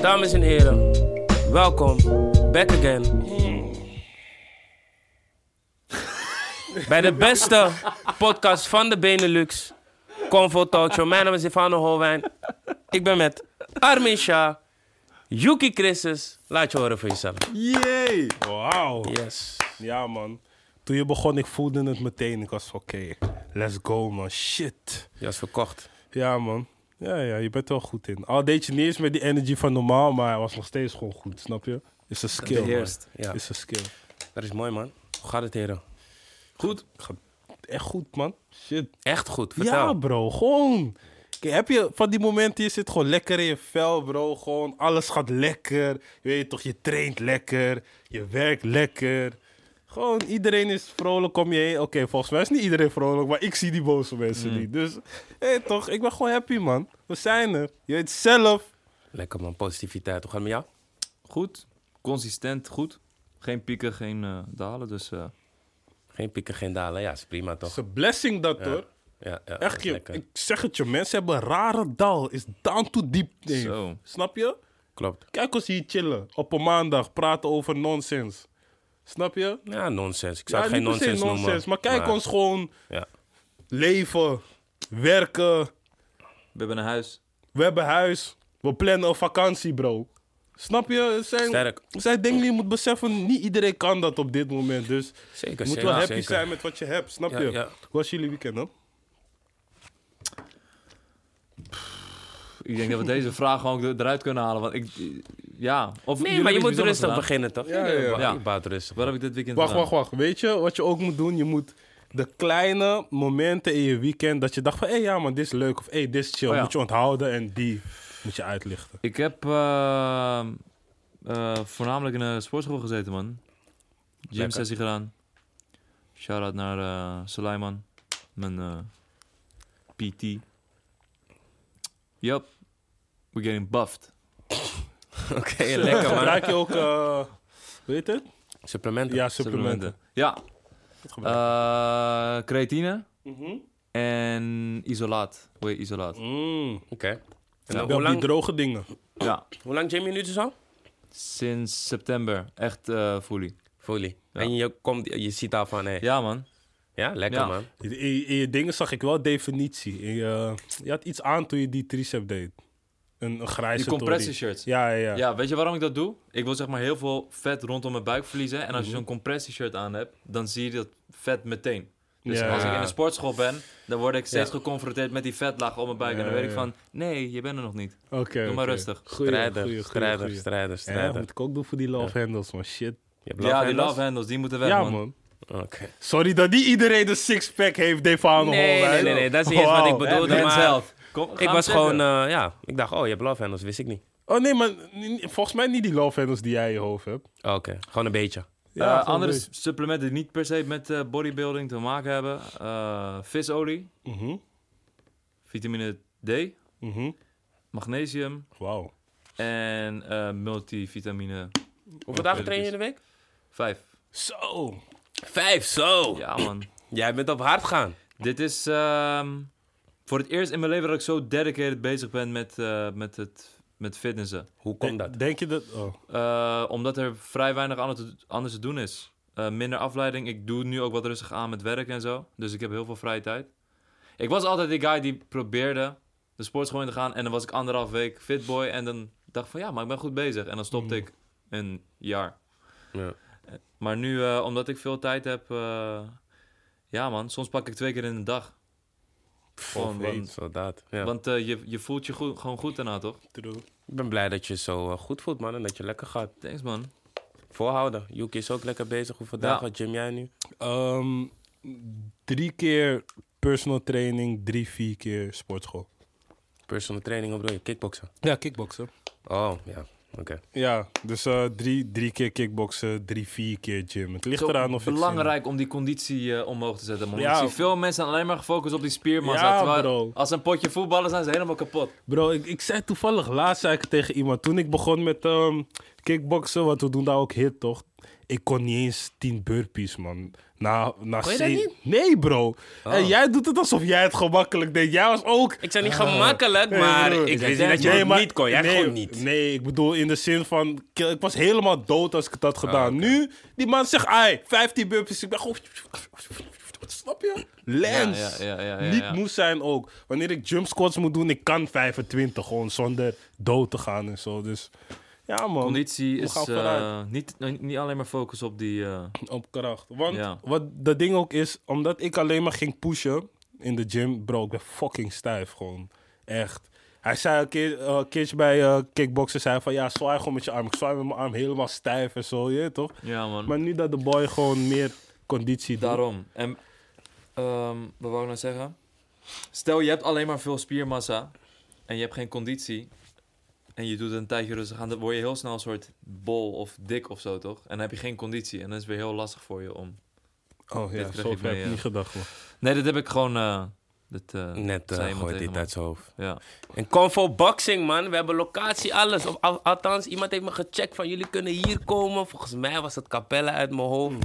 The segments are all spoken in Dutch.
Dames en heren, welkom back again. Bij de beste podcast van de Benelux, Convo Talk Show. Mijn naam is Ivano Holwijn. Ik ben met Armin Shah, Yuki Christus. Laat je horen voor jezelf. Yay! Wauw. Yes. Ja, man. Toen je begon, ik voelde het meteen. Ik was van, oké, let's go, man. Shit. Je was verkocht. Ja, man. Ja, ja, je bent er wel goed in. Al deed je niet eens met die energy van normaal, maar hij was nog steeds gewoon goed, snap je? Is een skill, man. Beheerst. Ja. Is een skill. Dat is mooi, man. Hoe gaat het, heren? Goed. Echt goed, man. Shit. Echt goed, Ja, vertel. bro. Gewoon. Kijk, heb je van die momenten, je zit gewoon lekker in je vel, bro. Gewoon, alles gaat lekker. Je weet toch, je traint lekker. Je werkt lekker. Gewoon, iedereen is vrolijk om je heen. Oké, volgens mij is niet iedereen vrolijk, maar ik zie die boze mensen Mm. niet. Dus, hé, toch, ik ben gewoon happy, man. We zijn er. Je weet zelf. Lekker, man. Positiviteit. Hoe gaat het met jou? Goed, consistent, goed. Geen pieken, geen eh, dalen, dus... eh, Geen pieken, geen dalen. Ja, is prima, Het is toch? een blessing dat, hoor. Ja, ja, dat Echt, is je, lekker. ik zeg het je, mensen hebben een rare dal. Is down to deep, nee. Zo. Snap je? Klopt. Kijk ons hier chillen. Op een maandag praten over nonsens. Snap je? Ja, nonsens. Ik zou het Ja, geen niet per se nonsens noemen. Maar kijk ons gewoon Ja. leven, werken. we hebben een huis. We hebben huis. We plannen een vakantie, bro. Snap je? Het zijn, Sterk. het zijn dingen die je moet beseffen. Niet iedereen kan dat op dit moment. Dus Zeker, je moet zeker, wel happy zeker. zijn met wat je hebt. Snap Ja, je? ja. Hoe was jullie weekend dan? Ik denk dat we deze vraag gewoon er- eruit kunnen halen, want ik... Ja, of Nee, jullie maar je hebben moet iets bijzonders rustig gedaan. beginnen, toch? Ja, ja, ja. Ba- Je baat rustig. Wat heb ik dit weekend Wacht, gedaan? wacht, wacht. Weet je wat je ook moet doen? Je moet de kleine momenten in je weekend dat je dacht van... Hé, ja man, dit is leuk. Of hé, dit is chill. Oh, ja. Moet je onthouden en die moet je uitlichten. Ik heb eh, eh, voornamelijk in een sportschool gezeten, man. Gym Lekker. sessie gedaan. Shout-out naar eh Suleiman, mijn eh, PT. Yup, we're getting buffed. Oké, lekker, man. Gebruik je ook... eh, weet het? Supplementen. Ja, supplementen. Ja, Gebruik je. eh, creatine Mhm. en isolaat. Hoe heet isolaat? Mm. Oké. En dan Dan hoe, die lang, droge dingen. Ja, hoe lang gym je nu dus al? sinds september. Echt eh fully. Fully. Ja. En je, komt, je ziet al van, hé. Ja. Ja, man. lekker, Ja. man. In, in- in je dingen zag ik wel definitie. In je, je had iets aan toen je die tricep deed. Een, een grijze Die compressor shirts. tory. Ja, ja, ja. Ja, weet je waarom ik dat doe? Ik wil zeg maar heel veel vet rondom mijn buik verliezen. En Mhm. als je zo'n compressieshirt aan hebt, dan zie je dat vet meteen. Dus Ja. als ik in een sportschool ben, dan word ik steeds geconfronteerd met die vetlaag op mijn buik. en dan Ja, weet ik ja. van, nee, je bent er nog niet. Oké. Doe maar oké. rustig. Goeie, goeie, Strijder, goeie, strijder, goeie. strijder, Ja, strijder. moet ik ook doen voor die love handles, man. Shit. Je hebt ja, die handles? love handles, die moeten weg, ja, man. man. Oké. Sorry dat niet iedereen een six-pack heeft, Defano Nee, Hall, nee, hè? nee, nee, dat is niet eens wat ik Wauw. bedoel. bedoelde, Men's maar- health. Kom, ga Ik hem was checken. gewoon, eh, ja. Ik dacht, oh, je hebt love handles. Wist ik niet. Oh nee, maar n- n- volgens mij niet die love handles die jij in je hoofd hebt. Oké, gewoon een beetje. Eh, gewoon andere leuk. supplementen die niet per se met eh, bodybuilding te maken hebben. Eh, visolie, Mhm, vitamine D, mhm. magnesium Wauw. en eh, multivitamine Hoeveel dagen train je in de week? 5. Zo. Vijf, zo. Ja, man. Jij bent op hard gaan. Dit is ehm, voor het eerst in mijn leven dat ik zo dedicated bezig ben met, eh, met, het, met fitnessen. Hoe komt dat? Denk- Denk je dat... Oh. Eh, omdat er vrij weinig ander te- anders te doen is. Eh, minder afleiding. Ik doe nu ook wat rustig aan met werk en zo. Dus ik heb heel veel vrije tijd. Ik was altijd die guy die probeerde de sportschool in te gaan. En dan was ik anderhalf week fitboy. En dan dacht ik van ja, maar ik ben goed bezig. En dan stopte ik een jaar. Ja. Eh, Maar nu, eh, omdat ik veel tijd heb... eh, ja man, soms pak ik twee keer in de dag. Gewoon, want- Soldaat. Ja. Want eh, je, je voelt je goed, gewoon goed daarna, toch? True. Ik ben blij dat je zo eh, goed voelt, man. En dat je lekker gaat. Thanks, man. Voorhouden. Yuki is ook lekker bezig. Hoeveel Ja. dagen gym jij nu? Ehm, drie keer personal training, drie, vier keer sportschool. Personal training, hoe bedoel je? Kickboksen? Ja, kickboksen. Oh, ja. Oké. Ja, dus eh, drie, drie keer kickboksen, drie, vier keer gym. Het ligt Zo eraan of ik zin heb. belangrijk om die conditie eh, omhoog te zetten, man. Ja. Ik zie veel mensen alleen maar gefocust op die spiermassa. Ja, terwijl bro. Als ze een potje voetballen zijn ze helemaal kapot. Bro, ik, ik zei toevallig laatst zei ik tegen iemand, toen ik begon met ehm kickboksen, want we doen daar ook hit, toch? Ik kon niet eens 10 burpees, man. Na, na Kon je dat zeven- niet? Oh. Nee, bro. En jij doet het alsof jij het gemakkelijk deed. Jij was ook. Ik zei niet gemakkelijk, maar broer. ik Ik wist niet dat je Nee, het maar- niet kon. Jij nee, kon niet. Nee, ik bedoel in de zin van. ik- Ik was helemaal dood als ik het had Ah, gedaan. Nu, die man zegt, ai, 15 burpees. Ik ben gewoon. Snap je? Lens. Ja, ja, ja, ja, ja, niet ja. moest zijn ook. Wanneer ik jump squats moet doen, ik kan 25 gewoon zonder dood te gaan en zo. Dus ja, man. Conditie We is gaan eh, vooruit. niet, niet alleen maar focus op die... eh, Op kracht. Want Ja. wat dat ding ook is, omdat ik alleen maar ging pushen in de gym, bro, ik ben fucking stijf gewoon. Echt. Hij zei een keer, eh, een keertje bij eh kickboksen, zei hij van ja, zwaai gewoon met je arm. Ik zwaai met mijn arm helemaal stijf en zo, je weet toch? ja, man. Maar nu dat de boy gewoon meer conditie doet. Daarom. En ehm, wat wou ik nou zeggen? Stel, je hebt alleen maar veel spiermassa en je hebt geen conditie. En je doet het een tijdje rustig aan, dan word je heel snel een soort bol of dik of zo, toch? En dan heb je geen conditie en dan is het weer heel lastig voor je om... Oh ja, Dit kreeg zo ik ver mee, heb ik ja. niet gedacht, man. Nee, dat heb ik gewoon... eh, dat, eh, Net zei eh iemand gooit tegen dit me. uit zijn hoofd. Ja. En Convo Boxing, man. We hebben locatie, alles. Of, al- althans, iemand heeft me gecheckt van jullie kunnen hier komen. Volgens mij was het Capelle uit mijn hoofd.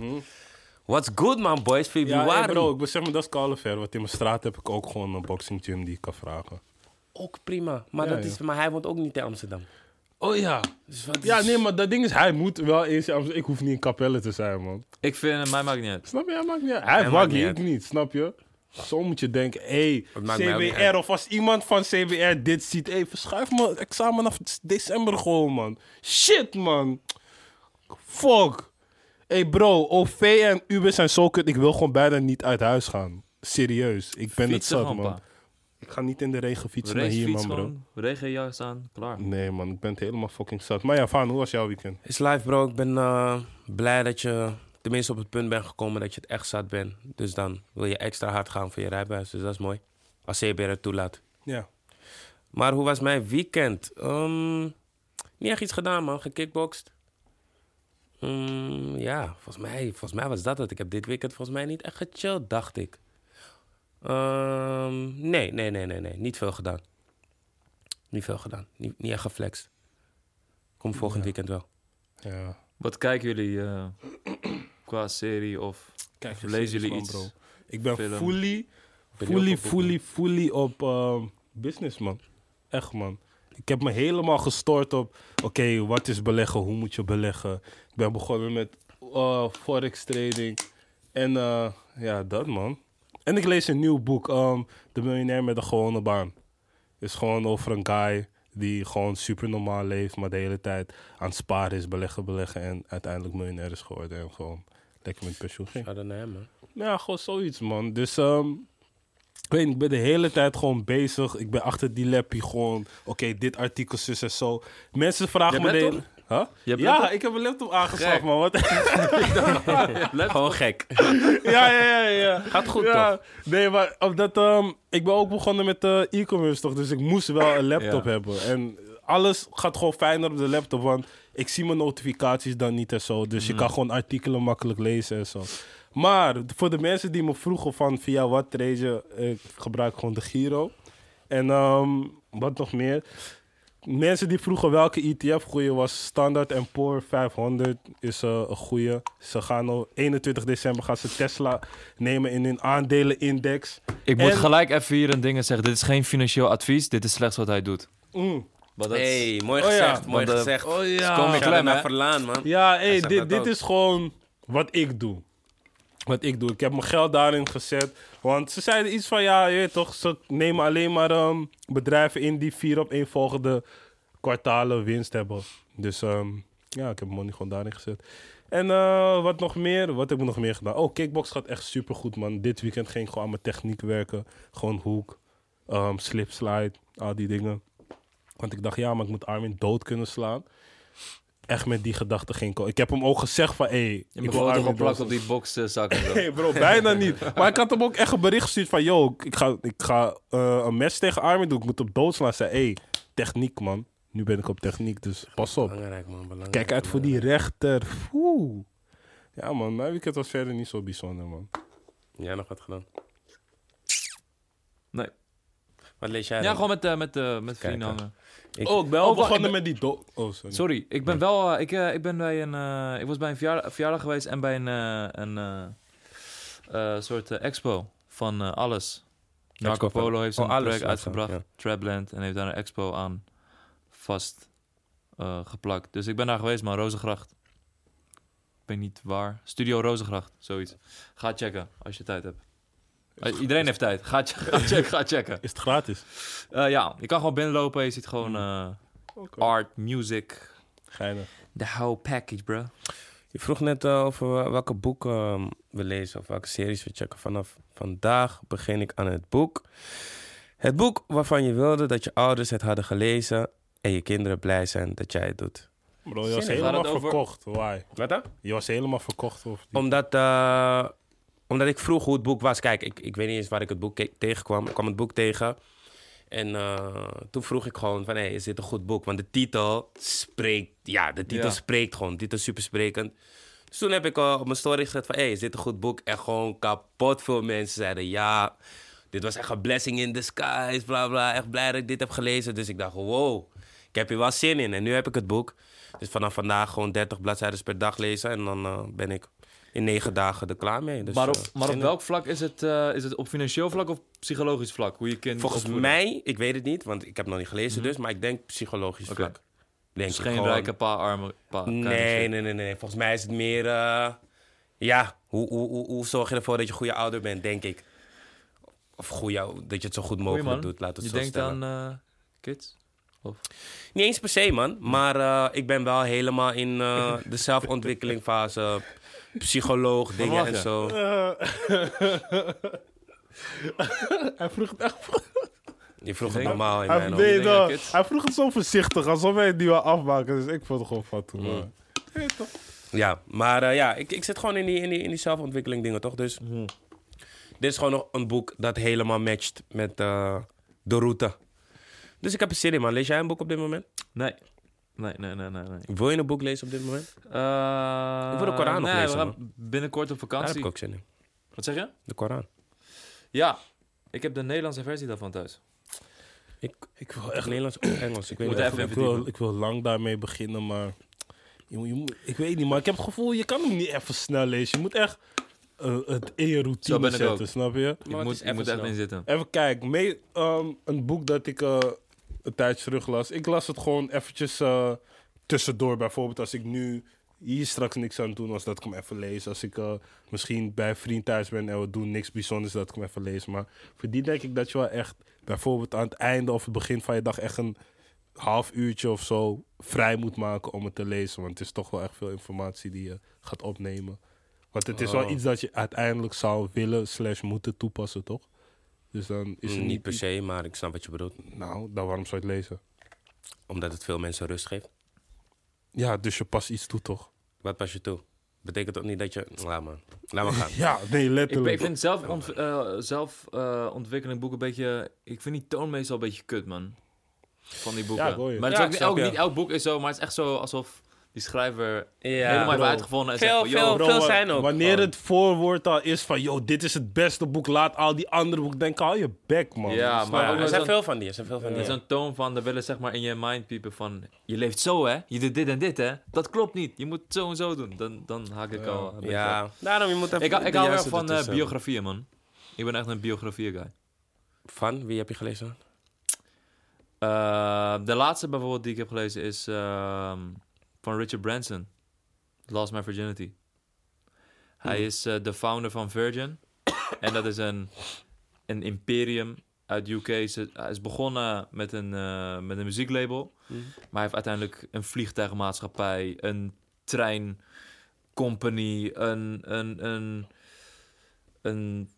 What's good, man, boys? Ja, Februari. hey, bro, ik ben zeg maar, dat is Callever, want in mijn straat heb ik ook gewoon een boxing gym die ik kan vragen. Ook prima. Maar, Ja, dat is, maar hij woont ook niet in Amsterdam. Oh ja. Dus wat Ja, is- nee, maar dat ding is, hij moet wel eens, ik hoef niet in Capelle te zijn, man. Ik vind... eh, Mij maakt niet uit. Snap je? Hij maakt niet uit. Hij maakt maakt niet niet, uit. ik niet, snap je? Zo moet je denken, hé, maakt mij ook niet CBR uit. of als iemand van CBR dit ziet, hé, verschuif me examen af december gewoon, man. Shit, man. Fuck. Hé, bro, OV en Uber zijn zo kut. Ik wil gewoon bijna niet uit huis gaan. Serieus, ik ben het Fietsen zat, gewoon, man. pa. Ik ga niet in de regen fietsen naar hier, Racefiets man, bro. gewoon, regenjas aan, klaar. Nee, man, ik ben het helemaal fucking zat. Maar ja, Van, hoe was jouw weekend? Is live, bro. Ik ben eh, blij dat je tenminste op het punt bent gekomen dat je het echt zat bent. Dus dan wil je extra hard gaan voor je rijbewijs. Dus dat is mooi. Als CBR het toelaat. Ja. Maar hoe was mijn weekend? Ehm, niet echt iets gedaan, man. Gekickboxed. Mm, ja, volgens mij, volgens mij was dat het. Ik heb dit weekend volgens mij niet echt gechilled, dacht ik. Ehm, nee, nee, nee, nee, nee. Niet veel gedaan. Niet veel gedaan. Niet, niet echt geflext. Kom volgend weekend wel. ja. Wat kijken jullie eh, qua serie of... Kijk, Of lezen jullie man, iets? Ik ben Film. fully, Ben je fully, ook op fully, fully op ehm, business, man. Echt, man. Ik heb me helemaal gestoord op, oké, wat is beleggen? Hoe moet je beleggen? Ik ben begonnen met eh, forex trading. En eh, ja, dat, man. En ik lees een nieuw boek, ehm, De Miljonair met de Gewone Baan. is gewoon over een guy die gewoon super normaal leeft, maar de hele tijd aan het sparen is, beleggen, beleggen. En uiteindelijk miljonair is geworden en gewoon lekker met pensioen ging. Shout-out naar hem, man. Ja, gewoon zoiets, man. Dus ehm, ik weet niet, ik ben de hele tijd gewoon bezig. Ik ben achter die lappie gewoon. Oké, dit artikel, zus en zo. Mensen vragen me Je hebt de hele... laptop? Huh? Je hebt ja, laptop? ik heb een laptop aangeschaft, Gek. man. Wat... Gewoon gek. ja, ja, ja, ja. Gaat goed, ja. Nee, maar omdat, ehm, ik ben ook begonnen met eh, e-commerce, toch? Dus ik moest wel een laptop Ja. hebben. En alles gaat gewoon fijner op de laptop, want ik zie mijn notificaties dan niet en zo. Dus je kan gewoon artikelen makkelijk lezen en zo. Maar voor de mensen die me vroegen van via wat trade je, ik gebruik gewoon de Giro. En ehm, wat nog meer? Mensen die vroegen welke E ETF goede was, Standard Poor 500 is eh, een goede. Ze gaan op 21 december gaan ze Tesla nemen in hun aandelenindex. Ik moet moet En- gelijk even hier een ding zeggen. Dit is geen financieel advies. Dit is slechts wat hij doet. Mm. Maar dat Hey, mooi Oh ja, gezegd, mooi want de- gezegd. Oh Kom ja. ik Shout-out klem, naar hè? Verlaan, man. Ja, hey, zegt dat dit, ook. dit is gewoon wat ik doe. Wat ik doe. Ik heb mijn geld daarin gezet. Want ze zeiden iets van, ja, je weet toch, ze nemen alleen maar ehm, bedrijven in die vier op één volgende kwartalen winst hebben. Dus ehm, ja, ik heb mijn money gewoon daarin gezet. En eh, wat nog meer? Wat heb ik nog meer gedaan? Oh, kickbox gaat echt super goed, man. Dit weekend ging ik gewoon aan mijn techniek werken. Gewoon hoek, ehm, slip slide, al die dingen. Want ik dacht, ja, maar ik moet Armin dood kunnen slaan. Echt met die gedachte ging ik al- Ik heb hem ook gezegd van, hé, hey, Je ik hebt wil foto Armin dood geplakt slaan. op die boxzak en zo. Nee, bro, bijna niet. Maar ik had hem ook echt een bericht gestuurd van... yo, ik ga, ik ga eh, een mes tegen Armin doen. Ik moet op doodslaan. Hij zei, hey, techniek, man. Nu ben ik op techniek, dus pas op. Belangrijk, man. Belangrijk. Kijk uit voor die rechter. Oeh. Ja, man. Mijn weekend was verder niet zo bijzonder, man. Jij nog wat gedaan? Nee. Wat lees jij Ja, dan? gewoon met, eh, met, eh, met vrienden kijken. hangen. Ik- oh, ik ben al Oh, wacht, begonnen ik ben- met die do... Oh, sorry. Sorry, ik ben wel. eh, ik, eh, ik, ben bij een, eh, ik was bij een verjaardag, verjaardag geweest en bij een, eh, een eh, eh, soort eh, expo van eh, alles. Marco Expo van- Polo heeft oh, zijn alles project laat staan, uitgebracht, Trapland, en heeft daar een expo aan vast eh, geplakt. Dus ik ben daar geweest, man, Rozengracht. Ik weet niet waar. Studio Rozengracht, zoiets. Ga checken als je tijd hebt. Eh, iedereen heeft tijd. Ga, che- ga, check, ga checken. Is het gratis? Eh, ja, je kan gewoon binnenlopen. Je ziet Hmm. gewoon eh, art, music. Geinig. The whole package, bro. Dus, Je vroeg net eh, over wa- welke boeken ehm, we lezen of welke series we checken. Vanaf vandaag begin ik aan het boek. Het boek waarvan je wilde dat je ouders het hadden gelezen en je kinderen blij zijn dat jij het doet. Bro, je was Zin in. helemaal Gaat het over- verkocht. Why? Wat dan? Je was helemaal verkocht. Of die... Omdat, eh, omdat ik vroeg hoe het boek was. Kijk, ik, ik weet niet eens waar ik het boek ke- tegenkwam. Ik kwam het boek tegen. En eh, toen vroeg ik gewoon van, hey, is dit een goed boek? Want de titel spreekt, ja, de titel Ja. spreekt gewoon. Dit is supersprekend. Dus toen heb ik eh, op mijn story gezet van, hey, is dit een goed boek? En gewoon kapot veel mensen zeiden, ja, dit was echt een blessing in disguise, bla bla. Echt blij dat ik dit heb gelezen. Dus ik dacht, wow, ik heb hier wel zin in. En nu heb ik het boek. Dus vanaf vandaag gewoon 30 bladzijden per dag lezen. En dan eh, ben ik in negen dagen er klaar mee. Dus, maar op, eh, maar zin op in. welk vlak is het? eh, is het op financieel vlak of psychologisch vlak? Hoe je kind Volgens opvoeden? Mhm. mij, ik weet het niet, want ik heb nog niet gelezen dus. Maar ik denk psychologisch Oké. vlak. Denk Dus ik geen gewoon. rijke pa, arme pa. Nee, kleine nee, shit. nee, nee, nee. Volgens mij is het meer... eh, ja, hoe, hoe, hoe, hoe zorg je ervoor dat je een goede ouder bent, denk ik. Of goede, dat je het zo goed Goeie mogelijk man. doet, laat het Je zo denkt stellen. aan eh, kids? Niet eens per se, man. Maar eh, ik ben wel helemaal in eh, de zelfontwikkelingfase. Psycholoog, dingen lach en je? zo. Hij vroeg het echt Je vroeg het denk- normaal in Hij, mijn nee, ogen. Ik denk nou, dat ik het- hij vroeg het zo voorzichtig, alsof hij het niet wil afmaken. Dus ik vond het gewoon van toen. man. Ja, maar eh, ja, ik, ik zit gewoon in die, in die, in die zelfontwikkeling dingen, toch? Dus dit is gewoon nog een boek dat helemaal matcht met eh, de route. Dus ik heb er zin in, man. Lees jij een boek op dit moment? Nee. Nee, nee, nee, nee. nee. Wil je een boek lezen op dit moment? Eh, Ik wil de Koran nog nee, lezen, we gaan binnenkort op Daar heb vakantie. ik ook zin in. Wat zeg je? De Koran. Ja, ik heb de Nederlandse versie daarvan thuis. Ik, ik wil echt Nederlands of Engels. Ik weet moet niet. even ik, wil, ik wil lang daarmee beginnen, maar... Je, moet- je moet- ik weet niet, maar ik heb het gevoel, je kan hem niet even snel lezen. Je moet echt eh, het in je Zo ben routine ik zetten, ook. snap je? Ik Maar het moet, is ik moet even even snel. in zitten. Even kijken, mee, ehm, een boek dat ik eh, een tijdje terug las. Ik las het gewoon eventjes eh, tussendoor. Bijvoorbeeld als ik nu hier straks niks aan het doen was, dat ik hem even lees. Als ik eh, misschien bij een vriend thuis ben en we doen niks bijzonders, dat ik hem even lees. Maar voor die denk ik dat je wel echt bijvoorbeeld aan het einde of het begin van je dag echt een half uurtje of zo vrij moet maken om het te lezen. Want het is toch wel echt veel informatie die je gaat opnemen. Want het is wel Oh. iets dat je uiteindelijk zou willen slash moeten toepassen, toch? Dus dan is het Mhm. Niet per iets- se, maar ik snap wat je bedoelt. Nou, dan waarom zou je het lezen? Omdat het veel mensen rust geeft. Ja, dus je past iets toe, toch? Wat pas je toe? Betekent dat niet dat je... Nou, Laat maar. Laat maar gaan. Ja, nee, Ik, ben- ik letterlijk. vind zelf, ont, eh, zelf eh, ontwikkeling boeken een beetje... Ik vind die toon meestal een beetje kut, man. Van die boeken. Ja, ik hoor je. Maar het Ja, is ook, ik snap ook je. niet elk boek is zo, maar het is echt zo alsof die schrijver Ja. helemaal heeft bro. uitgevonden. En zegt Veel, van, yo, veel. Bro, veel wa- zijn ook Wanneer gewoon. het voorwoord al is van, yo, dit is het beste boek, laat al die andere boeken denken, hou je bek, man. Snap Ja, maar je? ook Maar wel er zijn zo'n- veel van die. Er zijn veel van die. Er is zo'n toon van, de willen zeg maar in je mind piepen van... Je leeft zo, hè? Je doet dit en dit, hè? Dat klopt niet. Je moet zo en zo doen. Dan, dan haak ik al... een beetje af. Ja, daarom je moet even... Ik, hou- ik de hou wel juiste van eh, ertussen. biografieën, man. Ik ben echt een biografie-guy. Van? Wie heb je gelezen? Eh, de laatste bijvoorbeeld die ik heb gelezen is ehm, van Richard Branson. Lost My Virginity. Hij is eh, de founder van Virgin. en dat is een, een imperium uit UK. Ze- Hij is begonnen met een, eh, met een muzieklabel. Mhm. Maar hij heeft uiteindelijk een vliegtuigmaatschappij, een treincompany, een... een, een, een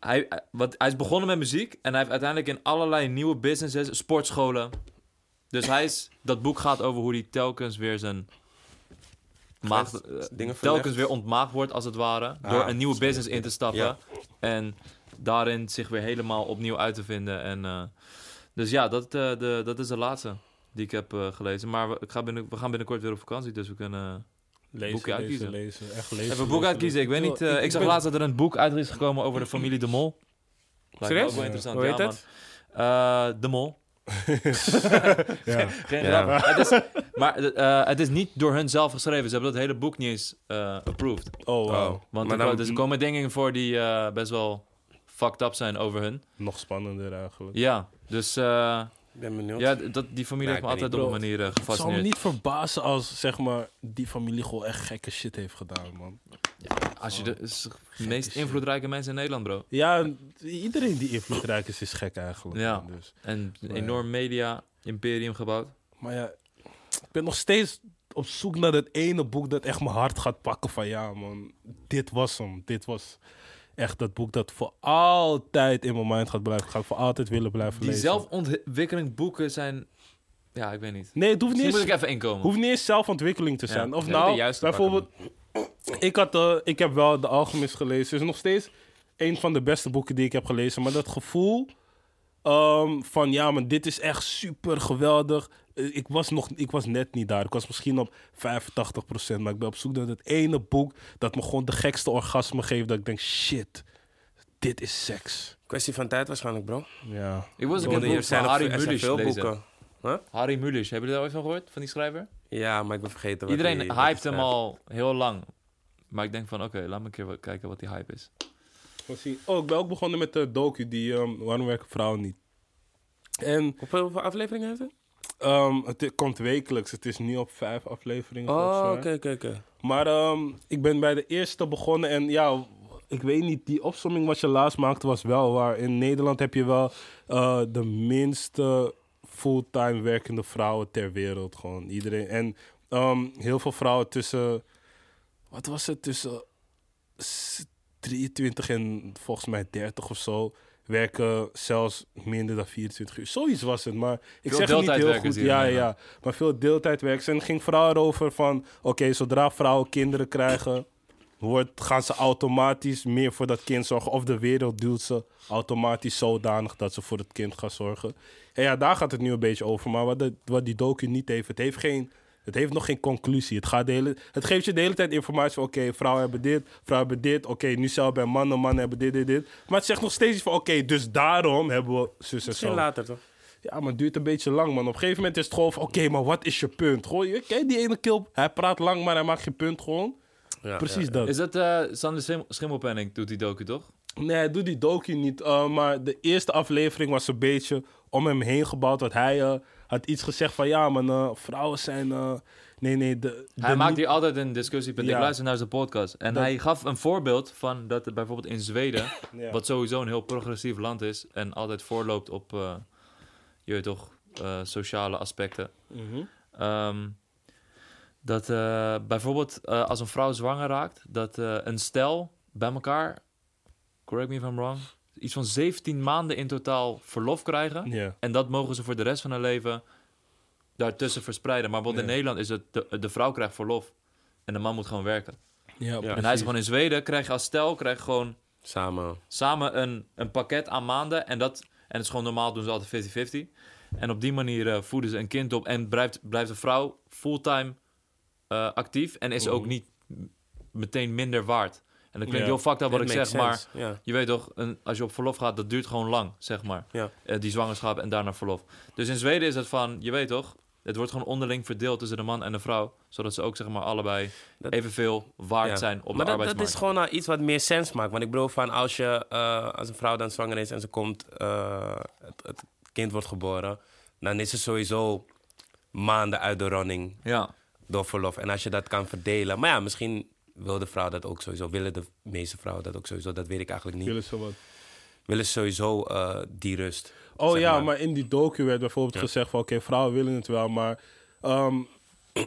hij, hij- wat, hij is begonnen met muziek en hij heeft uiteindelijk in allerlei nieuwe businesses, sportscholen. Dus hij is, dat boek gaat over hoe hij telkens weer zijn maag, Grens- eh, dingen telkens verlegt. weer ontmaagd wordt als het ware. Ah, door een nieuwe snap business in te stappen Ja. en daarin zich weer helemaal opnieuw uit te vinden. En, eh, dus ja, dat, eh, de, dat is de laatste die ik heb eh, gelezen. Maar we, ik ga binnen, we gaan binnenkort weer op vakantie, dus we kunnen... Lezen, boeken lezen, uitkiezen. lezen, echt lezen. Even een boek lezen, uitkiezen. Ik weet lezen. niet. eh, ik, zag ben- laatst dat er een boek uit is gekomen over de familie De Mol. Lijkt me ook Serieus? wel interessant. Hoe heet ja, het? man. Eh, de Mol. Ja. Geen Ja. grap. Het is, maar eh, het is niet door hun zelf geschreven. Ze hebben dat hele boek niet eens eh, approved. Oh, wow. Want Maar nou er, dan- dus er komen dingen voor die eh, best wel fucked up zijn over hun. Nog spannender eigenlijk. Ja, dus eh, Ik ben benieuwd. ja, dat, die familie Ja, heeft me ik weet altijd niet, op een manier eh, Het zou me gefascineerd. niet verbazen als zeg maar, die familie gewoon echt gekke shit heeft gedaan, man. Als je de, Oh, is de meest invloedrijke mensen in Nederland, bro. Ja, en iedereen die invloedrijk is, is gek eigenlijk. Ja. man, Dus. En een Oh, Maar- enorm media-imperium gebouwd. Maar ja, ik ben nog steeds op zoek naar dat ene boek dat echt mijn hart gaat pakken van ja, man. Dit was hem. Dit was echt dat boek dat voor altijd in mijn mind gaat blijven. Ga ik voor altijd willen blijven Die lezen. zelfontwikkeling boeken zijn... Ja, ik weet niet. Nee, het hoeft niet Misschien moet eens ik even inkomen. hoeft niet eens zelfontwikkeling te Ja, zijn. Of ja, de nou, juiste bijvoorbeeld, ik, had, eh, ik heb wel De Alchemist gelezen. Het is nog steeds een van de beste boeken die ik heb gelezen. Maar dat gevoel ehm, van, ja, maar dit is echt super geweldig. Eh, Ik was, nog, ik was net niet daar. Ik was misschien op 85%. Maar ik ben op zoek naar het ene boek dat me gewoon de gekste orgasme geeft. Dat ik denk, shit, dit is seks. Kwestie van tijd waarschijnlijk, bro. Ja. Ik was Broer, een keer een boek er van zijn er- Harry er zijn Mulisch veel lezen. boeken. Harry Mulisch, hebben jullie daar ooit van gehoord? Van die schrijver? Ja, maar ik ben vergeten wat Iedereen die- wat die hypt hem schrijft. al heel lang. Maar ik denk van, oké, laat me een keer wat kijken wat die hype is. Misschien- Oh, ik ben ook begonnen met de docu, die ehm, Waarom werken vrouwen niet? En Hoeveel, hoeveel afleveringen heeft hij? Ehm, het i- komt wekelijks. Het is nu op vijf afleveringen. volgens Oh, mij. oké, oké, oké. Maar ehm, ik ben bij de eerste begonnen. En ja, ik weet niet, die opsomming wat je laatst maakte was wel waar. In Nederland heb je wel eh, de minste fulltime werkende vrouwen ter wereld. Gewoon iedereen. En ehm, heel veel vrouwen tussen. Wat was het? Tussen s- 23 en volgens mij 30 of zo. Werken zelfs minder dan 24 uur. Zoiets was het, maar ik Veel zeg het niet heel goed. deeltijdwerkers hier in Ja, ja, ja. Nederland. Maar veel deeltijdwerkers. En het ging vooral erover van... Oké, zodra vrouwen kinderen krijgen... Wordt, gaan ze automatisch meer voor dat kind zorgen. Of de wereld duwt ze automatisch zodanig dat ze voor het kind gaan zorgen. En ja, daar gaat het nu een beetje over. Maar wat, de- wat die docu niet heeft, het heeft geen... Het heeft nog geen conclusie. Het, gaat de hele, het geeft je de hele tijd informatie van... oké, vrouwen hebben dit, vrouwen hebben dit... oké, nu zelf bij mannen, mannen hebben dit, dit, dit. Maar het zegt nog steeds iets van... oké, dus daarom hebben we zus en Misschien zo. later, toch? Ja, maar het duurt een beetje lang, man. Op een gegeven moment is het gewoon van, oké, maar wat is je punt? Gewoon, je kent die ene kill. Hij praat lang, maar hij maakt geen punt gewoon. Ja, Precies ja. dat. Is dat eh Sander Schim- Schimmelpenning doet die docu, toch? Nee, hij doet die docu niet. eh, maar de eerste aflevering was een beetje om hem heen gebouwd. Want hij eh, had iets gezegd van, ja, man, eh, vrouwen zijn... eh, nee, nee, de... Hij de maakt niet- hier altijd een discussiepunt. Ja. Ik luister naar zijn podcast. En Dat- hij gaf een voorbeeld van dat er bijvoorbeeld in Zweden... Ja. wat sowieso een heel progressief land is... en altijd voorloopt op, eh, je weet toch, eh, sociale aspecten. Mhm. Ehm, dat eh, bijvoorbeeld eh, als een vrouw zwanger raakt, dat eh, een stel bij elkaar, correct me if I'm wrong, iets van 17 maanden in totaal verlof krijgen. Ja. En dat mogen ze voor de rest van hun leven daartussen verspreiden. Maar bijvoorbeeld Ja. in Nederland is het de, de vrouw krijgt verlof en de man moet gewoon werken. Ja, En hij is gewoon in Zweden, krijg je als stel krijg je gewoon Samen. samen een, een pakket aan maanden. En dat en het is gewoon normaal, doen ze altijd 50-50. En op die manier eh, voeden ze een kind op en blijft, blijft de vrouw fulltime eh, actief. En is ook Mhm. niet m- meteen minder waard. En dat klinkt Ja, heel fucked up wat ik zeg, maar Ja. je weet toch, een, als je op verlof gaat, dat duurt gewoon lang, zeg maar. Ja. Eh, die zwangerschap en daarna verlof. Dus in Zweden is het van, je weet toch, het wordt gewoon onderling verdeeld tussen de man en de vrouw. Zodat ze ook, zeg maar, allebei Dat- evenveel waard Ja. zijn op maar de dat, arbeidsmarkt. dat is gewoon nou iets wat meer sens maakt. Want ik bedoel, van als, je, eh, als een vrouw dan zwanger is en ze komt, eh, het, het kind wordt geboren, dan is ze sowieso maanden uit de running Ja. door verlof. En als je dat kan verdelen. Maar ja, misschien wil de vrouw dat ook sowieso. Willen de meeste vrouwen dat ook sowieso? Dat weet ik eigenlijk niet. Jullie zo wat. Willen ze sowieso eh, die rust? Oh zeg ja, maar. in die docu werd bijvoorbeeld Ja. gezegd van... Oké, vrouwen willen het wel, maar... ehm,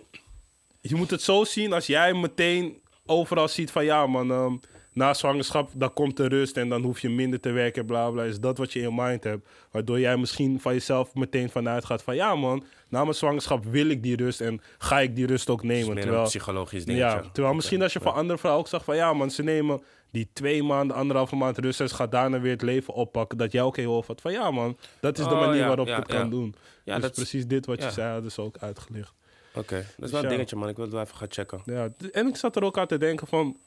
je moet het zo zien als jij meteen overal ziet van... Ja man, ehm, na zwangerschap, dan komt de rust en dan hoef je minder te werken, bla bla. Is dat wat je in je mind hebt? Waardoor jij misschien van jezelf meteen vanuit gaat van... Ja man, na mijn zwangerschap wil ik die rust en ga ik die rust ook Het is nemen. Dus meer Terwijl, een psychologisch dingetje. ja, terwijl misschien als je van andere vrouwen ook zag van... Ja man, ze nemen die twee maanden, anderhalve maand rust... en ze gaat daarna weer het leven oppakken. Dat jij ook heel hoofd had van... Ja man, dat is de Oh, manier ja, waarop ja, ik het ja. kan doen. Ja, dus dat is... precies dit wat je ja. zei hadden ze ook uitgelicht. Oké, dat is wel ja. een dingetje, man. Ik wil het wel even gaan checken. Ja, d- en ik zat er ook aan te denken van...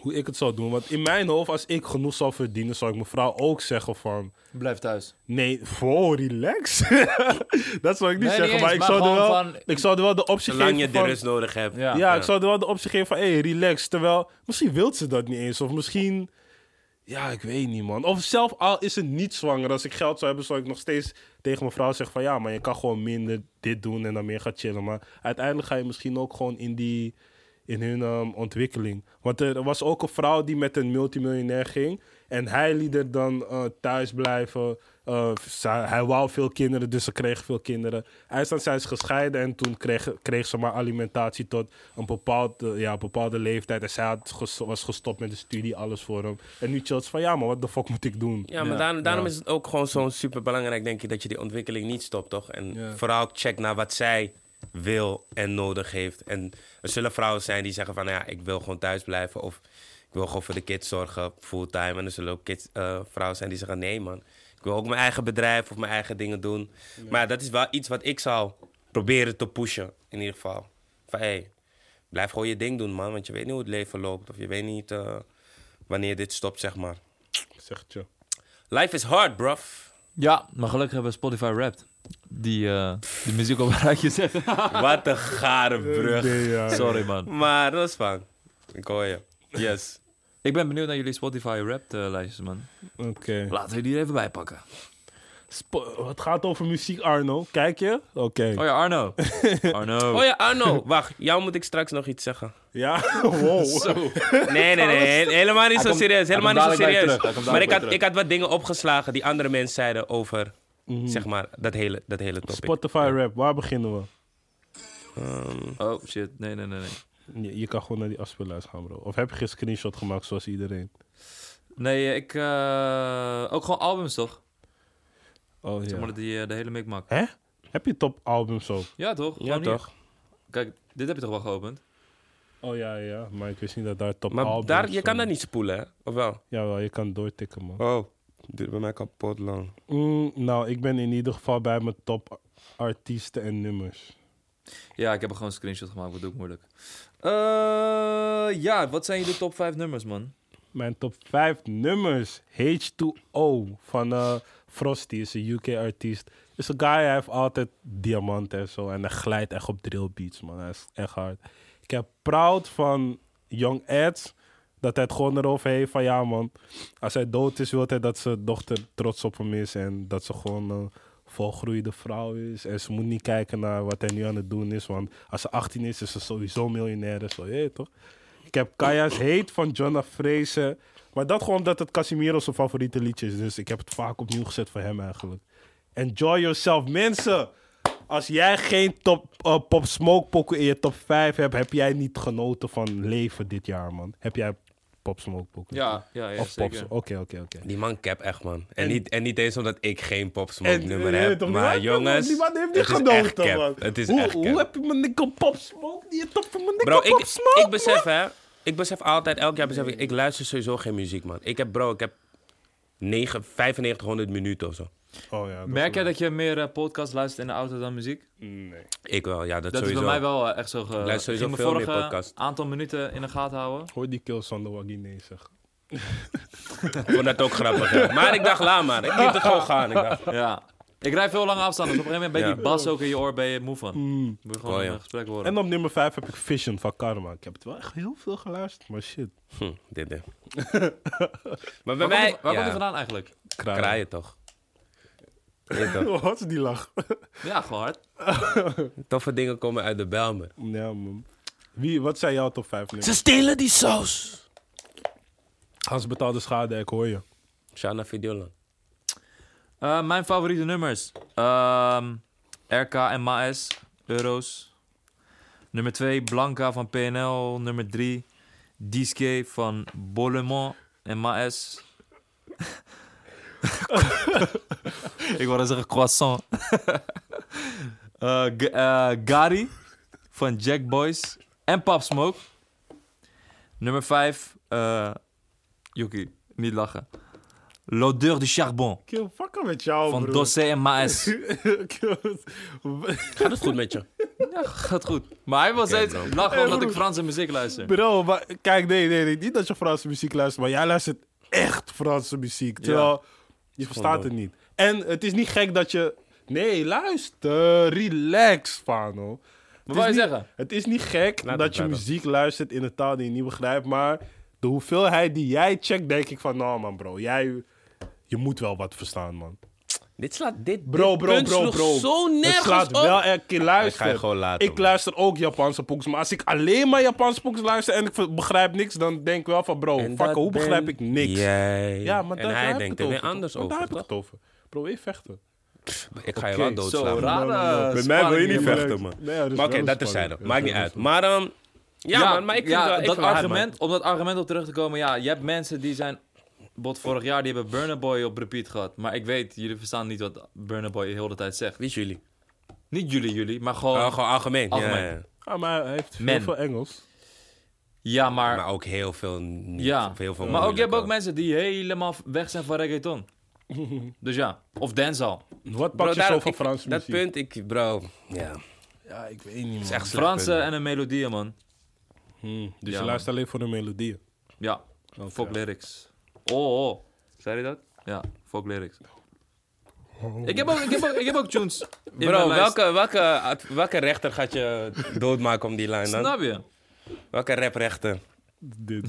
hoe ik het zou doen. Want in mijn hoofd, als ik genoeg zou verdienen, zou ik mijn vrouw ook zeggen van... Blijf thuis. Nee, voor relax. dat zou ik niet Nee, zeggen, niet eens, maar, ik, maar zou er gewoon wel, van- ik zou er wel de optie Zolang je geven de van- rust nodig hebt. Ja. Ja, ik zou er wel de optie geven van, hé, hey, relax. Terwijl, misschien wil ze dat niet eens. Of misschien, ja, ik weet niet, man. Of zelf al is ze niet zwanger. Als ik geld zou hebben, zou ik nog steeds tegen mijn vrouw zeggen van... Ja, maar je kan gewoon minder dit doen en dan meer gaan chillen. Maar uiteindelijk ga je misschien ook gewoon in die... In hun ehm, ontwikkeling. Want er was ook een vrouw die met een multimiljonair ging. En hij liet er dan eh, thuis blijven. Eh, zij- hij wou veel kinderen, dus ze kreeg veel kinderen. Eindstand zijn ze gescheiden en toen kreeg, kreeg ze maar alimentatie tot een bepaalde, ja, bepaalde leeftijd. En zij had ges- was gestopt met de studie, alles voor hem. En nu chillt ze van, ja, maar wat de fuck moet ik doen? Ja, maar Ja, daar- daarom ja. is het ook gewoon zo'n super belangrijk, denk ik, dat je die ontwikkeling niet stopt, toch? En Ja. vooral check naar wat zij wil en nodig heeft. En er zullen vrouwen zijn die zeggen van, nou ja, ik wil gewoon thuis blijven of ik wil gewoon voor de kids zorgen fulltime. En er zullen ook kids, eh, vrouwen zijn die zeggen, nee man, ik wil ook mijn eigen bedrijf of mijn eigen dingen doen. Maar dat is wel iets wat ik zou proberen te pushen, in ieder geval. Van, hé, hey, blijf gewoon je ding doen, man, want je weet niet hoe het leven loopt of je weet niet eh, wanneer dit stopt, zeg maar. Zegt je. Life is hard, bruv. Ja, maar gelukkig hebben we Spotify Wrapped. Die eh, de muziek op een rijtje zet. Wat een gare brug. Nee, ja. Sorry man. Maar dat is fijn. Ik hoor je. Yes. Ik ben benieuwd naar jullie Spotify Wrapped eh, lijstjes man. Oké. Laten we die er even bij pakken. Spo- Het gaat over muziek, Arno. Kijk je? Oké. Oh ja, Arno. Arno. Oh ja, Arno. Wacht, jou moet ik straks nog iets zeggen. Ja, wow. Nee, nee, nee. he- Helemaal niet Hij zo komt- serieus. hij Helemaal niet komt zo dadelijk bij je serieus. terug, hij Maar komt dadelijk ik bij had, je ik had wat dingen opgeslagen die andere mensen zeiden over, Hmm. zeg maar, dat hele, dat hele topic. Mhm. Spotify rap, waar beginnen we? Ehm, Oh shit, nee, nee, nee. Nee, Je, je kan gewoon naar die afspeellijst gaan, bro. Of heb je geen screenshot gemaakt zoals iedereen? nee eh, ik... eh, ook gewoon albums toch? Oh Zeg maar ja. die, eh, de hele mikmak. Hè? Heb je topalbums ook? Ja toch? ja, Gewoon hier. toch? Kijk, dit heb je toch wel geopend? Oh ja, ja. Maar ik wist niet dat daar Maar topalbums... daar, je kan stonden. dat niet spoelen, hè? Of wel? Jawel, je kan doortikken, man. Oh, duurt bij mij kapot lang. Mm, nou, ik ben in ieder geval bij mijn top artiesten en nummers. Ja, ik heb er gewoon een screenshot gemaakt. Wat doe ik moeilijk? Eh, ja, wat zijn jullie top 5 nummers man? Mijn top 5 nummers. H2O van eh, Frosty is een UK artiest. Is een guy, hij heeft altijd diamanten en zo. En hij glijdt echt op drill beats, man. Hij is echt hard. Ik heb proud van Young Ads. Dat hij het gewoon erover heeft van ja, man. Als hij dood is, wil hij dat zijn dochter trots op hem is. En dat ze gewoon een volgroeide vrouw is. En ze moet niet kijken naar wat hij nu aan het doen is. Want als ze 18 is, is ze sowieso miljonair. en Zo, je weet toch? Ik heb Kaya's Heet van Jonna Fraser. Maar dat gewoon omdat het Casimiro zijn favoriete liedje is. Dus ik heb het vaak opnieuw gezet voor hem eigenlijk. Enjoy yourself. Mensen, als jij geen top, eh, Pop Smoke pokken in je top 5 hebt... heb jij niet genoten van leven dit jaar, man. Heb jij Pop Smoke pokken? Ja, ja, ja Of Pop zeker. Smoke. Oké, oké, oké. Die man cap echt, man. En, niet, en niet eens omdat ik geen Pop Smoke En- nummer eh, heb. toch, Maar die man- jongens, Die man heeft niet het is echt genoten, man. cap. Het is hoe, echt cap. Hoe heb je mijn nikkel Pop Smoke? Die je top van mijn Bro, nikkel ik, Pop Smoke, ik besef hè. Ik besef altijd, elk jaar besef ik, ik luister sowieso geen muziek, man. Ik heb, bro, ik heb 9, 9500 minuten of zo. man. Oh, ja, dat Merk is- jij dat je meer eh, podcast luistert in de auto dan muziek? Nee. Ik wel, ja, dat, Dat sowieso. is bij mij wel eh, echt zo. Ge... Ik luister sowieso ging mijn veel meer vorige podcast. aantal minuten in de gaten houden. Hoor die kill Sander Wagine zeggen. Ik vond dat ook grappig, hè. Maar ik dacht, laat maar. Ik liet het gewoon gaan. Ik dacht, Ja. Ik rijd veel lange afstanden. Dus op een gegeven moment ben je Ja. die bas ook in je oor ben je moe van. Moet je gewoon Oh, ja. een gesprek horen. En op nummer 5 heb ik Vision van Karma. Ik heb het wel echt heel veel geluisterd, maar shit. hm, dit, dit. Maar bij mij... Waar, komt die, waar komt die ja, vandaan eigenlijk? Kraaien. kraaien toch. Weet je toch? Wat is die lach? Ja, gewoon hard. Toffe dingen komen uit de Belmen. Ja, man. Wie, wat zijn jouw top 5 nummers? Ze stelen die saus. Hans betaalde schade, ik hoor je. Shana Videoland. Eh, mijn favoriete nummers: Ehm, RK en Maes, Euro's. Nummer 2, Blanca van PNL. Nummer 3, Diske van Bollemont en Maes. Ik wilde zeggen croissant. Eh, G- eh, Gary van Jack Boys en Pop Smoke. Nummer 5, eh Yuki, niet lachen. L'odeur du charbon Oh, Kill, fuck met jou, van broer. Dossé en Maes. Kill. Gaat het goed met je? Ja, gaat goed. Maar hij wil steeds lachen omdat ik Franse muziek luister. Bro, maar kijk, nee, nee, nee. Niet dat je Franse muziek luistert, maar jij luistert echt Franse muziek. Terwijl je verstaat het niet. En het is niet gek dat je. Nee, luister. Relax, Fano. Maar wat wil je zeggen? Het is niet gek Laat dat het je bij dan. muziek luistert in een taal die je niet begrijpt, maar de hoeveelheid die jij checkt, denk ik van, nou man, bro, jij. Je moet wel wat verstaan, man. Dit slaat dit Bro, dit bro, punt bro, sloeg bro. zo Het nergens slaat op. wel elke keer luisteren. Ik ga je gewoon laten, Ik man. luister ook Japanse pokus, maar als ik alleen maar Japanse pokus luister en ik ver- begrijp niks, dan denk ik wel van, bro, En fuck, dat hoe begrijp ben ik niks? Jij. Ja, maar en daar hij heb denkt ik er het weer over, anders toch? Want over. Daar heb ik toch? het over. Bro, weer vechten. Ik ga je Oké, wel doodslaan. Zo man. raar. eh, mij wil Bij je spanning niet hier. vechten. man. Nee, ja, dat is Maar oké, wel dat een terzijde. spanning. Maakt niet uit. Maar, ehm, ja, man, maar ik vind ja, wel, ik dat vind wel hard, man. argument, om dat argument op terug te komen. Ja, je hebt mensen die zijn... Bot, vorig jaar, die hebben Burner Boy op repeat gehad. Maar ik weet, jullie verstaan niet wat Burner Boy heel de tijd zegt. Wie is jullie? Niet jullie, jullie, maar gewoon... Oh, gewoon algemeen. Algemeen. Ja, ja. Ja, maar hij heeft heel Men. veel Engels. ja, maar... nou, Maar ook heel veel niet. ja, Heel veel maar ook, je hebt ook moeilijker. mensen die helemaal weg zijn van reggaeton. dus ja, of dancehall. Wat Bro, pak je zo daarom, van ik- Franse Dat muziek? punt, ik, bro. Ja. Ja, ik weet niet, is echt slecht Franse punt. en een melodie, man. Hmm, dus Ja, je man. luistert alleen voor de melodieën. Ja, fuck lyrics. Oh, oh. Zei je dat? Ja, fuck lyrics. Ik, heb ook, ik, heb ook, ik heb ook tunes. in mijn Bro, lijst. welke, welke, ad- welke rechter gaat je doodmaken om die lijn dan? Snap je? Welke raprechter? Dit,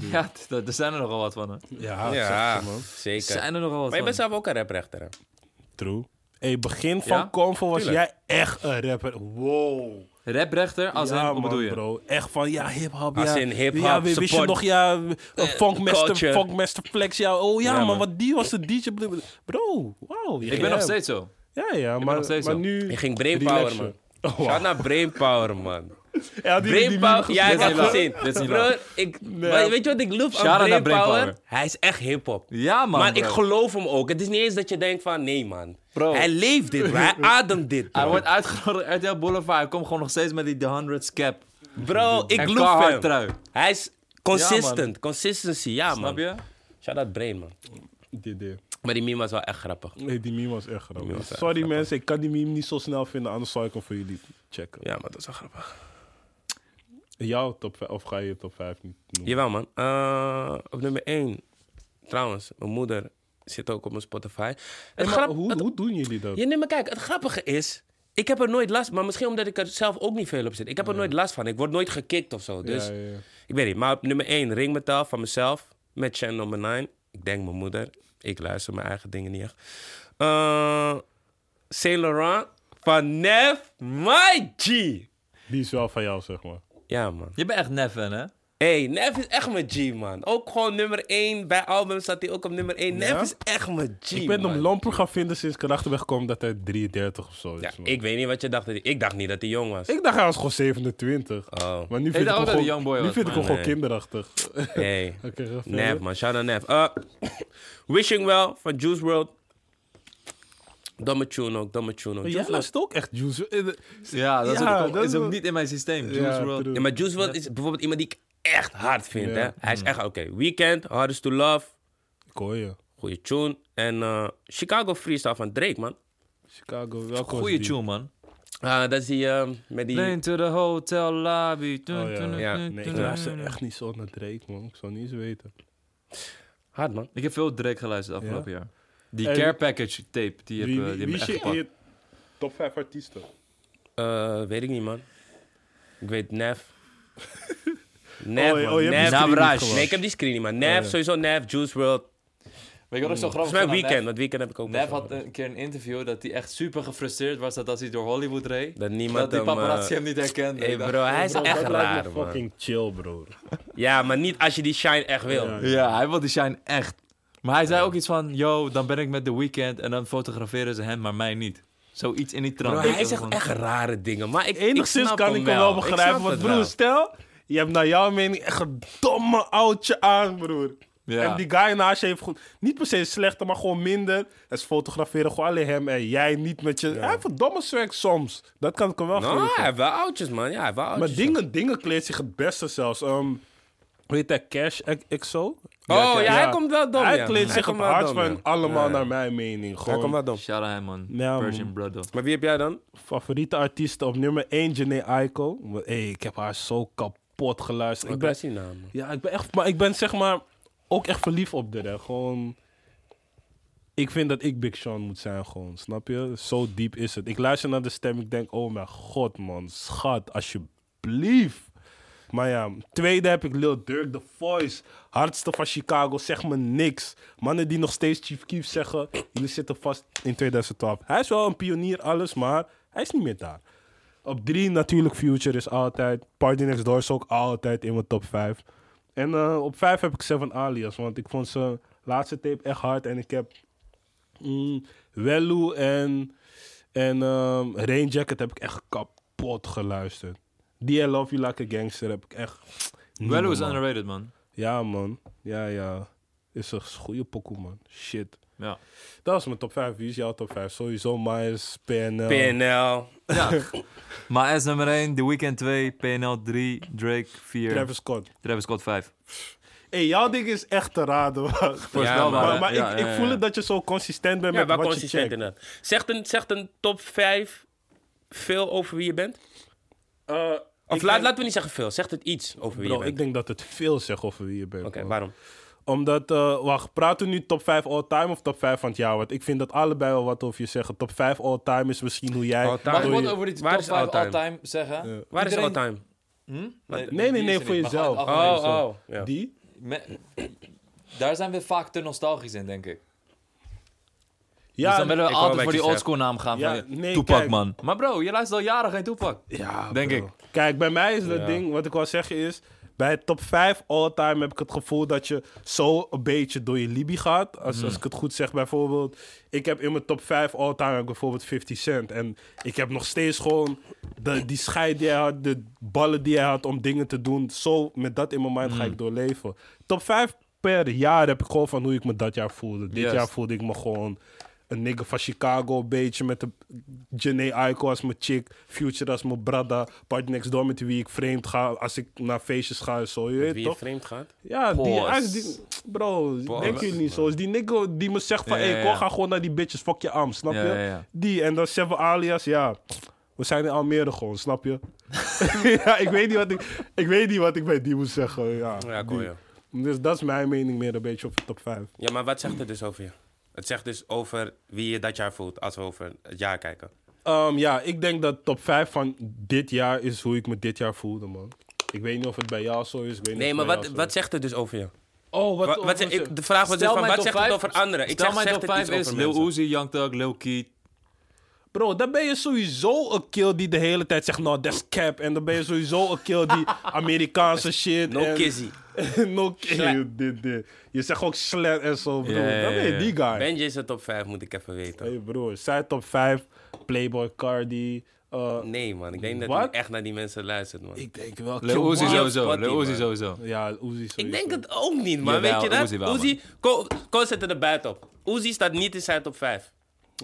dit. Ja, t- dat- er zijn er nogal wat van, hè? Ja, ja, Ah, zeg je, man. Er zeker. zijn er nogal wat Maar je bent van. zelf ook een raprechter, hè? True. Hey, begin van Ja? Convo was Tuurlijk. jij echt een rapper. Wow. Raprechter, als ja, in, wat man, bedoel je? bro. Echt van, ja, hip-hop. Als ja, in hip-hop, Ja, wist je support- nog, ja, eh, funkmaster, culture. funkmaster Flex. Ja, oh ja, Ja, man, man. wat die was de DJ. Bro, wauw. Ik ben nog steeds zo. Ja, ja, maar, nog steeds maar zo. nu... Je ging brainpower, relaxen. man. Oh, Ga naar brainpower, man. Ja, die- die- die- Brainpower, jij Dit is hebt niet het waar. gezien. Dit is niet Bro, waar. ik, maar weet je wat ik loop aan Shout-out naar brainpower? Brainpower. Hij is echt hip-hop. Ja, man. maar bro. ik geloof hem ook. Het is niet eens dat je denkt van, nee man. Bro. Hij leeft dit, bro. hij ademt dit. Hij Bro, wordt uitgenodigd uit RTL Boulevard. Hij komt gewoon nog steeds met die The Hundreds cap. Bro, ik en loop Carhartt hem. trui. Hij is consistent. Consistency, ja man. Snap je? Shout-out Brain, man. die- die- Maar die meme was wel echt grappig. Nee, die meme was echt grappig. meme was echt Sorry mensen, ik kan die meme niet zo snel vinden, anders zal ik hem voor jullie checken. Ja, maar dat is wel grappig. Jouw top 5, of ga je je top 5 niet noemen? Jawel, man. Eh, op nummer 1. Trouwens, mijn moeder zit ook op mijn Spotify. Het Maar grap- hoe, het- hoe doen jullie dat? Ja, nee, maar kijk, het grappige is... Ik heb er nooit last Maar misschien omdat ik er zelf ook niet veel op zit. Ik heb er nooit last van. Ik word nooit gekikt of zo. Dus Ja, ja, ja. ik weet niet. Maar op nummer 1, ringmetaal van mezelf. Met channel nummer 9. Ik denk mijn moeder. Ik luister mijn eigen dingen niet echt. Eh Saint Laurent van Nef My G. Die is wel van jou, zeg maar. Ja, man. Je bent echt neffen, hè? Hey, Nef is echt mijn G, man. Ook gewoon nummer 1. Bij albums staat hij ook op nummer 1. Ja? Nef is echt mijn G, Ik ben man. hem lomper gaan vinden sinds ik erachter ben gekomen dat hij 33 of zo is. Ja, man. ik weet niet wat je dacht. dat hij- Ik dacht niet dat hij jong was. Ik dacht hij was gewoon 27. Oh, Maar nu vind ik, dacht hem ook dat hij gewoon, young boy nu was, vind ik maar hem gewoon nee. kinderachtig. hey. Oké, ga verder. Nef, man. Shout out Nef. Eh, Wishing Well van Juice World. Domme tune ook, domme tune ook. Juice Maar jij WRLD- luistert ook echt Juice. Eh, de- Ja, dat is, Ja, ook, dat is is- ook niet in mijn systeem. Juice Ja, WRLD. true. Ja, maar Juice WRLD is bijvoorbeeld iemand die ik echt hard vind. Ja. Hè? Hij is echt oké. Weekend, Hardest to Love. Ik hoor je. Goeie tune. En eh, Chicago Freestyle van Drake, man. Chicago, welkom. Goeie tune, man. Ah, dat is die eh, met die... Plane to the hotel lobby. Dun, Oh, ja. dun, dun, Ja, dun, Nee, ik dun. luister echt niet zo naar Drake, man. Ik zou niet eens weten. Hard, man. Ik heb veel Drake geluisterd afgelopen jaar. Die En- Care Package tape, die heb, Wie, eh, wie, die wie heb is ik je echt gepakt. je top 5 artiesten? Eh, weet ik niet, man. Ik weet Nef. Nef, Oh, je- man. oh, je hebt Nef. die screen Navraj. niet gemaakt. Nee, ik heb die screen niet, man. Nef, sowieso Nef, Juice WRLD. Weet je wat ik zo Volgens grappig mij vond aan Weekend, Nef? want Weekend heb ik ook wel Nef van. eh, had een keer een interview dat hij echt super gefrustreerd was dat als hij door Hollywood reed, Dat niemand die hem, eh, paparazzi hem niet herkende. Hey Ik dacht- bro, hij is Bro, echt dat lijkt me raar, man. fucking chill, bro. Ja, maar niet als je die shine echt wil. Ja. Ja, hij wil die shine echt. Maar hij zei ook iets van, yo, dan ben ik met The Weeknd en dan fotograferen ze hem, maar mij niet. Zoiets in die trant. Bro, Ik hij dacht zegt van- echt rare dingen, maar ik, ik Enigszins snap kan ik hem wel begrijpen. Want wat broer, stel, je hebt naar jouw mening echt een domme oudje aan, broer. Ja. En die guy naast je heeft goed, niet per se slechter, maar gewoon minder. En ze fotograferen gewoon alleen hem en jij niet met je. Hij heeft een domme swag soms. Dat kan ik hem wel Nou, hij geven. heeft wel oudjes, man. Ja, hij heeft wel oudjes. Maar dingen, dingen kleedt zich het beste zelfs. Ehm, weet je, Cash X- XO? Oh, ja, hij komt wel dom. Hij ja. kleedt zich op komt wel hard dom, van ja. allemaal naar mijn mening. Hij komt Gewoon wel dom. Shout out hem, man. Ja, Nou, man. Persian Brother. Maar wie heb jij dan? favoriete artiesten op nummer 1, Janae Aiko. Maar, Hey, ik heb haar zo kapot geluisterd. Ik ben, die naam. ja, ik ben echt, maar ik ben zeg maar ook echt verliefd op de Gewoon, ik vind dat ik Big Sean moet zijn gewoon, snap je? Zo diep is het. Ik luister naar de stem, ik denk, oh mijn god man, schat, alsjeblieft. Maar ja, tweede heb ik Lil Durk, The Voice. Hardste van Chicago, zeg me niks. Mannen die nog steeds Chief Keef zeggen, jullie zitten vast in 2012. Hij is wel een pionier, alles, maar hij is niet meer daar. Op drie natuurlijk Future is altijd. Party Next Door is ook altijd in mijn top vijf. En eh, op vijf heb ik Seven Alias, want ik vond zijn laatste tape echt hard. En ik heb mm, Wellu en, en ehm, Rain Jacket heb ik echt kapot geluisterd. Die I Love You Like a Gangster heb ik echt... Wello is man. underrated, man. Ja, man. Ja, ja. Is een goede pokoe, man. Shit. Ja. Dat was mijn top 5. Wie is jouw top 5? Sowieso Myers, PNL. PNL. ja. maar S nummer 1, The Weeknd 2, PNL 3, Drake 4, Travis Scott. Travis Scott 5. hey, jouw ding is echt te raden, man. Voorspelbaar, maar hè? maar Ja, ik, ja, ik ja, voel ja. het dat je zo consistent bent Ja, met wel wat je consistent checkt. inderdaad. Zegt een, zegt een top 5 veel over wie je bent? Eh, Of ik laat, denk- laten we niet zeggen veel. Zegt het iets over wie Bro, je ik bent? denk dat het veel zegt over wie je bent. Oké, man. waarom? Omdat, eh, wacht, praten we nu top 5 all-time of top 5 van het jaar? Want ik vind dat allebei wel wat over je zeggen. Top 5 all-time is misschien hoe jij... All-time. Mag ik Doe wat hoe je- over die top Waar is 5 all-time, all-time? zeggen? Ja. Waar is Iedereen- all-time? Hm? Nee, nee, die nee, is er voor niet, maar jezelf. gewoon het Oh, algemeen zo. oh. Ja. Die? Me- Daar zijn we vaak te nostalgisch in, denk ik. Ja, Ja, dus dan willen we ik wou altijd wat voor je die zegt. oldschool naam gaan. Ja, van, nee, Tupac, kijk. man. Maar bro, je luistert al jaren geen Tupac. Ja, Denk bro. ik. Kijk, bij mij is dat Ja. ding, wat ik wil zeggen is... Bij top 5 all-time heb ik het gevoel dat je zo een beetje door je Libby gaat. Als, Hmm. als ik het goed zeg, bijvoorbeeld... Ik heb in mijn top 5 all-time heb ik bijvoorbeeld 50 Cent. En ik heb nog steeds gewoon de, die scheid die hij had, de ballen die hij had om dingen te doen. Zo, met dat in mijn mind Hmm. ga ik doorleven. Top 5 per jaar heb ik gewoon van hoe ik me dat jaar voelde. Dit Juist. jaar voelde ik me gewoon een nigger van Chicago, een beetje met de Janae Aiko als mijn chick, Future als mijn brada, Party Next Door met wie ik vreemd ga, als ik naar feestjes ga en zo, je weet Wie je toch? vreemd gaat? Ja, die, Pause. hij is die, bro, denk je niet zo. Is die nigger die me zegt van, Ja, hé, hey, ja, kom, ja. ga gewoon naar die bitches, fuck je arm, snap Ja, je? ja, ja. Die, en dan Seven Alias, ja, we zijn in Almere gewoon, snap je? ja, ik weet, niet wat ik, ik weet niet wat ik bij die moet zeggen, ja. Ja, die. cool, ja. Dus dat is mijn mening meer een beetje op de top 5. Ja, maar wat zegt het dus over je? Het zegt dus over wie je dat jaar voelt als we over het jaar kijken. Ehm, ja, ik denk dat top 5 van dit jaar is hoe ik me dit jaar voelde, man. Ik weet niet of het bij jou zo is. Ik weet niet Nee, of maar het wat, bij jou wat zegt het dus over je? zo is. Oh, wat, Wat, wat zeg- ik, de vraag was dus Stel van, mijn wat top zegt het vijf- over anderen? Ik Stel zeg, mijn zegt top het 5 iets is over Lil mensen? Uzi, Young Thug, Lil Keat. Bro, dan ben je sowieso een kill die de hele tijd zegt, nou, that's cap. En dan ben je sowieso een kill die Amerikaanse shit. No Eh, en- kizzy. no kill. Dit, dit. Je zegt ook slat en zo, bro. Ja, ja, Dan ben je ja, die guy. Benji is de top 5, moet ik even weten. Hey, broer, zij top 5. Playboy, Cardi. eh, Nee, man. Ik denk dat Wat? hij echt naar die mensen luistert, man. ik denk wel. Kill Lil Uzi Mark. sowieso, Spotty, Lil Uzi man. sowieso. Ja, Uzi Ik sowieso. denk het ook niet, maar Jawel, weet je dat? Uzi Uzi, wel, man. Ko, Ko zet er buiten op. Uzi staat niet in zijn top 5.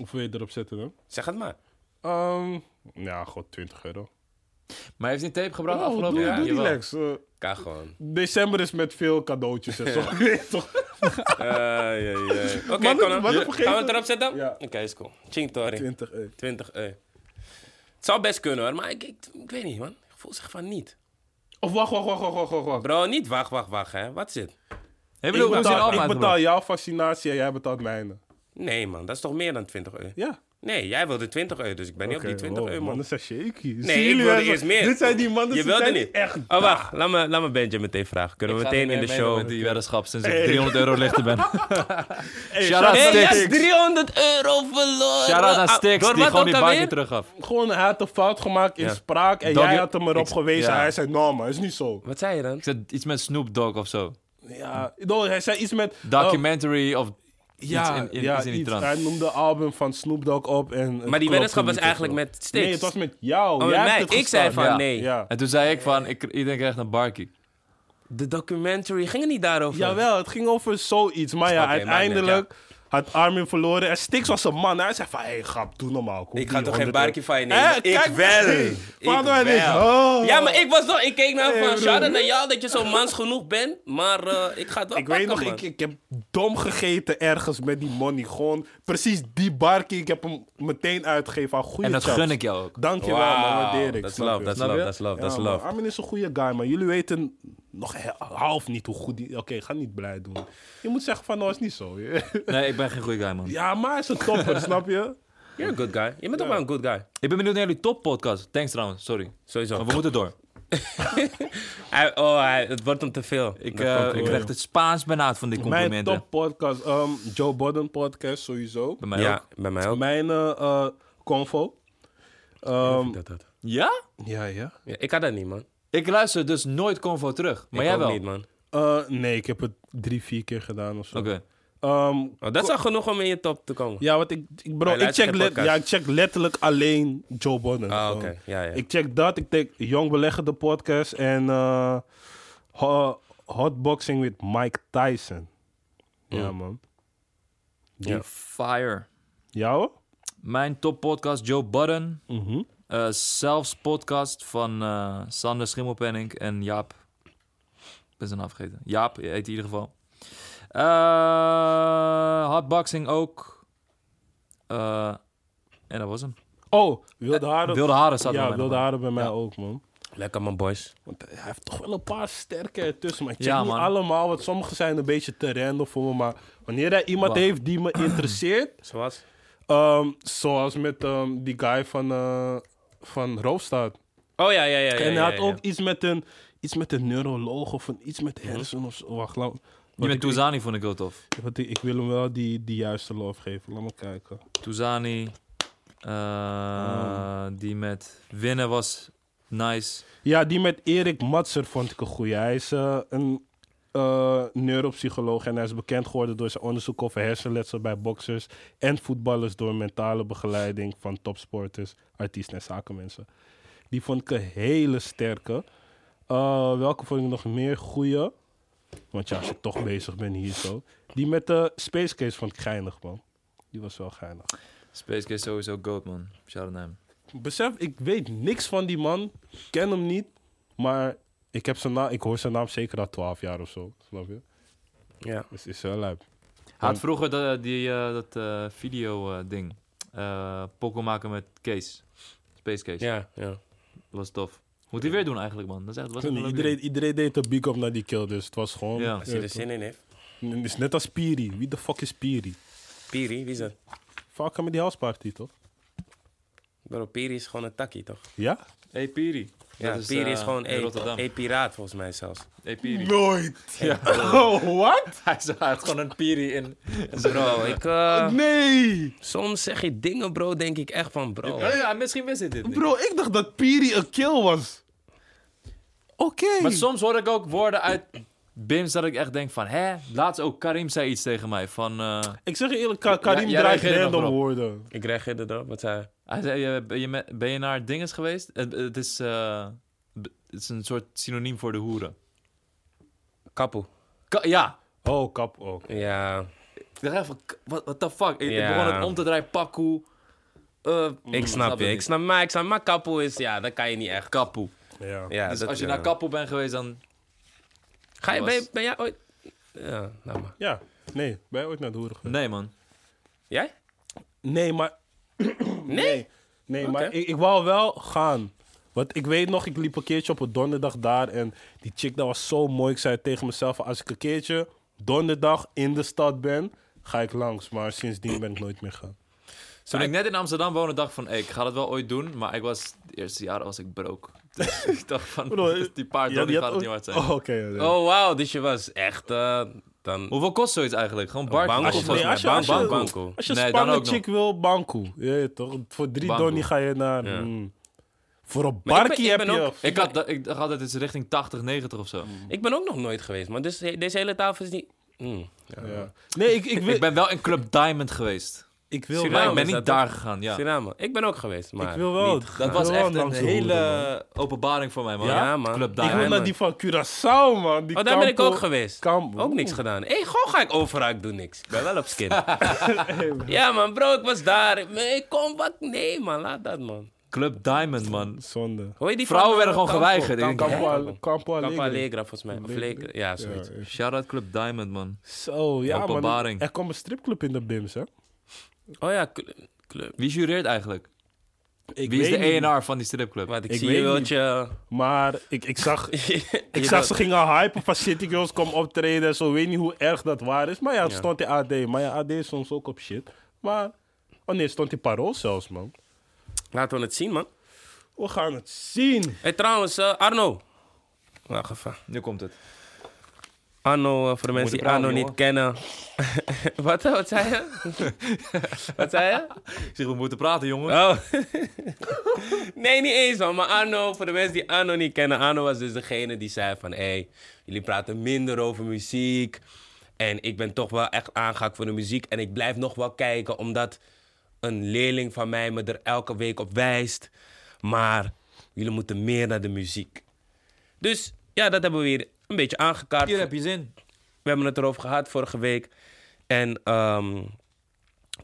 Of wil je erop zetten, dan? Zeg het maar. Ehm, ja, god, 20 euro. Maar hij heeft hij een tape gebracht Oh, afgelopen doe, jaar? doe die Jawel. Lex. Eh, Ka gewoon. december is met veel cadeautjes en zo. Weet je toch? Oké, Mannen, Conan, mannen Gaan we vergeten- het erop zetten? Ja. Oké, is cool. Ching Tori. 20 euro. 20 eh. Het zou best kunnen hoor, maar ik, ik, ik weet niet man. Ik voel zich van niet. Of wacht, wacht, wacht, wacht, wacht, wacht, wacht. Bro, niet wacht, wacht, wacht hè. Wat is dit? Heeft Ik Lil Uzi een betaal, album ik uitgebracht? betaal jouw vaccinatie en jij betaalt mijne. Nee man, dat is toch meer dan 20 euro? Ja. Nee, jij wilde 20 euro, dus ik ben niet Oké, op die 20 wow, euro man. Mannen zijn shaky. Zien Nee, ik jullie wilde wel zo- eerst meer. Dit zijn die mannen, Je ze wilde zijn niet. echt... Oh wacht, laat me, laat me Benjamin meteen vragen. Kunnen we Ik ga meteen niet in de meer meedoen show. met die weddenschap sinds ik 300 euro lichter ben. Hey, Shout shout-out out Hey, Stix. jij is 300 euro verloren. Shout-out aan Ah, Stix, door die wat gewoon die ook alweer? bankje terug gaf. Gewoon, hij had een fout gemaakt in Ja. spraak en Doggy- jij had hem erop Ik- gewezen. ja. Hij zei, nou man, is niet zo. Wat zei je dan? Ik zet iets met Snoop Dogg of zo. Ja, no, hij zei iets met... eh, Documentary of ja, iets in, in, ja, iets in die iets. trant. Hij noemde het album van Snoop Dogg op en... het Maar die klopte weddenschap niet was of eigenlijk zo. met Stix. Nee, het was met jou. Oh, jij met hebt mij. het Ik zei gestart. van nee. Ja. En toen zei ik van, ik, iedereen krijgt een barkie. De documentary ging het niet daarover. Jawel, het ging over zoiets. Maar ja, Oké, maakt niet uit, uiteindelijk had Armin verloren. En Stix was een man. Hij zei van, hé, hey, grap, doe normaal. Kom Ik ga die toch geen 100 barkie van je euro. nemen? Hé, ik kijk, wel. hey, Vader, hij denkt, oh. Ja, maar ik was nog... Ik keek naar hem Hey, van... broer. Shout-out naar jou dat je zo mans genoeg bent. Maar eh, ik ga het wel Ik weet nog, pakken, ik, man. ik heb dom gegeten ergens met die money. Gewoon precies die barkie. Ik heb hem meteen uitgegeven aan goede En dat chaps. gun ik jou ook. Dankjewel, man. Wauw, Waardeer ik. Dat is snap love, je? dat is Snap love, je? dat is love, Ja, dat is man. love. Armin is een goede guy, maar jullie weten nog he- half niet hoe goed die... Oké, ga niet blij doen. Je moet zeggen van, nou is niet zo. Nee, ik ben geen goede guy, man. Ja, maar hij is een topper, snap je? You're a good guy. Je bent toch wel een good guy. Ik ben benieuwd naar jullie toppodcast. Thanks trouwens, sorry. Sowieso. Maar we moeten door. Hij- oh, hij- het wordt hem te veel. Ik, Dat eh, komt ik goed. krijg het Spaans benauwd van die Mijn complimenten. top podcast, ehm, Joe Budden podcast sowieso. Bij mij ook. Ja, bij mij ook. Mijn eh eh, convo. Ehm, Dat, dat. Ja? ja, ja. Ja, ik had dat niet, man. Ik luister dus nooit Convo terug. Maar ik jij ook wel? niet, man. Eh, nee, ik heb het drie, vier keer gedaan of zo. Oké. Ehm, Oh, dat is al genoeg om in je top te komen. ja, want ik, ik, bro, Hij ik, luistert check geen let- podcast. ja, ik check letterlijk alleen Joe Budden. Ah, Gewoon. oké. Ja, ja. Ik check dat. Ik check Jong Beleggen, de podcast. En eh, ho- Hotboxing with Mike Tyson. Ja, Hmm. man. Ja. Fire. Jou? Mijn toppodcast Joe Budden. Mhm. Eh, zelfs podcast van eh, Sander Schimmelpenning en Jaap. Ik ben zijn naam vergeten. Jaap heet hij in ieder geval. Eh hotboxing ook. Eh, en dat was hem. Oh, Eh, Wilde Haren. Wilde haren staat er ja, bij Wilde mij. Haren bij mij ook, man. Lekker, man, boys. Want hij heeft toch wel een paar sterke ertussen. Maar ik check Ja, niet man. allemaal, want sommige zijn een beetje te random voor me. Maar wanneer hij iemand Wa- heeft die me interesseert... Zoals? ehm, zoals met ehm, die guy van, eh van Roofstaat. Oh, ja, ja, ja. ja, en hij ja, had ja, ook iets met een, iets met een neuroloog of een, iets met hersen of zo. Wacht, laat, Die want met ik, ik, Toezani vond ik heel tof. want ik, ik wil hem wel die, die juiste lof geven. Laat me kijken. Toezani. eh, Oh. Die met winnen was nice. Ja, die met Erik Matser vond ik een goeie. Hij is eh, een eh, neuropsycholoog en hij is bekend geworden door zijn onderzoek over hersenletsel bij boxers en voetballers door mentale begeleiding van topsporters, artiesten en zakenmensen. Die vond ik een hele sterke. Eh, welke vond ik nog meer goeie? Want ja, als ik toch bezig ben hier zo. Die met de Space Case vond ik geinig, man. Die was wel geinig. Space Case sowieso goat, man. Shout out naar hem. Besef, ik weet niks van die man. Ik ken hem niet. Maar ik, heb zijn naam, ik hoor zijn naam zeker al 12 jaar of zo. Snap je? Ja. Dus het is wel lijp. Hij had vroeger dat, eh, die, eh, dat video-ding. Pokken Eh, maken met Kees. Space Case. Ja, ja. Dat was tof. Moet hij weer doen eigenlijk, man. Dat is echt, was echt een leuk Iedereen, iedereen deed een big up naar die kill, dus het was gewoon... Ja. Als je er zin in heeft. Het is net als Piri. Wie de fuck is Piri? Piri, wie is dat? Vaak met die houseparty, toch? Bro, Piri is gewoon een takkie, toch? Ja? ding. Hey Piri. Ja, Dat is, Piri eh, is gewoon in een Rotterdam. een piraat, volgens mij zelfs. Hey Piri. Nooit! Ja. Oh, what? Hij is- hij had gewoon een Piri in. Bro, ik... eh, Nee! soms zeg je dingen, bro, denk ik echt van, bro. Ja, ja, misschien wist hij dit niet. Bro, ik dacht dat Piri een kill was. Oké. Maar soms hoor ik ook woorden uit Bims dat ik echt denk van... Hè? Laatst ook Karim zei iets tegen mij van... eh, Ik zeg je eerlijk, Ka- Karim Ja, jij draait reageerde nog random erop. woorden. Ik reageerde erop, wat zei hij? Hij zei, ja, ben je, met- ben je naar dinges geweest? Het, het is, eh, b- het is een soort synoniem voor de hoeren. Kapoe. Ka- ja. Oh, kap ook. Ja, Ik dacht echt van, k- what, what the fuck? Ik, ik Ja. begon het om te draaien, pakkoe. Eh, ik snap je. het Ik niet. snap, maar, ik snap, maar kapoe is, ja, dat kan je niet echt. Kapoe. Ja. Ja, dus dat- als je ja. naar Kapoe bent geweest, dan... Ga je, was- ben, je- ben jij ooit... Ja, nou maar. Ja. Nee, ben je ooit naar de hoeren geweest? Nee, man. Jij? Nee, maar. Nee? Nee, Oké. maar ik, ik wou wel gaan. Want ik weet nog, ik liep een keertje op een donderdag daar. En die chick daar was zo mooi. Ik zei tegen mezelf: als ik een keertje donderdag in de stad ben, ga ik langs. Maar sindsdien ben ik nooit meer gaan. Toen ik net in Amsterdam woonde, dacht ik van... hey, ik ga dat wel ooit doen, maar ik was... De eerste jaren was ik broke. Dus ik dacht van, die paard Ja, die had Ah, gaat het ook- niet waard zijn. Oh, oké. ja, nee. Oh, wauw, dus je was echt... eh, dan... Hoeveel kost zoiets eigenlijk? Gewoon bar. Banco, Als je- volgens nee, mij. als je- als je- Banco, banco. Als je een Nee, dan spannende ook nog. chick wil, bankoe. Ja, je toch? Voor drie Bankoe. donnie ga je naar. Ja. mm, voor een Maar ik ben- barkie ik heb ben je. ook- Ik, had, dat- ik dacht altijd, het is richting 80, 90 of zo. Ik ben ook nog nooit geweest, maar dus, deze hele tafel is niet... Hmm. Ja. Nee, ik, ik, wil- Ik ben wel in Club Diamond geweest. ik wil Suriname Maar wel. ik ben is dat niet daar gegaan, ja. Suriname. Ik ben ook geweest, maar... ik wil wel. niet. ik Dat wil was wel echt een langs de hoede, man. hele openbaring voor mij, man. Ja, man. Club Ik daar. Ik wil Ja, naar man. die van Curaçao, man. Die Oh, daar ben ik Campo- ook geweest. Campo. Ook niks gedaan. Hé, hey, gewoon ga ik overal, ik doe niks. Ik ben wel op skin. ja, man, bro, ik was daar. Nee, kom, wat? Nee, man, laat dat, man. Club Diamond, man. Zonde. Hoor je die Vrouwen van, werden eh, gewoon Campo? geweigerd. Ik denk, Campo, Campo, Campo, Al- Campo Alegre. Allegra, volgens mij. Of Legra. Ja, zoiets. Ja, Shout-out Club Diamond, man. Zo, ja, man. Openbaring. Er kwam een stripclub in de BIMS, hè? Oh ja, cl- club. Wie jureert eigenlijk? Ik Wie is weet de niet, ENR van die stripclub? Wat ik, Ik zie, weet je wilt niet. je... Maar ik, ik zag, ik je zag ze gingen hypen van City Girls kom optreden. Zo weet niet hoe erg dat waar is. Maar ja, het Ja. stond in AD. Maar ja, AD is soms ook op shit. Maar, oh nee, het stond in Parool zelfs, man. Laten we het zien, man. We gaan het zien. Hé, hey, trouwens, eh, Arno. Wacht even. Nu komt het. Arno, eh, voor de mensen je die praten, Arno niet jongen. kennen. wat, eh, wat zei je? wat zei je? Ik zeg, we moeten praten, jongen. Oh. Oh. nee, niet eens man. Maar Arno, voor de mensen die Arno niet kennen, Arno was dus degene die zei van... hey, jullie praten minder over muziek. En ik ben toch wel echt aangehakt voor de muziek. En ik blijf nog wel kijken, omdat een leerling van mij me er elke week op wijst. Maar jullie moeten meer naar de muziek. Dus ja, dat hebben we weer een beetje aangekaart. Hier heb je zin. We hebben het erover gehad vorige week. En ehm,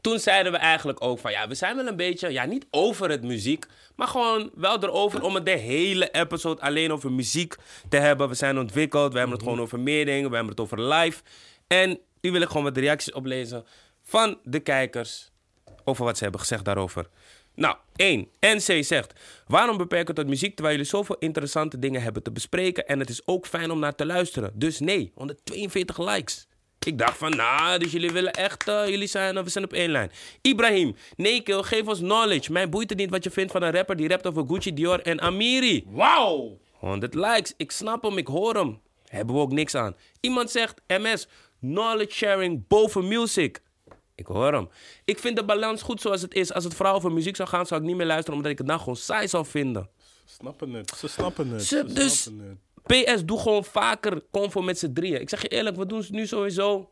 toen zeiden we eigenlijk ook van ja, we zijn wel een beetje, ja, niet over het muziek, maar gewoon wel erover om het de hele episode alleen over muziek te hebben. We zijn ontwikkeld, we hebben het gewoon over meer dingen, we hebben het over live. En nu wil ik gewoon wat reacties oplezen van de kijkers over wat ze hebben gezegd daarover. Nou, 1. NC zegt: Waarom beperken tot muziek terwijl jullie zoveel interessante dingen hebben te bespreken en het is ook fijn om naar te luisteren? Dus nee, 142 likes. Ik dacht van, nou, dus jullie willen echt, eh, jullie zijn, eh, we zijn op één lijn. Ibrahim, nee kill, geef ons knowledge. Mij boeit het niet wat je vindt van een rapper die rapt over Gucci, Dior en Amiri. Wauw! 100 likes. Ik snap hem, ik hoor hem. Hebben we ook niks aan. Iemand zegt MS, knowledge sharing boven music. Ik hoor hem. Ik vind de balans goed zoals het is. Als het vooral over muziek zou gaan, zou ik niet meer luisteren omdat ik het dan gewoon saai zou vinden. Snappen het, ze snappen het. Ze- dus- snappen het. PS, doe gewoon vaker convo met z'n drieën. Ik zeg je eerlijk, we doen ze nu sowieso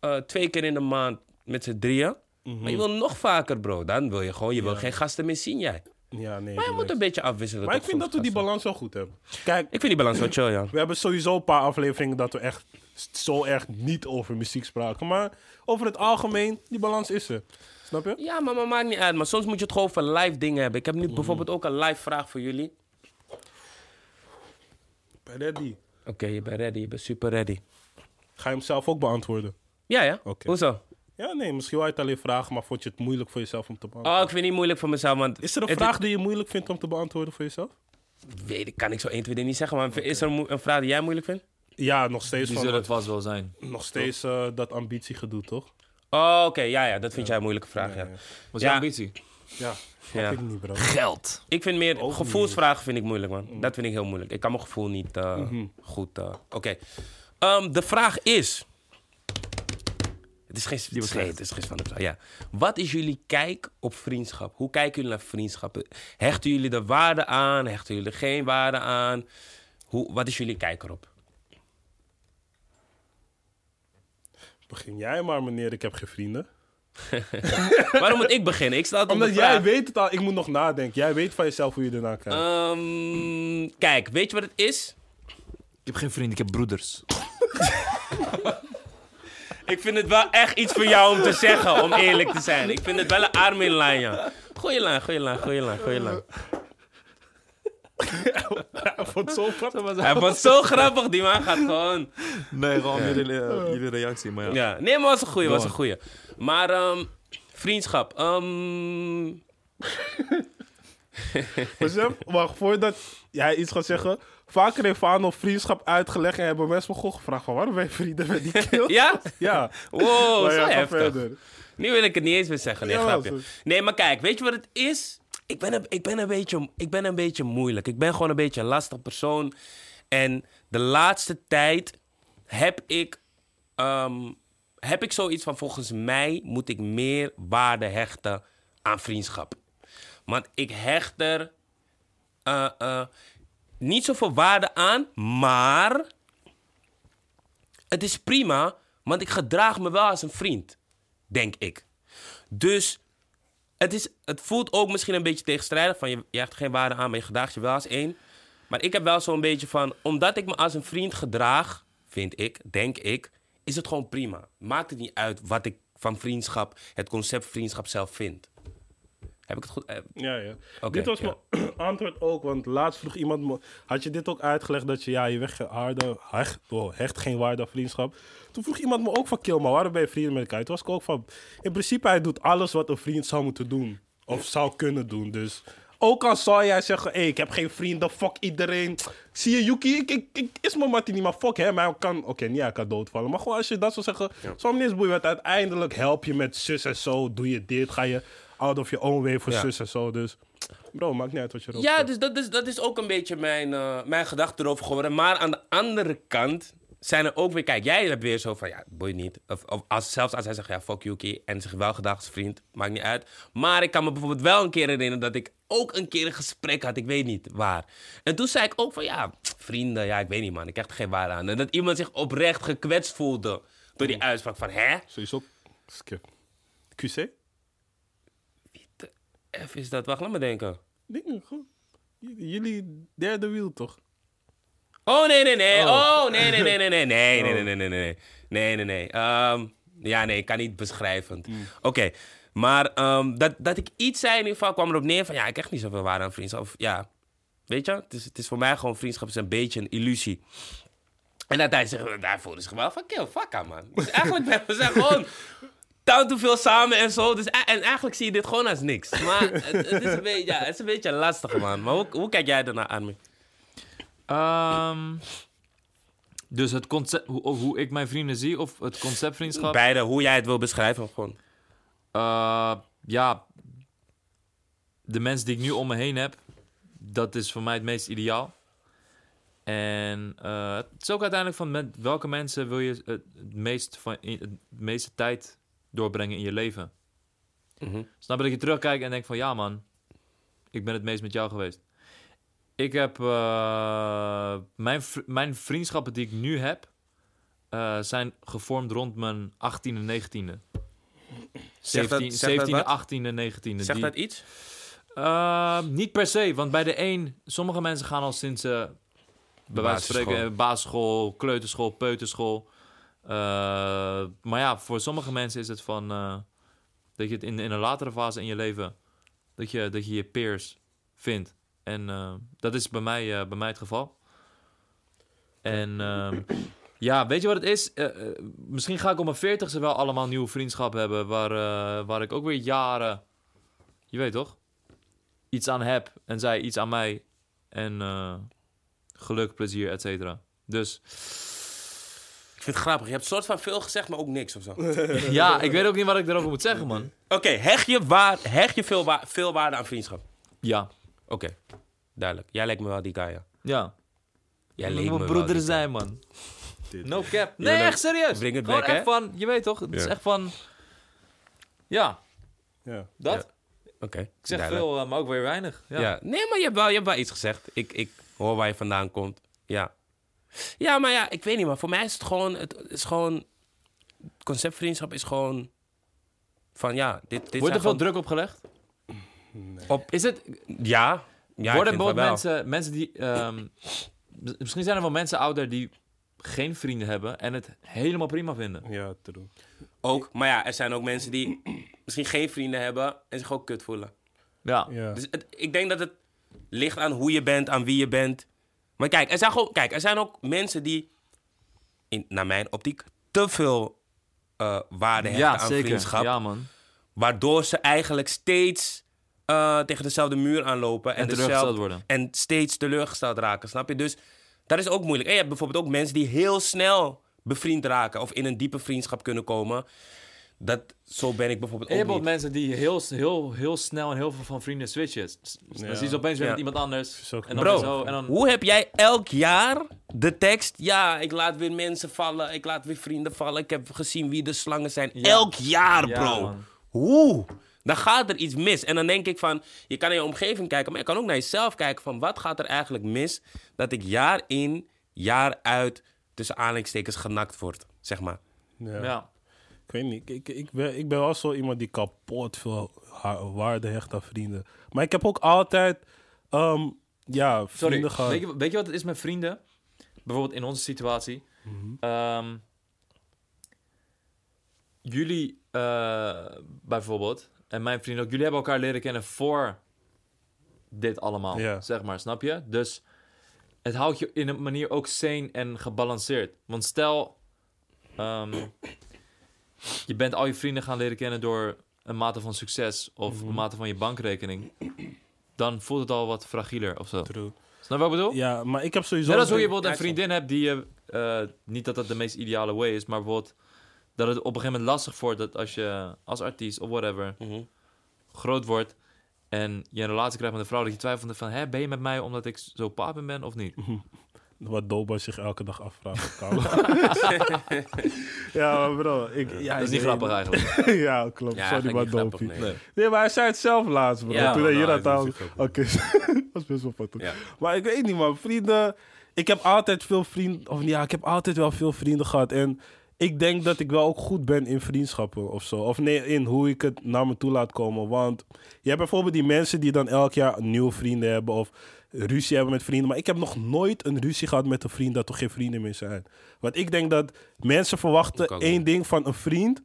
eh, twee keer in de maand met z'n drieën. Maar Mhm. je wil nog vaker, bro. Dan wil je gewoon, je wil geen gasten meer zien, jij. Ja, nee. Maar je relax. moet een beetje afwisselen. maar ik toch vind soms dat we die gasten. balans wel goed hebben. Kijk, Ik vind die balans wel chill, ja. We hebben sowieso een paar afleveringen dat we echt zo erg niet over muziek spraken. Maar over het algemeen, die balans is er. Snap je? Ja, maar, maar maakt niet uit. Maar soms moet je het gewoon voor live dingen hebben. Ik heb nu bijvoorbeeld ook een live vraag voor jullie. Ready. Oké, je bent ready. Je bent super ready. Ga je hem zelf ook beantwoorden? Ja, ja. Oké. Hoezo? Ja, nee, misschien wou je het alleen vragen, maar vond je het moeilijk voor jezelf om te beantwoorden? Oh, ik vind het niet moeilijk voor mezelf, want... Ah, Is er een het- vraag die je moeilijk vindt om te beantwoorden voor jezelf? Weet ik, kan ik zo 1, 2, 3 niet zeggen. Maar is er een, mo- een vraag die jij moeilijk vindt? Ja, nog steeds, Die van, zullen het vast wel zijn. nog steeds eh, dat ambitiegedoe, toch? Oh, oké. Ja, ja. Dat vind jij een moeilijke vraag, ja. Wat is Ja. jouw ambitie? Ja, Ja. ik niet, bro. Geld. Ik vind meer... gevoelsvragen vind ik moeilijk, man. Mm. Dat vind ik heel moeilijk. Ik kan mijn gevoel niet eh, Mhm. goed... eh, oké. Ehm, de vraag is... Het is geen... Het is, geen- het is geen van de vraag, ja. Wat is jullie kijk op vriendschap? Hoe kijken jullie naar vriendschappen? Hechten jullie er waarde aan? Hechten jullie er geen waarde aan? Hoe, wat is jullie kijk erop? Begin jij maar, meneer, ik heb geen vrienden. Waarom moet ik beginnen? Ik sta altijd op de Omdat jij vraag. weet het al, ik moet nog nadenken. Jij weet van jezelf hoe je ernaar kijkt. Ehm, kijk, weet je wat het is? Ik heb geen vrienden, ik heb broeders. Ik vind het wel echt iets voor jou om te zeggen, om eerlijk te zijn. Ik vind het wel een arm in lijn, ja. Goeie lijn, goeie lijn, goeie lijn, goeie lijn. Ik vond het zo grappig. Hij vond het zo grappig, die man gaat gewoon... Nee, gewoon jullie, eh, jullie reactie, maar ja. Ja, nee, maar was een goeie, was een goeie. Maar, ehm, vriendschap, ehm, Besef, wacht, voordat jij iets gaat zeggen. Vaker heeft Fano vriendschap uitgelegd en hebben mensen me gewoon gevraagd van waarom ben je vrienden met die kill? ja? ja. Wow, Maar ja, zo ga heftig. verder. Nu wil ik het niet eens meer zeggen. Nee, Jawel, grapje. Nee, maar kijk, weet je wat het is? Ik ben, een, ik, ben een beetje, ik ben een beetje moeilijk. Ik ben gewoon een beetje een lastig persoon. En de laatste tijd heb ik, ehm, heb ik zoiets van... volgens mij moet ik meer waarde hechten aan vriendschap. Want ik hecht er eh, eh, niet zoveel waarde aan, maar het is prima, want ik gedraag me wel als een vriend, denk ik. Dus het, is, het voelt ook misschien een beetje tegenstrijdig. Van je, je hecht geen waarde aan, maar je gedraagt je wel als één. Maar ik heb wel zo'n beetje van... Omdat ik me als een vriend gedraag, vind ik, denk ik... is het gewoon prima. Maakt het niet uit wat ik van vriendschap... het concept vriendschap zelf vind. Heb ik het goed? eh, Ja, ja. Oké, dit was ja. mijn antwoord ook, want laatst vroeg iemand me... Had je dit ook uitgelegd dat je, ja, je weg, harde, hecht, oh, hecht geen waarde aan vriendschap? Toen vroeg iemand me ook van, Kill, maar waarom ben je vrienden met elkaar? Toen was ik ook van, in principe, hij doet alles wat een vriend zou moeten doen. Of zou kunnen doen, dus... Ook al zou jij zeggen, hey, ik heb geen vrienden, fuck iedereen. Zie je, Yuki, ik, ik, ik is mijn Martini, maar fuck hem. Hij kan, oké, niet hij kan doodvallen. Maar gewoon als je dat zou zeggen, soms is boeien, want uiteindelijk help je met zus en zo. Doe je dit, ga je out of your own way voor Ja. zus en zo. Dus bro, maakt niet uit wat je erop Ja, zet. dus dat is, dat is ook een beetje mijn, eh, mijn gedachte erover geworden. Maar aan de andere kant zijn er ook weer... Kijk, jij hebt weer zo van, ja, boeit niet. Of, of als, zelfs als hij zegt, ja, fuck Yuki. En zich wel gedacht als vriend, maakt niet uit. Maar ik kan me bijvoorbeeld wel een keer herinneren dat ik ook een keer een gesprek had. Ik weet niet waar. En toen zei ik ook van, ja, vrienden, ja, ik weet niet man. Ik krijg er geen waarde aan. En dat iemand zich oprecht gekwetst voelde door die uitspraak van, hè? Sowieso. Skip. QC? F is dat? Wacht, laat me denken. Dingen, goed. J- Jullie derde wiel toch? Oh, nee, nee, nee. Oh, nee, nee, nee, nee, nee, nee, nee, nee, nee, nee, nee. Nee, nee, nee. Ehm, ja, nee, ik kan niet beschrijvend. Oké, maar ehm, dat, dat ik iets zei in ieder geval kwam erop neer van... ja, ik heb echt niet zoveel waarde aan vriendschap. Of, ja, weet je, het is, het is voor mij gewoon vriendschap is een beetje een illusie. En dat hij zegt, daarvoor is gewoon van, kill, fuck aan, man. Dus eigenlijk ben- we zijn gewoon town te veel samen en zo. Dus, e- en eigenlijk zie je dit gewoon als niks. Maar het, het is, een beetje, ja, het is een beetje lastig, man. Maar hoe, hoe kijk jij ernaar, Armin? Ehm, dus het concept, hoe, of hoe ik mijn vrienden zie, of het concept vriendschap? Beide, hoe jij het wil beschrijven, gewoon. Eh, ja, de mensen die ik nu om me heen heb, dat is voor mij het meest ideaal. En eh, het is ook uiteindelijk van met welke mensen wil je het, het meest van, in- het meeste tijd doorbrengen in je leven. Mhm. Dus Snap je dat je terugkijkt en denkt van ja man, ik ben het meest met jou geweest. Ik heb eh, mijn, vri- mijn vriendschappen die ik nu heb, eh, zijn gevormd rond mijn 18e, 19e. Zegt dat- 17e, zegt dat 17e, wat? 18e, 19e. Zegt die- dat iets? Eh, niet per se, want bij de een, sommige mensen gaan al sinds eh bij wijze van spreken Basisschool. eh, basisschool, kleuterschool, peuterschool. Eh, maar ja, voor sommige mensen is het van eh, dat je het in, in een latere fase in je leven dat je dat je, je peers vindt. En eh, dat is bij mij, eh, bij mij het geval. En ehm, ja, weet je wat het is? Eh, eh, misschien ga ik om mijn veertigste wel allemaal nieuwe vriendschappen hebben... Waar, eh, waar ik ook weer jaren, je weet toch, iets aan heb en zij iets aan mij. En eh, geluk, plezier, et cetera. Dus Ik vind het grappig. Je hebt soort van veel gezegd, maar ook niks of zo. Oké, ja, ik weet ook niet wat ik erover moet zeggen, man. hecht je, waar, hecht je veel, wa- veel waarde aan vriendschap? Ja, Oké, duidelijk. Jij lijkt me wel die guy, ja. ja. Jij Moet leek me mijn wel broeder die zijn, man. No cap. bent Nee, een- echt serieus. bring it Gewoon back, echt hè? van, je weet toch? Het is Ja. echt van... Ja, Ja. dat. guy. Oké, Ik zeg duidelijk. veel, eh, maar ook weer weinig. Ja. Ja. Nee, maar je hebt, wel, je hebt wel iets gezegd. Ik, ik hoor waar je vandaan komt. Ja. Ja, maar ja, ik weet niet, maar voor mij is het gewoon... Het is gewoon... het concept vriendschap is gewoon... Van ja, dit, dit Wordt zijn er veel gewoon... druk op gelegd? Op- Is het, Ja. ja ik Nou, vind worden het bijvoorbeeld wel. mensen, mensen die... ehm, mis- misschien zijn er wel mensen out there die geen vrienden hebben en het helemaal prima vinden. Ja, true. Ook, maar ja, er zijn ook mensen die misschien geen vrienden hebben... en zich ook kut voelen. Ja. Ja. Dus het- ik denk dat het ligt aan hoe je bent, aan wie je bent. Maar kijk, er zijn, gewoon, kijk, er zijn ook mensen die, in, naar mijn optiek, te veel eh, waarde hechten aan vriendschap. Ja, man. Waardoor ze eigenlijk steeds eh, tegen dezelfde muur aanlopen. En, En dezelfde- teleurgesteld worden. En steeds teleurgesteld raken, snap je? Dus dat is ook moeilijk. En je hebt bijvoorbeeld ook mensen die heel snel bevriend raken. Of in een diepe vriendschap kunnen komen. Dat, zo ben ik bijvoorbeeld En je ook hebt ook niet. mensen die heel, heel, heel snel en heel veel van vrienden switchen. S- s- Dan Ja. zie je ze opeens weer Ja. met iemand anders. ook En dan Bro, weer zo. En dan, hoe heb jij elk jaar de tekst... Ja, ik laat weer mensen vallen, ik laat weer vrienden vallen... ik heb gezien wie de slangen zijn. Elk jaar, Ja, bro. man. Hoe? Dan gaat er iets mis. En dan denk ik van... Je kan naar je omgeving kijken, maar je kan ook naar jezelf kijken... van wat gaat er eigenlijk mis dat ik jaar in, jaar uit... tussen aanhalingstekens genakt word, zeg maar. Ja. ja. Ik weet niet. Ik, ik, ik, ben, ik ben wel zo iemand die kapot veel ha- waarde hecht aan vrienden. Maar ik heb ook altijd ehm, ja, Sorry, vrienden weet gehad. je, weet je wat het is met vrienden? Bijvoorbeeld in onze situatie. Mhm. Ehm, jullie eh, bijvoorbeeld, en mijn vrienden ook, jullie hebben elkaar leren kennen voor dit allemaal, Ja. zeg maar, snap je? Dus het houdt je in een manier ook sane en gebalanceerd. Want stel, ehm, je bent al je vrienden gaan leren kennen door een mate van succes of Mhm. een mate van je bankrekening, dan voelt het al wat fragieler of zo. True. Snap je wat ik bedoel? Ja, maar ik heb sowieso... Net als hoe je bijvoorbeeld een vriendin hebt die je... eh, niet dat dat de meest ideale way is, maar bijvoorbeeld... Dat het op een gegeven moment lastig wordt dat als je als artiest of whatever groot wordt... En je een relatie krijgt met een vrouw, dat je twijfelt van... Hé, ben je met mij omdat ik zo papen ben of niet? Wat Doba zich elke dag afvraagt. op kamer. ja, maar bro. Ik, ja, ik dat is niet weet- grappig eigenlijk. ja, klopt. Ja, Sorry, eigenlijk maar niet grappig, Doba. nee. Nee. Nee, maar hij zei het zelf laatst, bro. Ja, Toen maar hij hier nou, aan dat is tafel... natuurlijk Oké, ook dat was best wel fout. Ja. Maar ik weet niet, man. Vrienden... Ik heb altijd veel vrienden... Of ja, ik heb altijd wel veel vrienden gehad. En ik denk dat ik wel ook goed ben in vriendschappen of zo. Of nee, in hoe ik het naar me toe laat komen. Want je hebt bijvoorbeeld die mensen die dan elk jaar nieuwe vrienden hebben... of ruzie hebben met vrienden. Maar ik heb nog nooit een ruzie gehad met een vriend... dat er geen vrienden meer zijn. Want ik denk dat mensen verwachten Ik ook één niet. ding van een vriend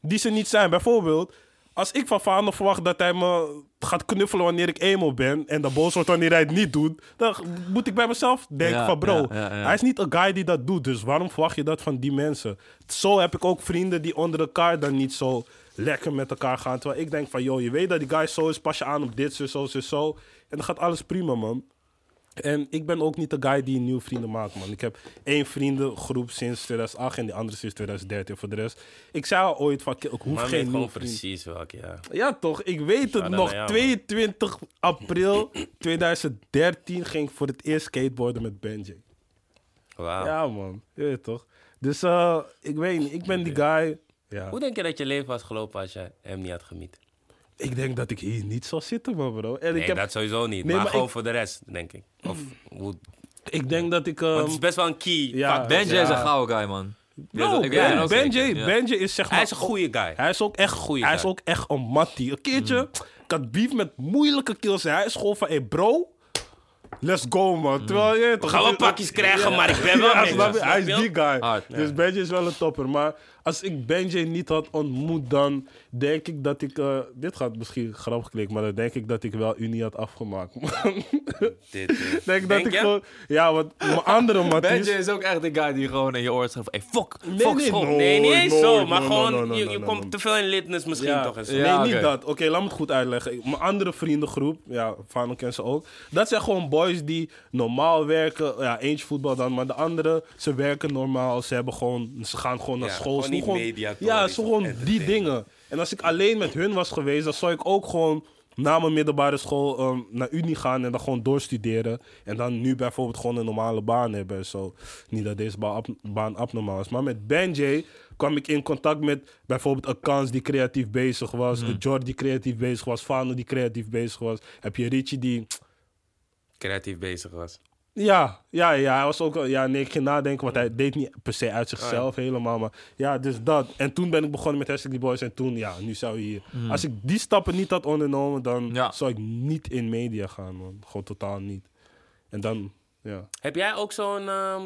die ze niet zijn. Bijvoorbeeld, als ik van Fano verwacht dat hij me gaat knuffelen wanneer ik emo ben en dan boos wordt wanneer hij het niet doet, dan moet ik bij mezelf denken Ja, van bro, ja, ja, ja. hij is niet een guy die dat doet, dus waarom verwacht je dat van die mensen? Zo heb ik ook vrienden die onder elkaar dan niet zo lekker met elkaar gaan, terwijl ik denk van joh, je weet dat die guy zo is, pas je aan op dit, zo, zo, zo, zo, en dan gaat alles prima man. En ik ben ook niet de guy die nieuwe vrienden maakt, man. Ik heb één vriendengroep sinds 2008 en die andere sinds 2013 voor de rest. Ik zei al ooit van, ik hoef Maar geen weet nieuwe gewoon vrienden. precies welke, ja. Ja toch, ik weet het Shout-out nog. naar jou, man. 22 april 2013 ging ik voor het eerst skateboarden met Benji. Wauw. Ja man, je weet toch. Dus eh, ik weet niet, ik ben die guy. Ja. Hoe denk je dat je leven was gelopen als je hem niet had gemiet? Ik denk dat ik hier niet zal zitten, man bro. En Nee, ik, heb, dat sowieso niet. Nee, maar, maar gewoon ik- voor de rest, denk ik. Of, hoe... ik denk dat ik... Want het ehm, is best wel een key. ja, factor. Benji ja. is een gouden guy, man. Ik weet No, dat- ik weet dat Ben- ook Benji, zeker, ja. Benji is zeg maar... Hij is een goede guy. Hij is ook echt Goeie Mm. Hij guy. is ook echt een mattie. Een keertje, ik had beef met moeilijke kills. Hij is gewoon van, hey bro, let's go man. Terwijl, je, We gaan Mm. wel pakjes krijgen, maar ik ben wel Ja, met je, snap je? snap Hij is je? die guy. Hard, dus Benji is wel een topper. Maar als ik Benji niet had ontmoet, dan denk ik dat ik... eh, dit gaat misschien grappig klinken, maar dan denk ik dat ik wel Unie had afgemaakt. man. Dit, eh, denk, dat denk ik je? gewoon... Ja, want mijn andere Benji matties... is ook echt de guy die gewoon in je oor schrijft... Hey, fuck, Dus- Nee, fuck nee, school. no. Nee, niet Nooit, eens nooit, zo, maar no, no, gewoon, no, no, je, no, je no, komt no. te veel in litmus misschien toch eens. Ja. nee, niet oké. dat. Oké, laat me het goed uitleggen. Ik- Mijn andere vriendengroep, ja, Fano kent ze ook. Dat zijn gewoon boys die normaal werken. Ja, eentje voetbal dan, maar de andere, ze werken normaal. Ze, hebben gewoon, ze gaan gewoon naar Ja, school. gewoon Ze niet doen mediatories Ja, of ze gewoon die entertainment. dingen. En als ik alleen met hun was geweest, dan zou ik ook gewoon na mijn middelbare school ehm, naar Unie gaan en dan gewoon doorstuderen. En dan nu bijvoorbeeld gewoon een normale baan hebben en zo. Niet dat deze baan, ab- baan abnormaal is. Maar met Benjay kwam ik in contact met bijvoorbeeld een Kans die creatief bezig was, Hmm. een Jordi die creatief bezig was, Fano die creatief bezig was. Heb je Richie die. Creatief bezig was. Ja, ja, ja, hij was ook. wel- Ja, nee, ik ging nadenken, want hij deed niet per se uit zichzelf helemaal. Maar ja, dus dat. En toen ben ik begonnen met Hashtag die Boys. En toen, ja, nu zou je hier. Als ik die stappen niet had ondernomen, dan Ja. zou ik niet in media gaan, man. Gewoon totaal niet. En dan, ja. Heb jij ook zo'n ehm,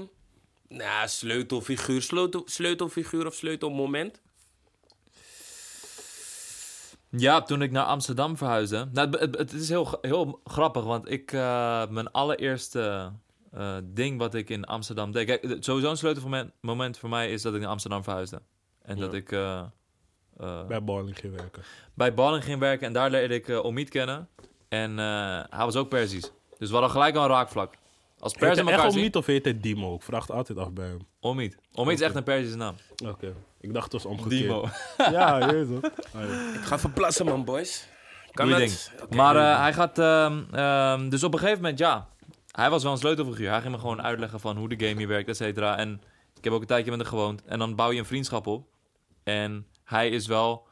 nou, sleutelfiguur, sleutel, sleutelfiguur of sleutelmoment? Ja, toen ik naar Amsterdam verhuisde. Nou, het, het, het is heel, g- heel grappig, want ik, eh, mijn allereerste eh, ding wat ik in Amsterdam deed. Kijk, het- sowieso een sleutelmoment moment voor mij is dat ik naar Amsterdam verhuisde. En dat ik eh, eh, Bij Balling ging werken. bij Balling ging werken en daar leerde ik eh Omid kennen. En eh, hij was ook Perzisch. Dus we hadden gelijk al een raakvlak. Als Heet Persen hij elkaar echt zien... Omid of heet hij Dimo? Ik vraag het altijd af bij hem. Omid. Omid is echt een Perzische naam. Oké. Ik dacht het was omgekeerd. Dimo. Ja, je weet het. Ah, ja. Ik ga verplassen, man, boys. Kan Doe je dat? ding. maar eh, hij gaat... ehm, ehm, dus op een gegeven moment, ja. Hij was wel een sleutelfiguur. Hij ging me gewoon uitleggen van hoe de game hier werkt, et cetera. En ik heb ook een tijdje met hem gewoond. En dan bouw je een vriendschap op. En hij is wel...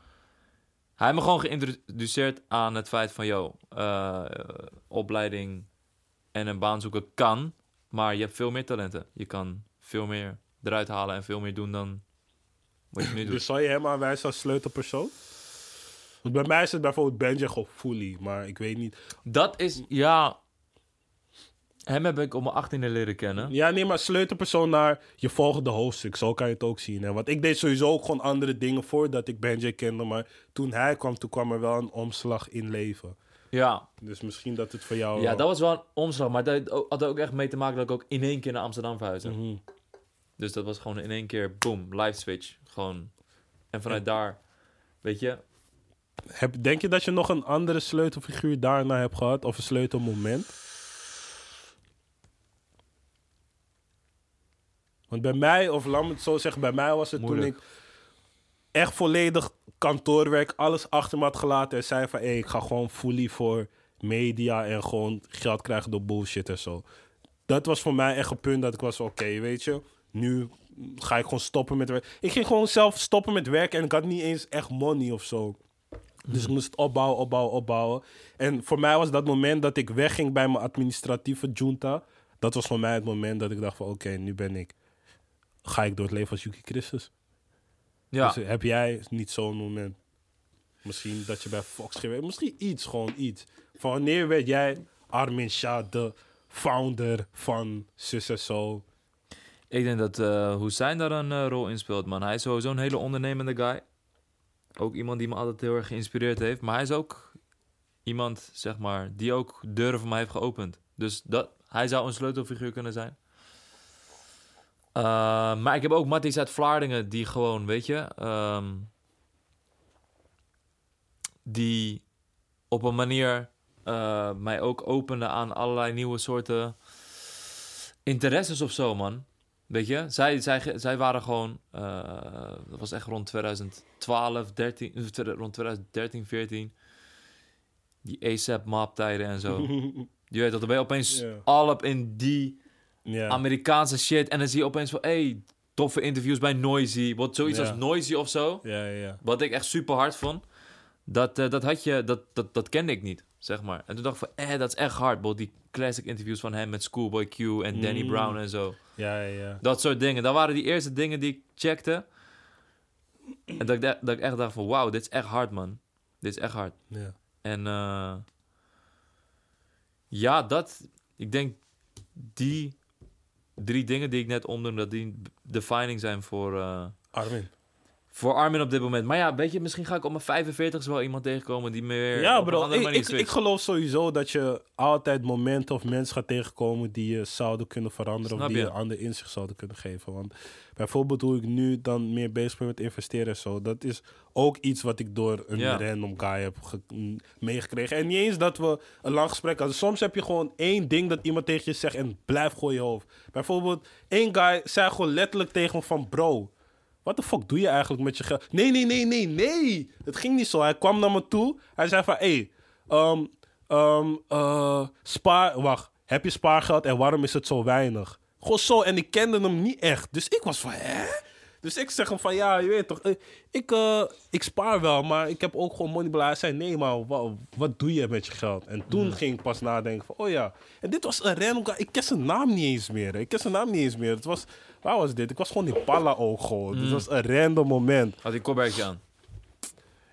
Hij heeft me gewoon geïntroduceerd aan het feit van... Yo, eh, opleiding en een baan zoeken kan. Maar je hebt veel meer talenten. Je kan veel meer eruit halen en veel meer doen dan Wat je nu doet. Dus zou je hem aanwijzen als sleutelpersoon? Want bij mij is het bijvoorbeeld Benja gewoon fully, maar ik weet niet. Dat is, ja... Hem heb ik om mijn 18e leren kennen. Ja, nee, maar sleutelpersoon naar je volgende hoofdstuk. Zo kan je het ook zien. Hè? Want ik deed sowieso ook gewoon andere dingen voordat ik Benja kende. Maar toen hij kwam, toen kwam er wel een omslag in leven. Ja, Dus misschien dat het voor jou... ja dat was wel een omslag. Maar dat had er ook echt mee te maken dat ik ook in één keer naar Amsterdam verhuisde. Mhm. Dus dat was gewoon in één keer, boom, live switch. Gewoon. En vanuit daar, weet je... Heb, denk je dat je nog een andere sleutelfiguur daarna hebt gehad? Of een sleutelmoment? Want bij mij, of laat me het zo zeggen, bij mij was het Moeilijk. toen ik echt volledig kantoorwerk, alles achter me had gelaten. En zei van, hey, ik ga gewoon fully voor media en gewoon geld krijgen door bullshit en zo. Dat was voor mij echt een punt dat ik was, oké, weet je, nu ga ik gewoon stoppen met werk. Ik ging gewoon zelf stoppen met werk en ik had niet eens echt money of zo. Dus ik moest het opbouwen, opbouwen, opbouwen. En voor mij was dat moment dat ik wegging bij mijn administratieve junta. Dat was voor mij het moment dat ik dacht van oké, nu ben ik. Ga ik door het leven als Yuki Christus. Ja, Dus heb jij niet zo'n moment? Misschien dat je bij Fox geweest Misschien iets, gewoon iets. Van wanneer werd jij Armin Shah, de founder van Zus en Zo? ik denk dat eh Hussein daar een eh, rol in speelt, man. Hij is sowieso een hele ondernemende guy. Ook iemand die me altijd heel erg geïnspireerd heeft. Maar hij is ook iemand, zeg maar, die ook deuren voor mij heeft geopend. Dus dat, hij zou een sleutelfiguur kunnen zijn. Eh, maar ik heb ook Matties uit Vlaardingen, die gewoon, weet je... ehm, die op een manier eh, mij ook opende aan allerlei nieuwe soorten interesses of zo, man. Weet je, zij, zij, zij waren gewoon, eh, dat was echt rond 2012, 13, eh, twe- rond 2013, 14. Die ASAP map tijden en zo. je weet dat, dan ben je opeens Ja. al op in die Ja. Amerikaanse shit. En dan zie je opeens van, hey, toffe interviews bij Noisy. Wat zoiets Ja. als Noisy of zo. ja, ja, ja. Wat ik echt super hard vond. Dat, eh, dat had je, dat, dat, dat kende ik niet, zeg maar. En toen dacht ik van, eh, dat is echt hard. Bro. Die classic interviews van hem met Schoolboy Q en Danny Mm. Brown en zo. Ja, ja, ja. Dat soort dingen. Dat waren die eerste dingen die ik checkte. En dat ik, da- dat ik echt dacht van, wauw, dit is echt hard, man. Dit is echt hard. ja. En eh, ja, dat, ik denk die drie dingen die ik net omnoemde, dat die defining zijn voor... eh, Armin. voor Armin op dit moment. Maar ja, weet je, misschien ga ik op mijn 45 wel iemand tegenkomen die meer Ja, op een bro. andere Ik, manier ik, ik switcht. geloof sowieso dat je altijd momenten of mensen gaat tegenkomen die je zouden kunnen veranderen. Snap of die je je? ander inzicht zouden kunnen geven. Want bijvoorbeeld hoe ik nu dan meer bezig ben met investeren en zo. Dat is ook iets wat ik door een Ja. random guy heb ge- m, meegekregen. En niet eens dat we een lang gesprek hadden. Soms heb je gewoon één ding dat iemand tegen je zegt en blijf gewoon je hoofd. Bijvoorbeeld één guy zei gewoon letterlijk tegen me van bro... Wat de fuck doe je eigenlijk met je geld? Nee, nee, nee, nee, nee. Het ging niet zo. Hij kwam naar me toe. Hij zei van, hé, hey, ehm, ehm, eh, spaar... Wacht, heb je spaargeld en waarom is het zo weinig? Gewoon zo. En ik kende hem niet echt. Dus ik was van, hè? Dus ik zeg hem van, ja, je weet toch. eh, Ik, eh, ik spaar wel, maar ik heb ook gewoon moneyball. Hij zei, nee, maar wa- wat doe je met je geld? En Hmm. toen ging ik pas nadenken van, oh ja. En dit was een random guy. Ik ken zijn naam niet eens meer. hè. Ik ken zijn naam niet eens meer. Het was, waar was dit? Ik was gewoon in Palla ook gewoon. Hmm. Dit was een random moment. Had hij een kopwerkje aan.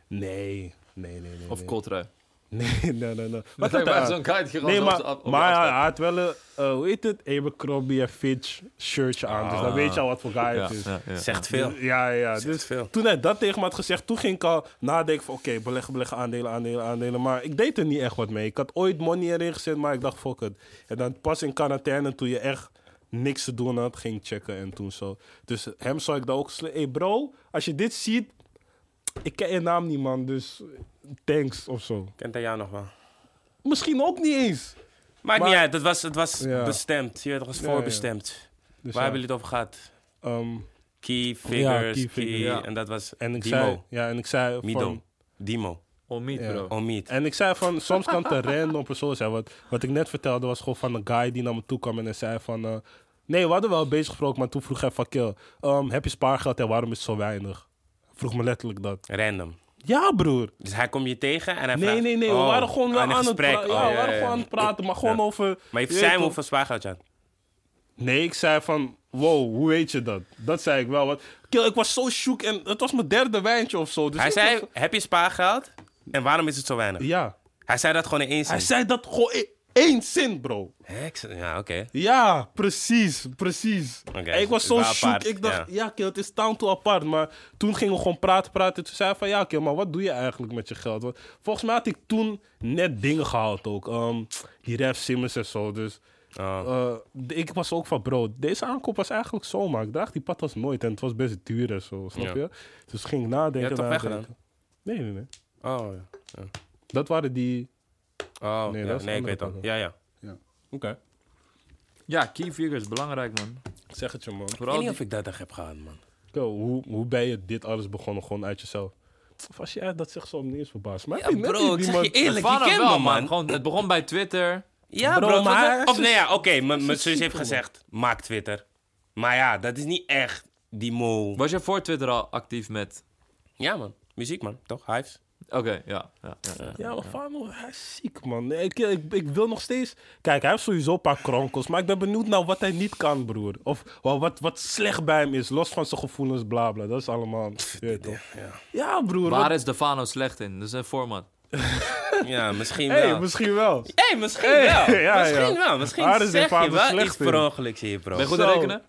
Nee, nee, nee, nee. Of nee. kotrui. Nee, nee, nee, nee. Maar Wat had dat hij was aan? zo'n guy die gewoon Nee, zo maar, op de af- op de maar hij had afstand- wel een, eh, hoe heet het? Abercrombie en Fitch shirtje aan. Dus dan Ah. weet je al wat voor guy het dus is. Ja, ja, ja. Zegt veel. Ja, ja. Zegt Dus veel. toen hij dat tegen me had gezegd, toen ging ik al nadenken van... Oké, beleggen, beleggen, aandelen, aandelen, aandelen. Maar ik deed er niet echt wat mee. Ik had ooit money erin gezet, maar ik dacht fuck het. En dan pas in quarantaine, toen je echt niks te doen had, ging ik checken en toen zo. Dus hem zou ik daar ook... Hé hey bro, als je dit ziet... Ik ken je naam niet, man. Dus thanks of zo. Kent hij jou nog wel? Misschien ook niet eens. Maakt Maar- niet uit, het was, het was Ja. bestemd. Je weet, het was Ja, ja. voorbestemd. Waar Dus ja, hebben jullie het over gehad? ehm, Key Ja, figures, key key, figures, ja. en dat was en ik Dimo. zei... Ja, en ik zei van... Mido, Dimo, On meat, Ja. bro. Omid. En ik zei van, soms kan het een random persoon zijn. Wat, wat ik net vertelde was gewoon van een guy die naar me toe kwam en hij zei van... eh, nee, we hadden wel bezig gesproken, maar toen vroeg hij van... Kill, ehm, heb je spaargeld en waarom is het zo weinig? Vroeg me letterlijk dat. Random. Ja, broer. Dus hij komt je tegen en hij Nee, vraagt... nee, nee. Oh, we waren gewoon wel een aan het, gesprek. pra- Oh, ja, we waren ja, gewoon ja. aan het praten, maar gewoon over... Maar je heeft weet Sam toch- hoeveel spaargeld je had? Nee, ik zei van... wow, hoe weet je dat? Dat zei ik wel. Want, kill, ik was zo shook en het was mijn derde wijntje of zo. Dus Hij ik zei, was- heb je spaargeld? En waarom is het zo weinig? Ja. Hij zei dat gewoon in één zin. Hij zei dat gewoon in één zin, bro. Hè, ik zei- Ja, oké. Ja, precies, precies. Oké, En ik was het zo was shook. apart, Ik dacht, ja. ja, kill, het is town to apart. Maar toen gingen we gewoon praten, praten. Toen zei hij van, ja, kill, maar wat doe je eigenlijk met je geld? Want volgens mij had ik toen net dingen gehaald ook. Ehm, die Ref Simmons en zo, dus... Ah. eh, de- ik was ook van, bro, deze aankoop was eigenlijk zomaar. Ik draag die patas nooit en het was best duur en zo, snap Ja. je? Dus ging ik nadenken. Je hebt het nadenken. weggedaan? Nee, nee, nee. Oh, ja. Dat waren die... oh Nee, ja. dat is nee ik andere weet dat. pakken. Ja, ja. Oké. Ja, key figure is belangrijk, man. Zeg het je, man. Ik weet Vooral niet die- of ik dat echt heb gehad, man. Yo, hoe, hoe ben je dit alles begonnen? Gewoon uit jezelf. Of als jij dat zegt, zo me niet eens verbaasd. Maar Ja, heb je net bro, Oh, ik die zeg man- je eerlijk, je Vanaf kent wel, me, man. Gewoon, het begon bij Twitter. Ja, Bro, bro. maar maar hij is of een nee, ja, oké. mijn mijn zus superman. heeft gezegd, maak Twitter. Maar ja, dat is niet echt die mol. Was je voor Twitter al actief met... Ja, man. Muziek, man. Toch? Hives. Oké, ja. ja, ja, ja. Ja, maar Fano, hij is ziek, man. Nee, Ik, ik, ik wil nog steeds... Kijk, hij heeft sowieso een paar kronkels. Maar ik ben benieuwd naar wat hij niet kan, broer. Of wel, wat, wat slecht bij hem is. Los van zijn gevoelens, bla, bla. Dat is allemaal... je weet toch? Ja, broer. Waar wat- is Defano slecht in? Dat is een format. Ja, misschien hey, wel. misschien wel. hey, misschien Hey, wel. ja, misschien ja. wel. Misschien Waar is die zeg je vader wel slecht iets in? per ongeluk hier, bro. Ben je goed Zo. in rekenen?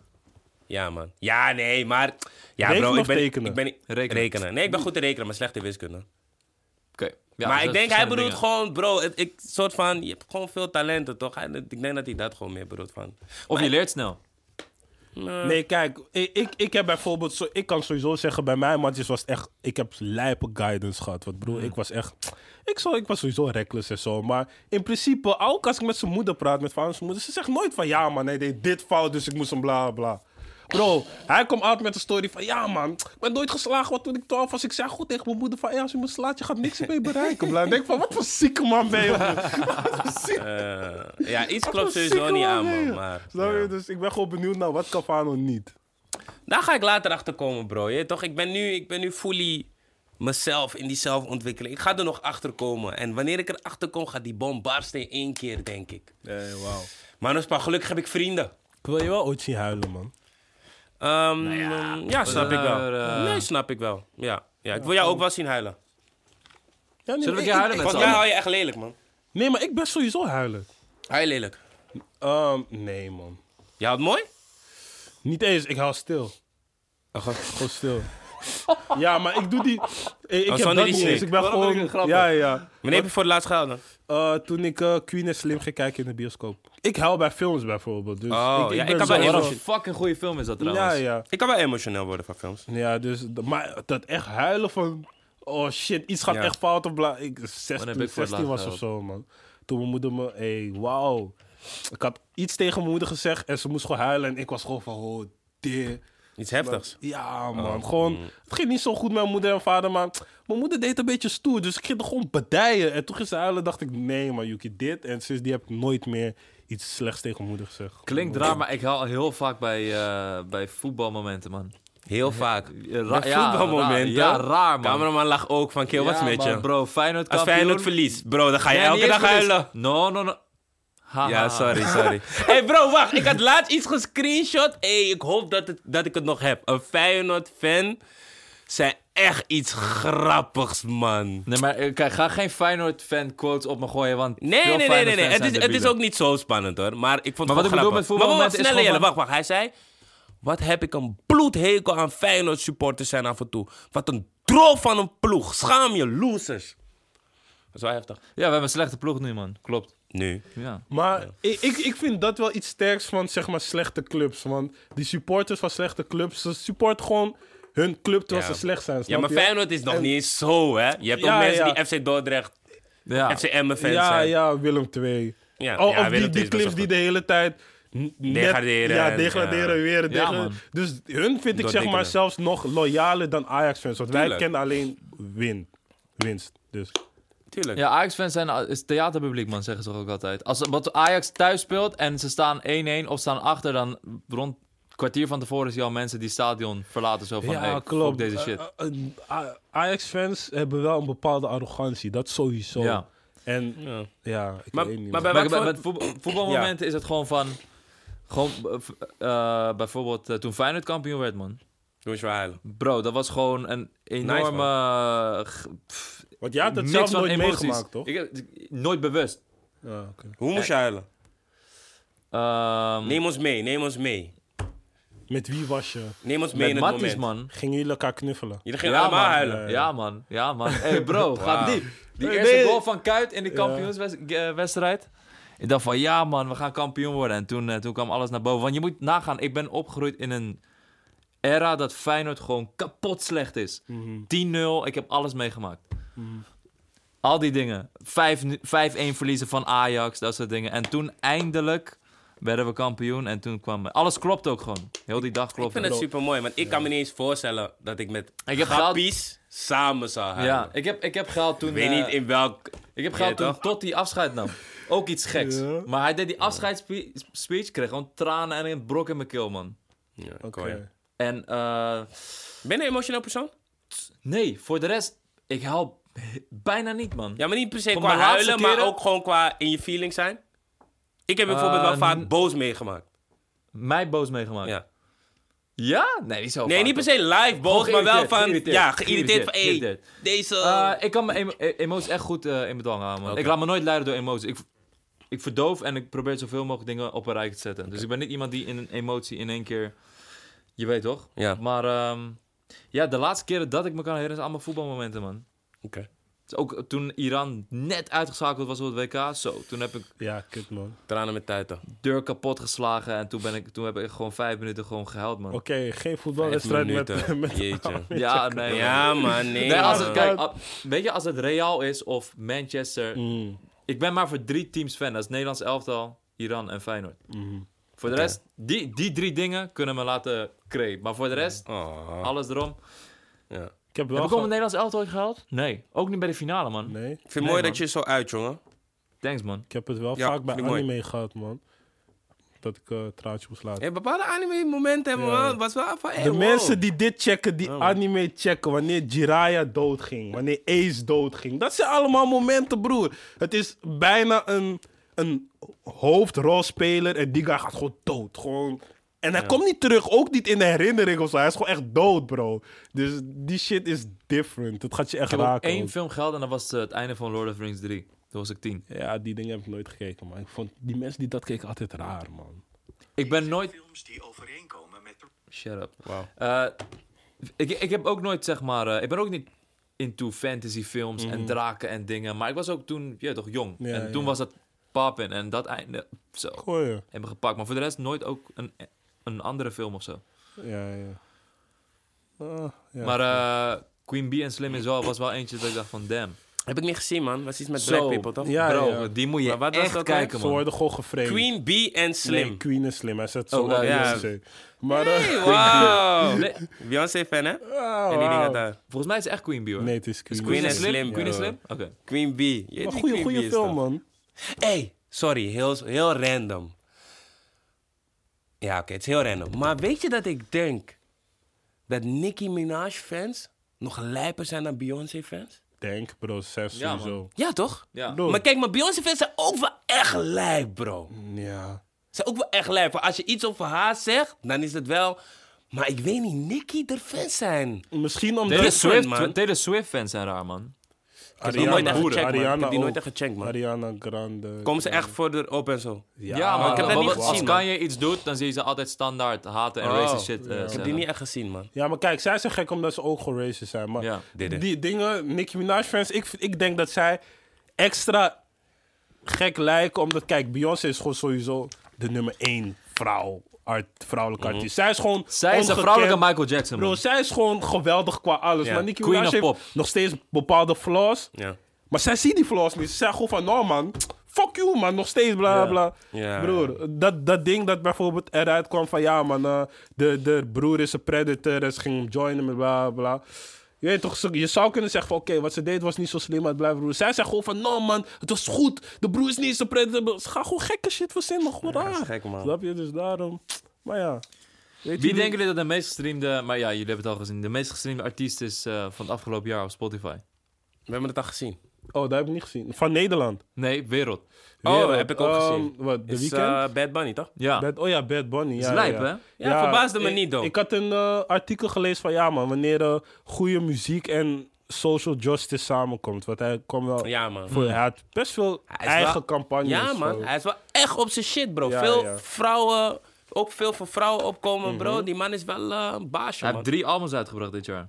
Ja, man. Ja, nee, maar... Ja, Rekenen bro, ik of ben, tekenen? Ik ben niet- Rekenen. rekenen. Nee, ik ben goed in rekenen, maar slecht in wiskunde. Oké. maar Ja, dat ik zijn denk, hij verschillende bedoelt dingen. gewoon, bro, het, ik, soort van... Je hebt gewoon veel talenten, toch? Hij- ik denk dat hij dat gewoon meer bedoelt van... Of je leert snel. Eh. Nee, kijk, ik, ik, ik heb bijvoorbeeld, zo, ik kan sowieso zeggen, bij mij matjes was het echt, ik heb lijpe guidance gehad. Want broer, Mm. ik was echt, ik, zo, ik was sowieso reckless en zo. Maar in principe, ook als ik met zijn moeder praat, met van zijn moeder, ze zegt nooit van ja man, hij deed dit fout, dus ik moest hem bla bla. Bro, hij komt altijd met een story van ja man, ik ben nooit geslagen want toen ik 12 was. Ik zei goed tegen mijn moeder van ja, als je me slaat, je gaat niks mee bereiken. Bla. En ik denk van wat voor zieke man ben je. broer? Wat voor zieke- eh, ja, iets wat voor klopt zieke sowieso niet aan, ben je. man. Maar, Snap je? ja. Dus ik ben gewoon benieuwd naar wat Cavano niet. Daar ga ik later achter komen, bro. Je, weet toch? Ik, ben nu, ik ben nu fully mezelf in die zelfontwikkeling. Ik ga er nog achter komen. En wanneer ik er achter kom, gaat die bom barsten in één keer, denk ik. Nee, wauw. Maar Nospa, gelukkig heb ik vrienden. Ik wil je wel ooit zien huilen, man. Ehm, ja, snap ik wel. eh, Nee, snap ik wel. Ja. ja, ik wil jou ook wel zien huilen. Ja, nee, Zullen we nee, een keer ik- huilen ik- met Want z'n jij allen? hou je echt lelijk, man. Nee, maar ik ben sowieso huilen. Hij lelijk. Ehm, nee, man. Je houdt mooi? Niet eens, ik hou stil. Oh, Gewoon stil. ja, maar ik doe die... Eh, Ik Oh, heb Sandy die dat niet snake. eens. Ik ben Waarom vind ik gewoon... het grappig? ja, ja. Wanneer heb je voor het laatst gehuild dan? Eh, toen ik eh, Queen en Slim ging kijken in de bioscoop. Ik huil bij films bijvoorbeeld. Dus Oh, ik, ik ja, ik ben kan zo- wel Wat emotion- een fucking goede film is dat Ja, trouwens. ja. Ik kan wel emotioneel worden van films. Ja, dus... d- Maar dat echt huilen van... Oh shit, iets gaat Ja. echt fout. Of bla, ik, 16, Wanneer heb ik voor het 16 was laatst of zo, man. Toen mijn moeder me... Hé, hey, wauw. Ik had iets tegen mijn moeder gezegd en ze moest gewoon huilen. En ik was gewoon van... Oh, dear. Iets heftigs. Ja, Oh, man. mm. gewoon, het ging niet zo goed met mijn moeder en vader, maar mijn moeder deed een beetje stoer. Dus ik ging er gewoon bedijen. En toen ging ze huilen, dacht ik, nee, man, Yuki, dit. En sinds die heb ik nooit meer iets slechts tegen mijn moeder gezegd. Klinkt raar, maar ik haal heel vaak bij, eh, bij voetbalmomenten, man. Heel vaak. Ja, ra- Bij ja, voetbalmomenten. raar- ja, raar, man. Cameraman lag ook van, kill, wat is Ja, met man, je? Bro, Feyenoord Als kampioen. Feyenoord verliest, bro, dan ga je Nee, elke niet dag eens verlies. huilen. No, no, no. Ha, ha, ha. Ja, sorry, sorry. Ah. hey bro, wacht. Ik had laatst iets gescreenshot. hey, ik hoop dat, het, dat ik het nog heb. Een Feyenoord-fan zei echt iets grappigs, man. Nee, maar eh, kijk, ga geen Feyenoord-fan quotes op me gooien, want... Nee, veel nee, nee, nee. nee. Feyenoord-fans Het, zijn is, het is debielen. ook niet zo spannend, hoor. Maar ik vond het Maar wat wel ik bedoel grappig. met maar wacht, voetbalmomenten is sneller, gewoon Jelle. Wacht, wacht. Hij zei... Wat heb ik een bloedhekel aan Feyenoord-supporters zijn af en toe. Wat een drol van een ploeg. Schaam je, losers. Dat is wel heftig. Ja, we hebben een slechte ploeg nu, man. Klopt. Nu. Ja. Maar ik, ik, ik vind dat wel iets sterks van, zeg maar, slechte clubs. Want die supporters van slechte clubs, ze supporten gewoon hun club terwijl Ja. ze slecht zijn, Ja, snap maar je? Feyenoord is nog En- niet eens zo, hè. Je hebt Ja, ook mensen ja. die FC Dordrecht, Ja. FC Emmen fans Ja, zijn. ja, Willem II. Ja, Oh, ja, of Willem die, II is die best wel clips die goed. de hele tijd... n- net- Degraderen Ja, en- degraderen, weer. Ja, degra- man. dus hun vind ik zeg maar Doordikkelen. zelfs nog loyaler dan Ajax-fans. Want wij Tuurlijk. kennen alleen win. winst. Dus. Tuurlijk. Ja, Ajax-fans zijn al- is theaterpubliek, man, zeggen ze toch ook altijd. Als wat Ajax thuis speelt en ze staan 1-1 of staan achter, dan rond een kwartier van tevoren zie je al mensen die stadion verlaten. Zo van, hey, fuck deze shit. Eh, eh, eh, Ajax-fans hebben wel een bepaalde arrogantie. Dat sowieso. Ja. En ja, ik Maar- weet niet. maar bij- man. maar wat bij, voor- met voetbal- voetbalmomenten is het gewoon van... Gewoon eh, v- eh, bijvoorbeeld eh, toen Feyenoord kampioen werd, man. Toen was je wel huilen. Bro, dat was gewoon een enorme... eh, g- pff, Want jij had het niks zelf van nooit emoties. meegemaakt, toch? Ik heb, ik- nooit bewust. Ja, oké. Hoe moest je huilen? Ehm, Eh, Neem ons mee, neem ons mee. Met wie was je? Neem ons mee met in het Matties, moment. man. Gingen jullie elkaar knuffelen? Jullie gingen allemaal man. huilen. Ja, Ja, man. Ja, man. hey, bro, gaat diep. Die Nee, eerste nee. goal van Kuit in de kampioenswedstrijd. Ik dacht van, ja man, we gaan kampioen worden. En toen, eh, toen kwam alles naar boven. Want je moet nagaan, ik ben opgegroeid in een era dat Feyenoord gewoon kapot slecht is. 10-0, ik heb alles meegemaakt. Mm. Al die dingen. 5-1 verliezen van Ajax, dat soort dingen. En toen eindelijk werden we kampioen. En toen kwam... Alles klopt ook gewoon. Heel die dag Ik klopt. vind het super mooi, want ik kan me niet eens voorstellen dat ik met Ik heb grappies samen zou huilen. Ja, ik heb, ik heb geld toen... Ik weet eh, niet in welk. Ik heb Ja, gehad toen toch? tot hij afscheid nam. Ook iets geks. Ja. Maar hij deed die afscheidsspeech, kreeg gewoon tranen en een brok in mijn keel, man. Ja, Oké. kon je. En eh, Ben je een emotioneel persoon? nee, voor de rest, ik help bijna niet, man. Ja, maar niet per se Van qua mijn laatste huilen, maar keren- ook gewoon qua in je feeling zijn. Ik heb bijvoorbeeld Eh, wel vaak n- boos meegemaakt. Mij boos meegemaakt. Ja. Ja? Nee, die zou Nee, niet per se live boos, maar wel van. geïrriteerd, ja, geïrriteerd van. geïrriteerd, Hey, geïrriteerd. deze. Eh, ik kan mijn emo- e- emoties echt goed eh, in bedwang houden, man. Oké. Ik laat me nooit leiden door emoties. Ik, ik verdoof en ik probeer zoveel mogelijk dingen op een rij te zetten. Dus ik ben niet iemand die in een emotie in één keer... Je weet toch? ja, Maar ehm, ja, de laatste keren dat ik me kan herinneren zijn allemaal voetbalmomenten, man. Oké. Dus ook toen Iran net uitgeschakeld was op het WK, zo. Toen heb ik Ja, kut man. tranen met tuiten. deur kapot geslagen en toen, ben ik, toen heb ik gewoon vijf minuten gewoon gehuild, man. Oké, geen voetbalwedstrijd met, minuten. met... Jeetje. Ja, nee. man. Ja, maar nee. Nee, als het, man. kijk, a- weet je, als het Real is of Manchester... Mm, Ik ben maar voor drie teams fan. Dat is Nederlands elftal, Iran en Feyenoord. mm. Voor de rest, die, die drie dingen kunnen me laten creep. Maar voor de rest, Oh, alles erom. ja. Ik heb wel... Heb ik al ge- mijn Nederlands elftal ooit gehaald? Nee. Ook niet bij de finale, man. Nee, Ik vind het Nee, mooi man. dat je zo uit, jongen. Thanks, man. ik heb het wel Ja, vaak bij vind ik mooi. anime gehad, man. Dat ik eh, een traantje moest laten. Hey, bepaalde anime-momenten hebben we Ja. wel- was wel van. hey, De wow. mensen die dit checken, Oh. die anime checken, wanneer Jiraiya doodging, wanneer Ace doodging. Dat zijn allemaal momenten, broer. Het is bijna een, een hoofdrolspeler en die guy gaat gewoon dood. Gewoon. En hij komt niet terug, ook niet in de herinnering of zo. Hij is gewoon echt dood, bro. Dus die shit is different. Dat gaat je echt Ik heb ook raken. één ook. film gehaald en dat was eh, het einde van Lord of the Rings 3. Toen was ik tien. Ja, die dingen heb ik nooit gekeken, man. Ik vond die mensen die dat keken altijd raar, man. Ik ben nooit... films die overeenkomen met Shut up. Wauw. Eh, ik, ik heb ook nooit, zeg maar... eh, ik ben ook niet into fantasy films en draken en dingen. Maar ik was ook toen, ja, toch jong. Ja, en toen ja. was dat poppin en dat einde... Zo, Gooi je. hebben gepakt. Maar voor de rest nooit ook een, een andere film of zo. Ja, ja. Ah, ja. Maar eh, Queen Bee en Slim is wel, was wel eentje dat ik dacht van, damn. Heb ik niet gezien, man. Was iets met Zo. Black People, toch? ja, Bro, ja. die moet je Maar wat was echt dat kijken, Ze man. worden gewoon gevreemd. Queen Bee en Slim. Nee, Queen is slim. Hij zet zo Oh, op eh, ja. Beyoncé. Maar, eh, Hey, wow. Nee, Beyoncé-fan, hè? ah, En die dingen wauw. daar. Dus volgens mij is het echt Queen Bee, hoor. Nee, het is Queen. Queen Queen en is Slim, Slim. Queen is ja. Slim? Oké. Queen Bee. Je weet Maar wie goeie, Queen Bee goeie is, film, toch? man. Hey, sorry, heel, heel random. Ja, oké, het is heel random. Maar weet je dat ik denk dat Nicki Minaj-fans nog lijper zijn dan Beyoncé-fans? Denk, bro, zes Ja, man. sowieso. Ja, toch? Ja. Bro. Maar kijk, maar Beyoncé-fans zijn ook wel echt lijp, bro. Ja. Zijn ook wel echt lijp. Want Als je iets over haar zegt, dan is het wel... Maar ik weet niet, Nicki, er fans zijn. Misschien omdat... Taylor Dit- Different, Swift, man. Taylor Swift fans zijn raar, man. die nooit echt gecheckt, man. Ik heb die nooit ook. echt gecheckt, man. Ariana Grande. Komen ze echt voor de op en zo? Ja, maar ik heb dat maar niet wat- gezien, man. Als Kanye iets doet, dan zie je ze altijd standaard haten en Oh, racist shit. eh, Ik heb die zeggen. niet echt gezien, man. Ja, maar kijk, zij zijn gek omdat ze ook gewoon racist zijn. Maar Ja. Dit, die dingen, Nicki Minaj fans, ik, ik denk dat zij extra gek lijken. Omdat, kijk, Beyoncé is gewoon sowieso de nummer één vrouw, art, vrouwelijke artiest. Zij is gewoon Mhm. Zij is een ongekend. vrouwelijke Michael Jackson, Bro, man. zij is gewoon geweldig qua alles. Ja, Maar Nicki queen Minaj of heeft pop. nog steeds bepaalde flaws. Ja. Maar zij ziet die flaws niet. Ze zegt gewoon van, nou man, fuck you man, nog steeds bla bla. Ja. Broer, dat, dat ding dat bijvoorbeeld eruit kwam van, ja man, eh, de, de broer is een predator en ze ging hem joinen met bla bla. Je, weet toch, ze- je zou kunnen zeggen van, oké, wat ze deed was niet zo slim, maar het blijft broer. Zij zegt gewoon van, nou man, het was goed, de broer is niet zo predator. Ze gaan gewoon gekke shit verzinnen, gewoon raar. dat is gek, man. Snap je? Dus daarom, maar ja. Weet Wie denken jullie dat de meest gestreamde... Maar ja, jullie hebben het al gezien. De meest gestreamde artiest is eh, van het afgelopen jaar op Spotify. We hebben het al gezien. Oh, daar heb ik niet gezien. Van Nederland. Nee, wereld. Oh, Wereld. heb ik ook Ehm, gezien. Wat, de Is, weekend? eh, Bad Bunny, toch? Ja. Bad- oh ja, Bad Bunny. Ja, is lijp, ja. hè? Ja, verbaasde me ik- niet, though. Ik had een eh, artikel gelezen van, ja man, wanneer eh, goede muziek en social justice samenkomt. Want hij kwam wel... Ja, man. Voor, hij had best veel is wel- eigen campagnes. Ja, man. zo. Hij is wel echt op zijn shit, bro. Ja, veel ja. Mhm. vrouwen, ook veel voor vrouwen opkomen, bro. Die man is wel eh, een baasje, Hij man. heeft drie albums uitgebracht dit jaar.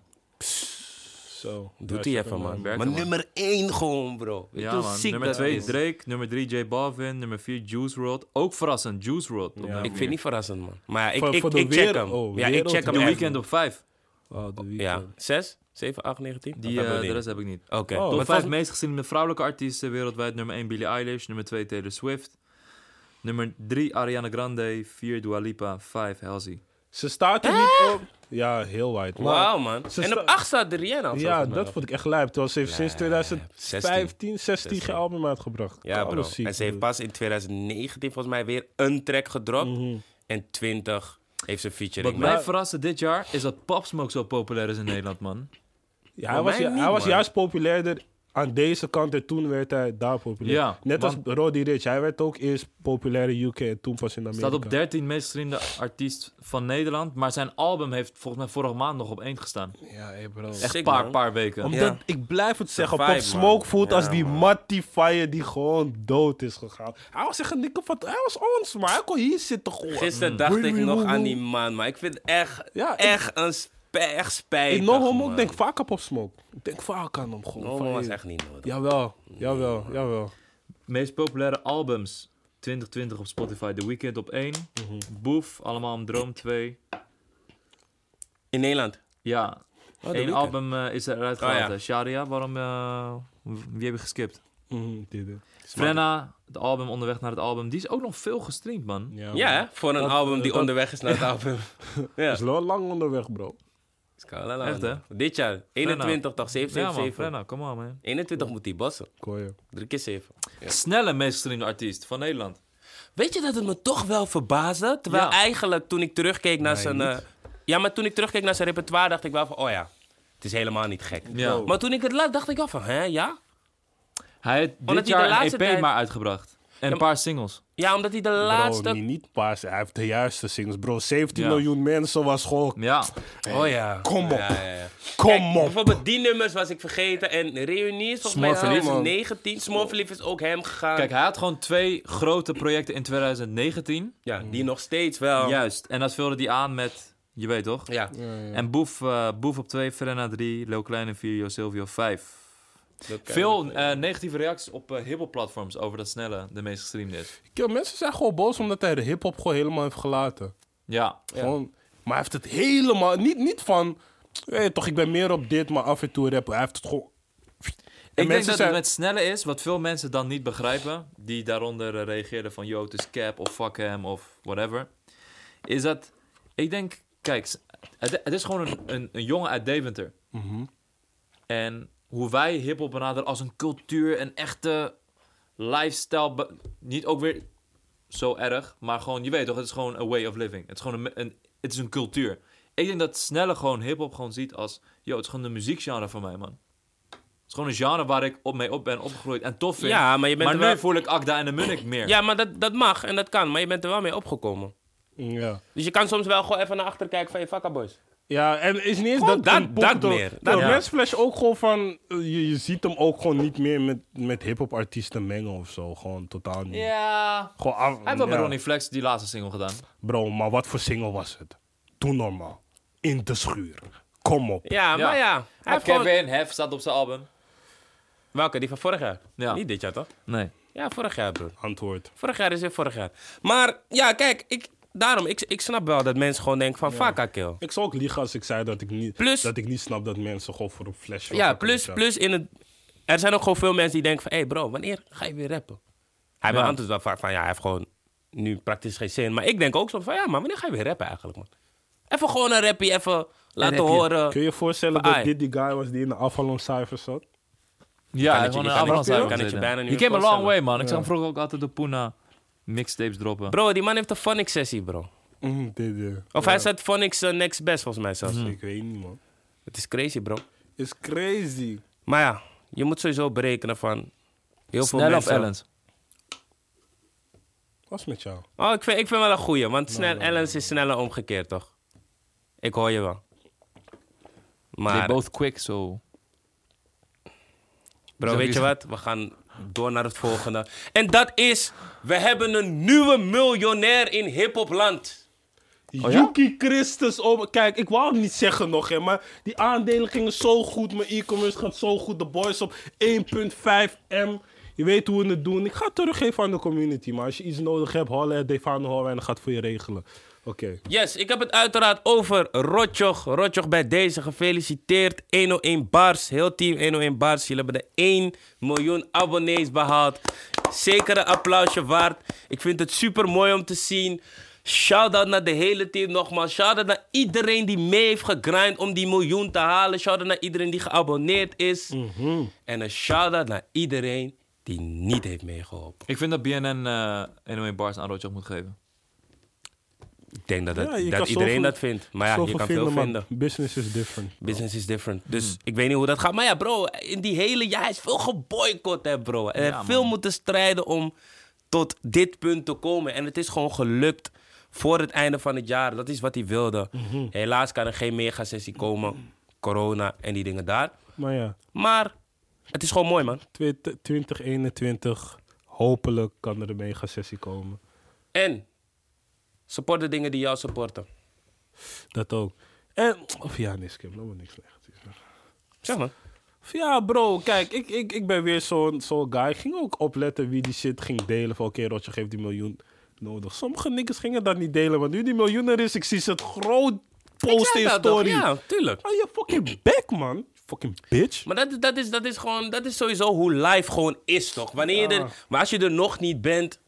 Zo. Doet Ja, hij shit, even, man. Werkt Maar hem, man. nummer één gewoon, bro. Weet je Ja, hoe man. ziek Nummer dat 2 is? Drake, nummer 3 J Balvin, nummer 4 Juice WRLD. Ook verrassend, Juice WRLD. op Ja. nummer Ik vind vier. het niet verrassend, man. Maar ik, Voor- ik, voor de ik check wereld- hem. oh, ja, ik wereld- check hem The echt. Weeknd op 5. Wow, oh, de weekend. Ja. Zes? Zeven, acht, negentien? Die, eh, de rest heb ik niet. Oké. eh, Oh, Top Maar 5 volgens- meest gezien vrouwelijke artiesten wereldwijd. Nummer 1 Billie Eilish. Nummer 2 Taylor Swift. Nummer 3 Ariana Grande. 4 Dua Lipa. 5 Halsey. Ze staat er niet op. Ja, heel wijd. Maar- Wauw, man. Ze En op sta- acht staat de Rihanna. of zo, Ja, volgens mij dat nog. vond ik echt lijp. Terwijl ze heeft sinds 2015, 16 16. geen album uitgebracht. Ja, bro. Alles ziek, en ze heeft broer. pas in 2019 volgens mij weer een track gedropt. Mhm. En 20 heeft ze featuring. Wat Maar mij verraste dit jaar is dat Pop Smoke zo populair is in Nederland, man. Ja, hij Voor was, mij ju- niet, hij was man. juist populairder aan deze kant en toen werd hij daar populair. Ja, Net als Roddy Rich. Hij werd ook eerst populair in UK en toen pas in Amerika. Staat op 13 meest gestreamde artiest van Nederland. Maar zijn album heeft volgens mij vorige maand nog op 1 gestaan. Ja, hey bro. Echt een Sick, paar, man. paar weken. Omdat ik blijf het zeggen, vibe, Pop Smoke man. voelt Ja, als die man. Matty Fire die gewoon dood is gegaan. Hij was echt een dikke van, hij was ons, maar hij kon hier zitten gewoon. gisteren Woe, dacht ik woe, nog woe, aan woe. die man, maar ik vind het echt, Ja, ik- echt een sp- echt spijtig. Ik nog hem man. ook denk vaak aan Pop Smoke. Ik denk vaak aan hem gewoon. No van, Homo was hey, echt niet nodig. Jawel, jawel, jawel. Meest populaire albums. 2020 op Spotify. The Weeknd op 1. Boef, Allemaal om Droom 2. In Nederland. Ja, Oh, The Eén Weeknd. album eh, is eruit gehaald. ja. hè. Sharia, waarom... eh, w- wie heb je geskipt? Mhm, dit, dit. Frenna, het album Onderweg naar het album. Die is ook nog veel gestreamd, man. Ja, hè? voor een Dat- album die dat- onderweg is naar het album. Is wel lang onderweg, bro. Scala, Echt, hè? man. Dit jaar, 21 toch? 7, Ja, 7, man. 7. Frenna, come on, man. 21 moet die bossen. Ik hoor je. Drie keer 7. Snelle meest gestreamde artiest van Nederland. Weet je dat het me toch wel verbaasde? Terwijl Ja. eigenlijk toen ik terugkeek naar zijn... eh, ja, maar toen ik terugkeek naar zijn repertoire dacht ik wel van... Oh ja, het is helemaal niet gek. Ja. Maar toen ik het las dacht ik wel van... Hè, ja? Hij heeft dit Omdat hij de jaar een laatste EP tijd- maar uitgebracht. En een paar singles. Ja, omdat hij de laatste... Bro, niet, niet paas. Hij heeft de juiste singles, bro. 17 Ja. miljoen mensen was gewoon... Ja. Oh ja. Kom op. Ja, ja, ja. Kom Kijk, op. Bijvoorbeeld die nummers was ik vergeten. En Reunie is volgens mij Smorverliefd. 2019. Smorverliefd is ook hem gegaan. Kijk, hij had gewoon twee grote projecten in 2019. ja, die nog steeds wel. Juist. En dat vulde hij aan met... Je weet toch? Ja, En Boef, eh, Boef op 2, Frenna 3, Leo Kleine 4, Jo Silvio 5. dat kan. Veel eh, negatieve reacties op eh hibbelplatforms over dat snelle de meest gestreamde is. Kill, mensen zijn gewoon boos omdat hij de hip-hop gewoon helemaal heeft gelaten. Ja. Gewoon, maar hij heeft het helemaal... Niet, niet van... Weet je toch, ik ben meer op dit, maar af en toe rappen. Hij heeft het gewoon... ik denk dat het met snelle is, wat veel mensen dan niet begrijpen, die daaronder eh, reageerden van yo, het is cap of fuck hem of whatever, is dat, ik denk, kijk, s- het, het is gewoon een, een, een jongen uit Deventer. En hoe wij hiphop benaderen als een cultuur, een echte lifestyle, be- niet ook weer zo erg, maar gewoon, je weet toch, het is gewoon a way of living. Het is gewoon een, een- het is een cultuur. Ik denk dat snelle gewoon hiphop gewoon ziet als, yo, het is gewoon een muziekgenre van mij, man. Het is gewoon een genre waar ik op mee op ben opgegroeid en tof vind. Ja, maar je bent maar er nu wel- voel ik Akda en de Munnik meer. ja maar dat, dat mag en dat kan. Maar je bent er wel mee opgekomen. Ja. Dus je kan soms wel gewoon even naar achter kijken van je fucka boys. Ja, en is niet eens Gewoon dat... dat- een boek dat door- meer. Ja, Dat- ja. Mensflash ook gewoon van... eh, Je, je ziet hem ook gewoon niet meer met, met hip-hop artiesten mengen of zo. Gewoon totaal niet. Ja. Gewoon af, Hij heeft ja. wel met Ronnie Flex die laatste single gedaan. Bro, maar wat voor single was het? Doe normaal. In de schuur. Kom op. Ja, maar ja. Hij Maar heeft Kevin gewoon- Hef staat op zijn album. Welke? Die van vorig jaar? Ja. Niet dit jaar toch? Nee. Ja, vorig jaar broer. Antwoord. Vorig jaar is weer vorig jaar. Maar ja, kijk, ik, daarom, ik, ik snap wel dat mensen gewoon denken van fucka kill. Ik zou ook liegen als ik zei dat ik niet, Plus- dat ik niet snap dat mensen gewoon voor een flash Ja, plus, plus in het... Er zijn ook gewoon veel mensen die denken van... Hé hey bro, wanneer ga je weer rappen? Hij beantwoordt wel vaak van... Ja, hij heeft gewoon nu praktisch geen zin. Maar ik denk ook soms van... Ja, maar wanneer ga je weer rappen eigenlijk, man? Even gewoon een rappie, even laten rappie. horen. Kun je je voorstellen Van dat Ai. dit die guy was die in de afvaloncijfers zat? Ja, het je- gewoon ik een kan het- Avalans ik kan album het je zitten. bijna niet He meer came a long way, voorstellen. man. Ik zag hem vroeger ook altijd de Poena mixtapes droppen. Bro, die man heeft een phonics sessie, bro. Mm, dit, eh, Of hij zet phonics eh, next Mhm. Oh. best, volgens mij zelfs. Ik weet niet, man. Het is crazy, bro. Is crazy. Maar ja, Je moet sowieso berekenen van... Heel veel Snelle of mensen- Ellens? Was met jou. Oh, ik vind, ik vind wel een goeie, want snel, Ellens is sneller omgekeerd, toch? Ik hoor je wel. They Maar, both quick, so... bro, weet je wat? We gaan door naar het volgende. En dat is, we hebben een nieuwe miljonair in hiphopland. Oh Yuki Christus. Oh, kijk, ik wou het niet zeggen nog, hè, maar die aandelen gingen zo goed. Mijn e-commerce gaat zo goed. De boys op 1.5M. Je weet hoe we het doen. Ik ga het teruggeven aan de community, maar als je iets nodig hebt, holler at Devano Hall en dan gaat het voor je regelen. Oké. Yes, ik heb het uiteraard over Rotjoch. Rotjoch bij deze, gefeliciteerd. 101 Bars, heel team 101 Bars. Jullie hebben de 1 miljoen abonnees behaald. Zeker een applausje waard. Ik vind het super mooi om te zien. Shout-out naar de hele team nogmaals. Shout-out naar iedereen die mee heeft gegrind om die miljoen te halen. Shout-out naar iedereen die geabonneerd is. Mhm. En een shout-out naar iedereen die niet heeft meegeholpen. Ik vind dat BNN eh 101 Bars aan Rotjoch moet geven. Ik denk dat, het- Ja, je kan dat iedereen zoveel- dat vindt. Maar ja, je Zoveel kan veel maar vinden. Business is different. Business is different. Dus ik weet niet hoe dat gaat. Maar ja, bro, in die hele jaar is veel geboycott, hè, bro. Er heeft veel moeten strijden om tot dit punt te komen. En het is gewoon gelukt voor het einde van het jaar. Dat is wat hij wilde. Helaas kan er geen mega-sessie komen. Corona en die dingen daar. Maar ja, Maar het is gewoon mooi, man. twe- 2021. Hopelijk kan er een mega sessie komen. En support de dingen die jou supporten. Dat ook. En, of ja, nee, Kim, dat was niks slechts. Zeg maar. Ja, bro, kijk, ik, ik, ik ben weer zo'n zo'n guy. Ik ging ook opletten wie die shit ging delen. Van oké, Rotje geeft die miljoen nodig. Sommige niggers gingen dat niet delen, want nu die miljoen er is, ik zie ze het groot posten in Ja, toch? story. Ja, tuurlijk. Oh, je fucking back, man. Fucking bitch. Maar dat, dat, is, dat is gewoon, dat is sowieso hoe live gewoon is, toch? Wanneer je er, maar als je er nog niet bent,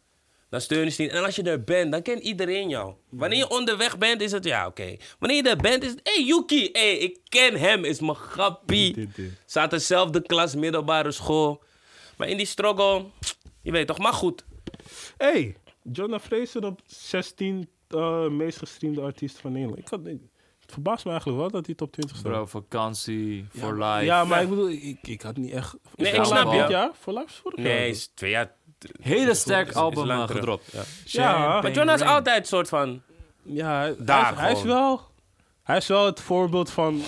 dan steun je ze niet. En als je er bent, dan kent iedereen jou. Wanneer je onderweg bent, is het ja, oké. Wanneer je er bent, is het, hé hey, Yuki, hé, hey, ik ken hem, is mijn grappie. Dit, dit. Zaten dezelfde klas, middelbare school. Maar in die struggle, je weet toch, maar goed. Hey, Jonah Fraser op 16 eh, meest gestreamde artiest van Nederland. Ik had, ik- het verbaast me eigenlijk wel dat hij top 20 staat. Bro, vakantie, voor life. ja, maar ik bedoel, ik, ik had niet echt... Nee, ik snap je. Dit jaar? Voor live is vorig jaar. Nee, is twee jaar. Hele sterk album lang eh, terug. gedropt. Ja, Maar Jonah is altijd een soort van, Ja, hij, Daar hij is, hij is gewoon. wel, hij is wel het voorbeeld van,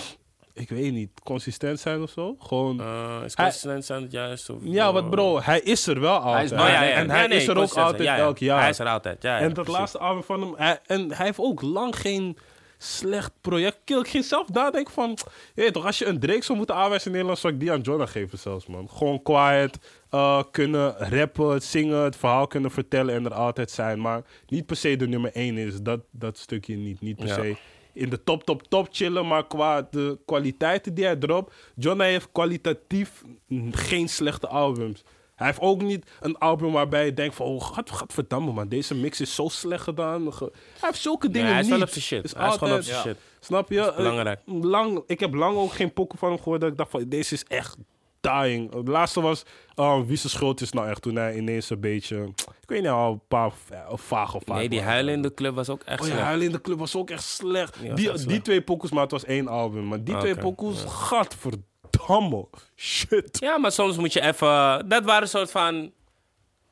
ik weet niet, consistent zijn of zo. Gewoon, eh is Hij- consistent aan het juist? Of, ja, wat bro, hij is er wel altijd. is Oh, ja, ja, ja. En Ja, hij nee, is er ook consistent. altijd Ja, ja. elk jaar. Hij is er altijd, ja. ja, en dat precies. laatste album van hem, hij, en hij heeft ook lang geen slecht project. Kill, ik ging zelf nadenken van, je weet toch, als je een Drake zou moeten aanwijzen in Nederland, zou ik die aan Jonah geven zelfs, man. Gewoon quiet, eh, kunnen rappen, zingen, het verhaal kunnen vertellen en er altijd zijn. Maar niet per se de nummer één is, dat, dat stukje niet, niet per Ja. se. In de top, top, top chillen, maar qua de kwaliteiten die hij dropt, Jonah heeft kwalitatief mm, geen slechte albums. Hij heeft ook niet een album waarbij je denkt van, oh, gat, gadverdamme man, deze mix is zo slecht gedaan. Ge- Hij heeft zulke dingen hij is niet. wel op zijn shit. Is Hij is gewoon altijd- op zijn shit. Snap je? Eh, belangrijk. Lang, ik heb lang ook geen pokken van hem gehoord dat ik dacht van, deze is echt dying. Het laatste was, eh, wie zijn schuld is nou echt, toen hij ineens een beetje, ik weet niet, al een paar va- vage of Nee, die huilen in de club was ook echt Oh ja, slecht. Huilen in de Club was ook echt slecht. Ah, was die, echt slecht. die twee pokus, maar het was één album. Maar die twee Oké, pokus, gadverdamme. Shit. Ja, maar soms moet je even... Dat waren een soort van...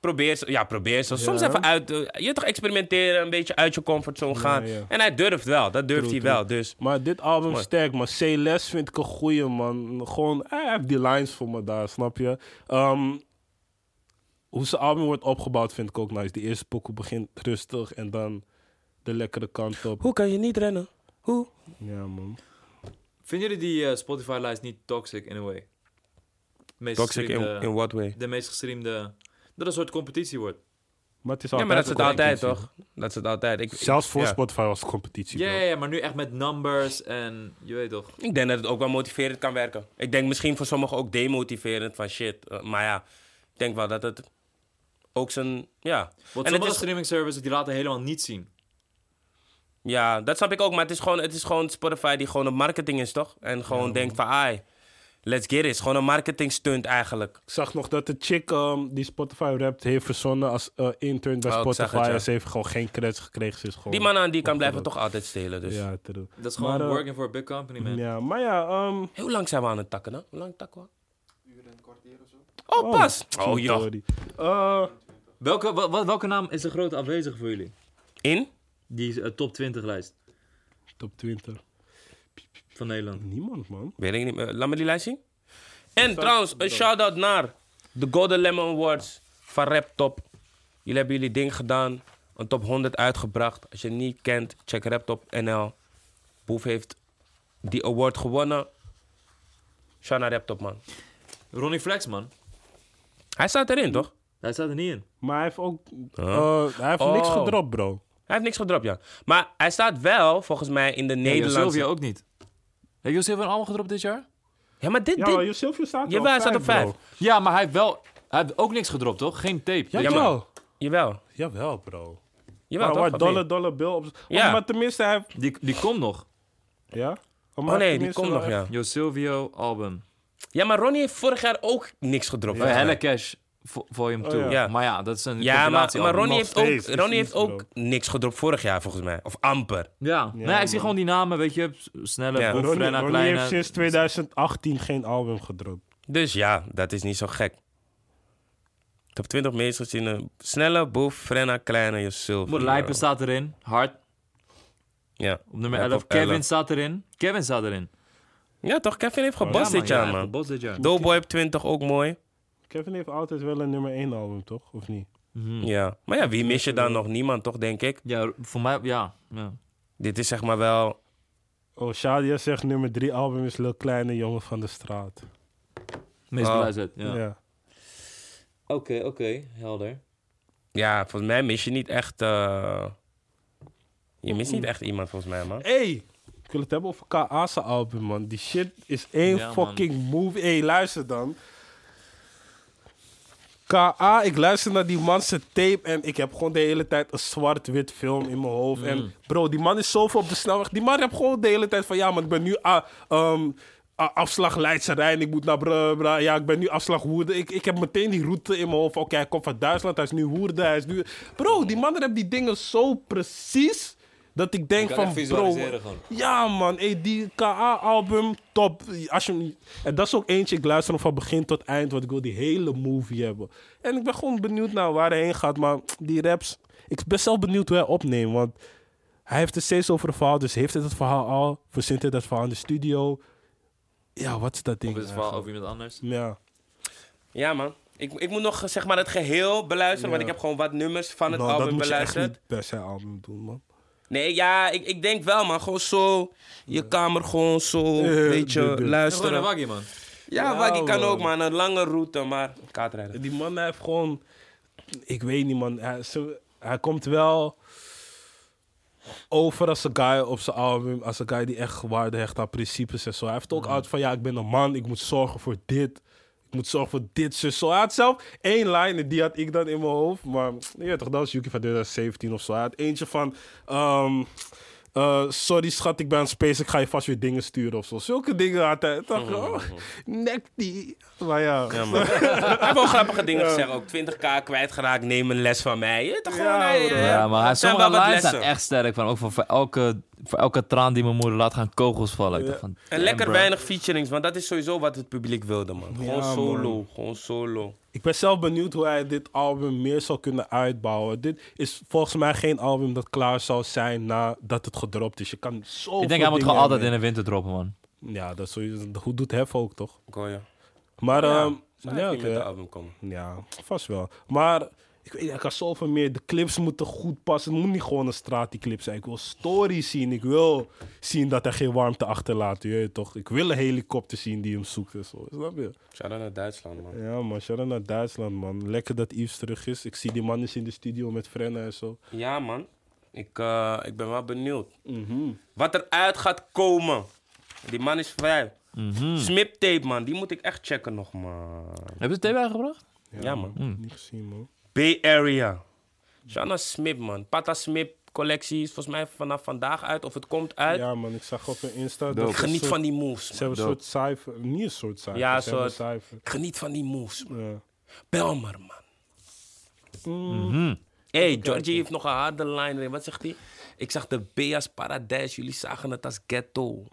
Probeer, zo- ja, probeer zo. Soms even uit... eh, Je toch experimenteren, een beetje uit je comfortzone gaan. ja. En hij durft wel, dat durft hij wel. Dus Maar dit album sterk, maar C-Les vind ik een goeie, man. Gewoon, eh, hij heeft die lines voor me daar, snap je? Ehm, hoe zijn album wordt opgebouwd vind ik ook nice. Die eerste pokoe begint rustig en dan de lekkere kant op. hoe kan je niet rennen? Hoe? Ja, man. Vinden jullie die eh, Spotify-lijst niet toxic in a way? De meest Toxic in, gestreamde- in what way? De meest gestreamde... Dat een soort competitie wordt. Maar het is Ja, altijd maar dat is het een altijd, competitie. toch? Dat is het altijd. Ik, Zelfs voor ja. Spotify was het competitie. Ja, bro. ja, ja, maar nu echt met numbers en je weet toch. Ik denk dat het ook wel motiverend kan werken. Ik denk misschien voor sommigen ook demotiverend van shit. eh, maar ja, ik denk wel dat het ook zijn... Ja. Want en het sommige is streaming services die laten helemaal niet zien. Ja, dat snap ik ook. Maar het is gewoon, het is gewoon Spotify die gewoon een marketing is, toch? En gewoon denkt van, ai, let's get it. is gewoon een marketing stunt eigenlijk. Ik zag nog dat de chick ehm, die Spotify rapt heeft verzonnen als eh, intern bij Oh, ik zag Spotify. het, ja. En ze heeft gewoon geen credits gekregen. Ze is gewoon... Die man aan die kan blijven toch altijd stelen. Dus. Oh. Ja, true. Dat is gewoon Maar, eh, working for a big company, man. Ja, maar ja, ehm, Hoe lang zijn we aan het takken, hè? Hoe lang takken we? keer of zo. Oh, pas. Oh, joh. sorry. Eh, Welke, wa- wa- welke naam is de grote afwezige voor jullie? In? Die eh, top 20 lijst top 20. van Nederland. Niemand, man. Weet ik niet meer. Laat me die lijst zien. En trouwens, een shout-out naar de Golden Lemon Awards van Rap Top. Jullie hebben jullie ding gedaan. Een top 100 uitgebracht. Als je het niet kent, check Rap Top NL. Boef heeft die award gewonnen. Shout naar Rap Top, man. Ronnie Flex, man. Hij staat erin, toch? Hij staat er niet in. Maar hij heeft ook... eh, hij heeft niks Oh. gedropt, bro. Hij heeft niks gedropt, ja. Maar hij staat wel, volgens mij, in de Nederland. Nederlandse... Sylvia ook niet. Heeft Josefia een album gedropt dit jaar? Ja, maar dit... dit... Ja, Silvio staat Jawel, hij staat op vijf. bro. Ja, maar hij heeft wel... Hij heeft ook niks gedropt, toch? Geen tape. Ja, Ja, maar- jawel. Jawel. Jawel, bro. Jawel, Maar toch? waar Of dollar, niet? dollar bill op... Ja. Oh, maar tenminste, hij heeft... Die, die komt nog. Ja? Oh, Oh nee, die komt nog, ja. Josilvio album. Ja, maar Ronnie heeft vorig jaar ook niks gedropt. Ja. volgens mij. Helle Cash vo- volume Oh, 2. ja. Oh, Ja. Maar ja, dat is een Ja, maar, maar compilatiealbum. Ronnie heeft Nog steeds, ook, is Ronnie heeft niets ook gedropt. niks gedropt vorig jaar, volgens mij. Of amper. Ja, nee, ik zie man. gewoon die namen, weet je. s- Snelle, Ja. Boef, Ronnie, Frenna, Ronnie Kleine. heeft sinds 2018 geen album gedropt. Dus ja, dat is niet zo gek. Top 20 meest geziene. Snelle, eh, Boef, Frenna, Kleine, Yusuf. Moet Lijpen staat erin. Hart. Ja. Op nummer Ja, 11. op Kevin 11. staat erin. Kevin staat erin. ja, toch? Kevin Oh, heeft gebost dit jaar, man. Bos dit jaar. Doughboy op 20 ook mooi. Kevin heeft altijd wel een nummer 1 album, toch? Of niet? Ja. Maar ja, wie mis je dan nog? Niemand, toch, denk ik? Ja, voor mij, ja. ja. Dit is zeg maar wel... Oh, Shadia zegt nummer 3 album is Lil Kleine Jongen van de Straat. Meest Oh. beluisterd. Ja. Ja. Oké, oké, helder. Ja, volgens mij mis je niet echt... eh, Je mist niet echt iemand, volgens mij, man. Hey, ik wil het hebben over KA's album, man. Die shit is één Ja, man. fucking move. Hey, luister dan. KA, ik luister naar die man zijn tape en ik heb gewoon de hele tijd een zwart-wit film in mijn hoofd. Mm. En bro, die man is zoveel op de snelweg. Die man heeft gewoon de hele tijd van, ja, maar ik ben nu ah, ehm, ah, afslag Leidse Rijn, ik moet naar bra, bra, ja, ik ben nu afslag Woerden. Ik, ik heb meteen die route in mijn hoofd. Oké, hij komt van Duitsland, hij is nu Woerden, hij is nu... Bro, die man heeft die dingen zo precies dat ik denk kan van, echt bro... visualiseren gewoon. Ja, man. Hey, die KA-album, top. Als je, hem niet- en dat is ook eentje, ik luister hem van begin tot eind, want ik wil die hele movie hebben. En ik ben gewoon benieuwd naar waar hij heen gaat, maar die raps... Ik ben zelf benieuwd hoe hij opneemt, want hij heeft het steeds over een verhaal. Dus heeft hij het verhaal al? Verzint hij dat verhaal in de studio? Ja, wat is dat ding Of is het verhaal over iemand anders? eigenlijk? Ja. Ja, man. Ik, ik moet nog eh, zeg maar, het geheel beluisteren, want ik heb gewoon wat nummers van het Nou, dat album moet je echt beluisterd. niet per se album doen, man. Nee, ja, ik, ik denk wel, man. Gewoon zo, je kamer gewoon zo, Eh, weet je, doe, doe. Gewoon luisteren. een waggie, man. ja, Waggy kan man. ook, man. Een lange route, maar kaartrijden. Die man heeft gewoon... Ik weet niet, man. Hij, ze- hij komt wel over als een guy op zijn album. Als een guy die echt waarde hecht aan principes en zo. Hij heeft ook uit van... Ja, ik ben een man. Ik moet zorgen voor dit. Ik moet zorgen voor dit, zus. Zo. Hij had zelf één lijn. En die had ik dan in mijn hoofd. Maar ja, toch, dat was Yuki van 2017 of zo. Hij had eentje van... ehm, eh, sorry schat, ik ben aan het space. Ik ga je vast weer dingen sturen of zo. Zulke dingen had hij. Dacht, ik, oh, nek die. Maar ja. Hij heeft wel grappige dingen gezegd ook. 20k kwijtgeraakt, neem een les van mij. Je, toch Ja, gewoon, hij, bro. eh, Ja, maar hij zijn sommige wel wat lines zijn lessen. echt sterk van. Ook van voor elke, voor elke traan die mijn moeder laat gaan kogels vallen. Ik dacht van, En damn, lekker bro. weinig featurings, want dat is sowieso wat het publiek wilde, man. Gewoon Ja, solo, gewoon solo. Ik ben zelf benieuwd hoe hij dit album meer zou kunnen uitbouwen. Dit is volgens mij geen album dat klaar zou zijn nadat het gedropt is. Je kan zo. Ik denk hij moet gewoon altijd in de winter droppen, man. Ja, dat is sowieso. Hoe doet Hef ook toch? Ik hoor je. Maar Ja, ehm, Zou ja, hij niet met oké. het album komen? ja, vast wel. Maar ik weet, hij kan zoveel meer. De clips moeten goed passen. Het moet niet gewoon een straat die clip zijn. Ik wil stories zien. Ik wil zien dat hij geen warmte achterlaat. Je weet toch? Ik wil een helikopter zien die hem zoekt en zo. Snap je? Shout-out naar Duitsland, man. Ja, man, shout naar Duitsland, man. Lekker dat Yves terug is. Ik zie die man is in de studio met Frenna en zo. Ja, man. Ik, eh, ik ben wel benieuwd. Mhm. Wat eruit gaat komen. Die man is vrij. Smiptape, man. Die moet ik echt checken nog, man. Hebben ze het tape uitgebracht? Ja, man. Hmm. Niet gezien, man. Bay Area. Shanna Smip, man. Pata Smip collectie is volgens mij vanaf vandaag uit. Of het komt uit. Ja, man, ik zag op hun Insta. Dat Ik ze een geniet soort- van die moves, Ze man. hebben een soort cijfer. Niet een soort cijfer. Ja, ze hebben een soort- cijfer. Ik geniet van die moves, man. Ja. Bel maar, man. hey, Georgie heeft nog een harde line erin. Wat zegt hij? Ik zag de B als paradijs. Jullie zagen het als ghetto.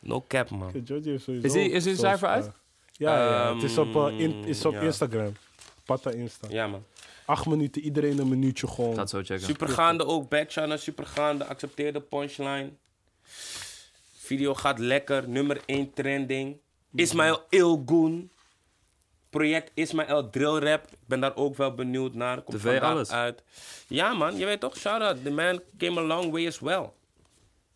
No cap, man. Georgie heeft sowieso... Is die- is die zo'n cijfer uit? sta- Ja, ja, Ehm, het is op, eh, in- is op ja. Instagram. Patta Insta. Ja, man. Acht minuten, iedereen een minuutje gewoon. Gaat zo checken. Supergaande ook, Badchana, supergaande, accepteerde punchline. Video gaat lekker, nummer 1 trending. Ismaël Ilgoen. Project Ismaël Drill Rap. Ik ben daar ook wel benieuwd naar. Komt TV vandaag alles. uit. Ja man, je weet toch, shout-out. The man came a long way as well.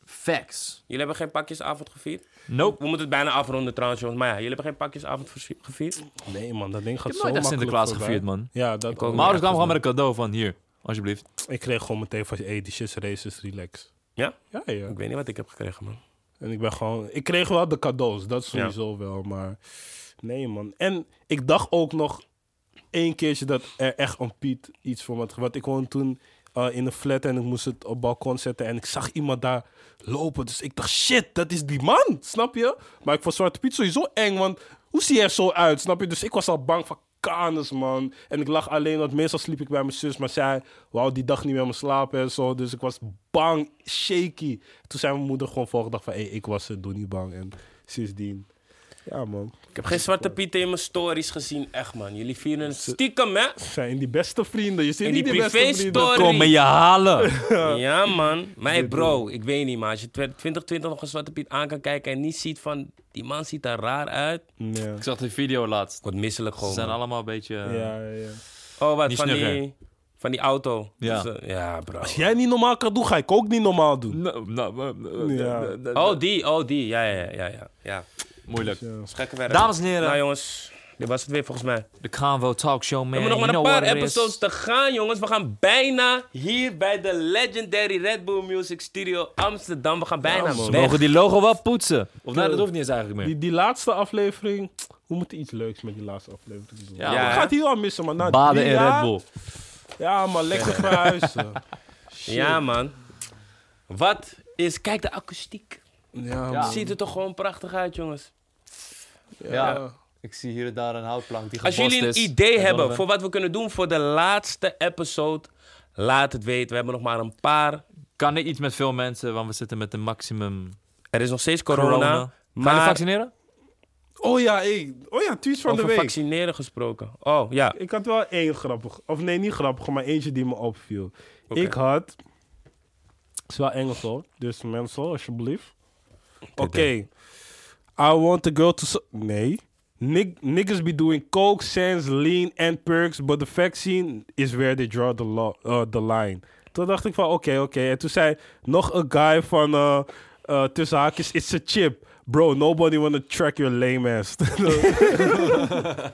Facts. Jullie hebben geen pakjesavond gevierd? Nope. We moeten het bijna afronden trouwens, jongens. Maar ja, jullie hebben geen pakjesavond versie- gevierd? Nee man, dat ding gaat heb zo nooit echt makkelijk Sinterklaas voorbij. gevierd, man. Ja, dat Mijn ouders kwamen gewoon met een cadeau van hier, alsjeblieft. Ik kreeg gewoon meteen van, hey, die shit is racist, relax. Ja? Ja, ja. Ik weet niet wat ik heb gekregen, man. En ik ben gewoon... Ik kreeg wel de cadeaus, dat sowieso wel, maar... Nee, man. En ik dacht ook nog één keertje dat er echt een Piet iets van wat... Want ik woonde toen eh, in een flat en ik moest het op balkon zetten. En ik zag iemand daar lopen. Dus ik dacht, shit, dat is die man, snap je? Maar ik vond Zwarte Piet sowieso eng, want hoe zie je er zo uit, snap je? Dus ik was al bang van... Kanus, man. En ik lag alleen, want meestal sliep ik bij mijn zus, maar zij wou die dag niet meer me slapen en zo. Dus ik was bang, shaky. Toen zei mijn moeder gewoon volgende dag van, hé, hey, ik was het, doe niet bang. En sindsdien, ja man. Ik heb geen zwarte pieten in mijn stories gezien, echt man. Jullie vieren het stiekem, hè? zijn die beste vrienden. Je zit In niet die die beste vrienden. privé-story. Kom me je halen. Ja, man. Maar bro, ik weet niet, maar als je tw- 2020 nog een Zwarte Piet aan kan kijken en niet ziet van... Die man ziet er raar uit. Ik Ja. Ik zag die video laatst. word misselijk Ze gewoon. zijn man. allemaal een beetje... eh, Ja, ja, ja. Oh, wat, Die van die, snugger. van die auto. Ja. Dus, eh, ja, bro. Als jij niet normaal kan doen, ga ik ook niet normaal doen. Nou, nou, eh, eh, Ja. eh, eh, eh, Oh, die, oh, die. Ja, ja, ja, ja. ja. Moeilijk. Dat is gekke werk. Dames en heren. Nou, jongens. Dit was het weer volgens mij. De Convo Talk Show, man. We hebben nog maar een paar episodes te gaan, jongens. We gaan bijna hier bij de legendary Red Bull Music Studio Amsterdam. We gaan bijna man. weg. Ze Mogen die logo wel poetsen? Of nou, dat hoeft niet eens eigenlijk meer. Die, die laatste aflevering, we moeten iets leuks met die laatste aflevering doen. Ja, Ja, hè? ik ga het hier al missen, maar na Baden drie in Red jaar- Bull. Ja, maar lekker verhuizen. Ja, man. Wat is... Kijk de akoestiek. Ja, Ja. man. Ziet er toch gewoon prachtig uit, jongens. Ja. Ja. Ik zie hier en daar een houtplank die Als gebost jullie een is. idee En hebben Donovan. voor wat we kunnen doen voor de laatste episode, laat het weten. We hebben nog maar een paar. Kan ik iets met veel mensen, want we zitten met een maximum Er is nog steeds corona. corona. Ga je Maar- vaccineren? Oh ja, hey. oh ja, tweets van Over de week. vaccineren gesproken. Oh, ja. Ik had wel één grappig. Of nee, niet grappig, maar eentje die me opviel. Oké. Ik had. Het is wel Engels hoor. Dus mensen, alsjeblieft. Oké. I want to go to. so- Nee. Nig niggas be doing coke, sans, lean and perks, but the vaccine is where they draw the, lo- uh, the line. Toen dacht ik van, oké, oké. En toen zei nog een guy van, eh eh, tussen haakjes, it's a chip. Bro, nobody wanna track your lame ass.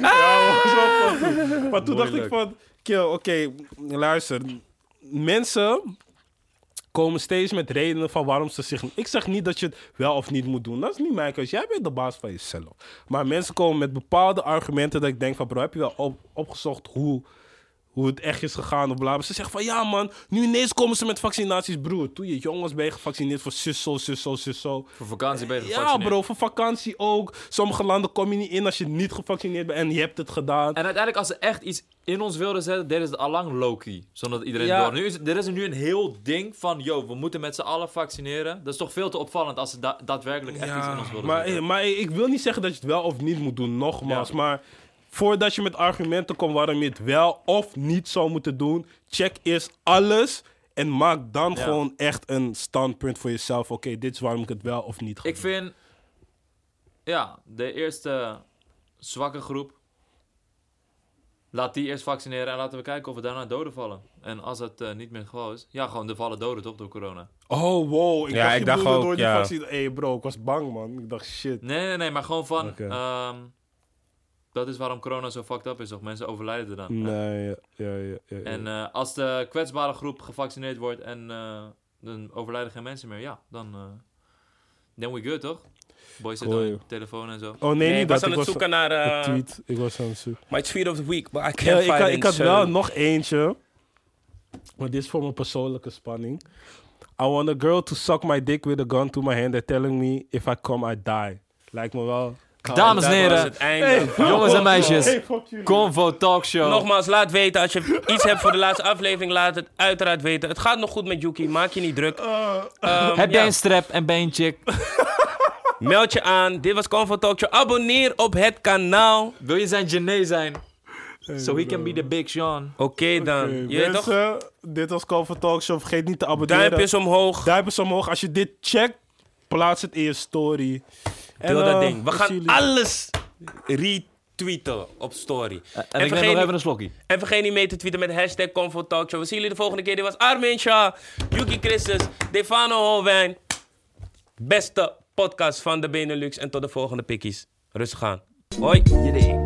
Ja, was wel fucking. Maar toen dacht ik van, kill, oké, luister. Mensen komen steeds met redenen van waarom ze zich... Ik zeg niet dat je het wel of niet moet doen. Dat is niet mijn keuze. Jij bent de baas van jezelf. Maar mensen komen met bepaalde argumenten dat ik denk van... Bro, heb je wel op, opgezocht hoe, hoe het echt is gegaan of bla. Maar ze zeggen van, ja man, nu ineens komen ze met vaccinaties. Broer, toen je jong was ben je gevaccineerd voor zus zo, zus zo, zus zo. Voor vakantie ben je Ja, gevaccineerd. bro, voor vakantie ook. Sommige landen kom je niet in als je niet gevaccineerd bent en je hebt het gedaan. En uiteindelijk, als ze echt iets in ons wilden zetten, deden ze het allang Loki. Zodat iedereen Ja. door. Nu is, er is nu een heel ding van, yo, we moeten met z'n allen vaccineren. Dat is toch veel te opvallend als ze da- daadwerkelijk echt iets in ons wilden maar, eh, zetten. maar ik wil niet zeggen dat je het wel of niet moet doen, nogmaals. Ja. Maar voordat je met argumenten komt waarom je het wel of niet zou moeten doen, check eerst alles. En maak dan Ja. gewoon echt een standpunt voor jezelf. Oké, dit is waarom ik het wel of niet ga Ik vind, ja, de eerste zwakke groep. Laat die eerst vaccineren en laten we kijken of er daarna doden vallen. En als dat eh, niet meer het geval is, ja, gewoon er vallen doden toch door corona. doen. Oh, wow. Ik Ja, dacht, ik je dacht bedoelde ook, door die ja. vaccin. Hé, bro, ik was bang, man. Ik dacht, shit. Nee, nee, nee, maar gewoon van, Oké. ehm, dat is waarom corona zo fucked up is, toch? Mensen overlijden er dan. Nee, ja, ja, ja. ja, ja. En eh, als de kwetsbare groep gevaccineerd wordt en eh, dan overlijden geen mensen meer, ja, dan. eh then we good, toch? Boy zit Cool, al in joh. de telefoon en zo. oh, nee, Nee, niet ik was dat. aan Ik het was zoeken naar de eh tweet. Ik was aan het zoeken. my tweet of the week, but I can't Ja, find Eh, ik, had, it. ik had So- wel nog eentje. Maar dit is voor mijn persoonlijke spanning. I want a girl to suck my dick with a gun to my hand and telling me if I come I die. Lijkt me wel. Dames en Dat Oh, was heren, het einde. jongens en meisjes, fuck jullie. Convo Talk Show. Nogmaals, laat weten. Als je iets hebt voor de laatste aflevering, laat het uiteraard weten. Het gaat nog goed met Yuki, maak je niet druk. Ehm, Heb jij ja. een strap en ben je een chick? Meld je aan. Dit was Comfort Talk Show. Abonneer op het kanaal. Oké Wil je zijn Gené zijn? so he can be the big Sean. dan. Je weet toch? Mensen, dit was Comfort Talk Show. Vergeet niet te abonneren. Duimpjes omhoog. Duimpjes omhoog. Als je dit checkt, plaats het in je story. En, Deel dat eh, ding. We als gaan jullie- alles retweeten op story. En, ik neem nog even een slokje. En vergeet niet mee te tweeten met hashtag Comfort Talk Show. We zien jullie de volgende keer. Dit was Armin Shah, Yuki Christus, Defano Holwijn. Beste podcast van de Benelux. En tot de volgende pikkies. Rustig aan. Hoi.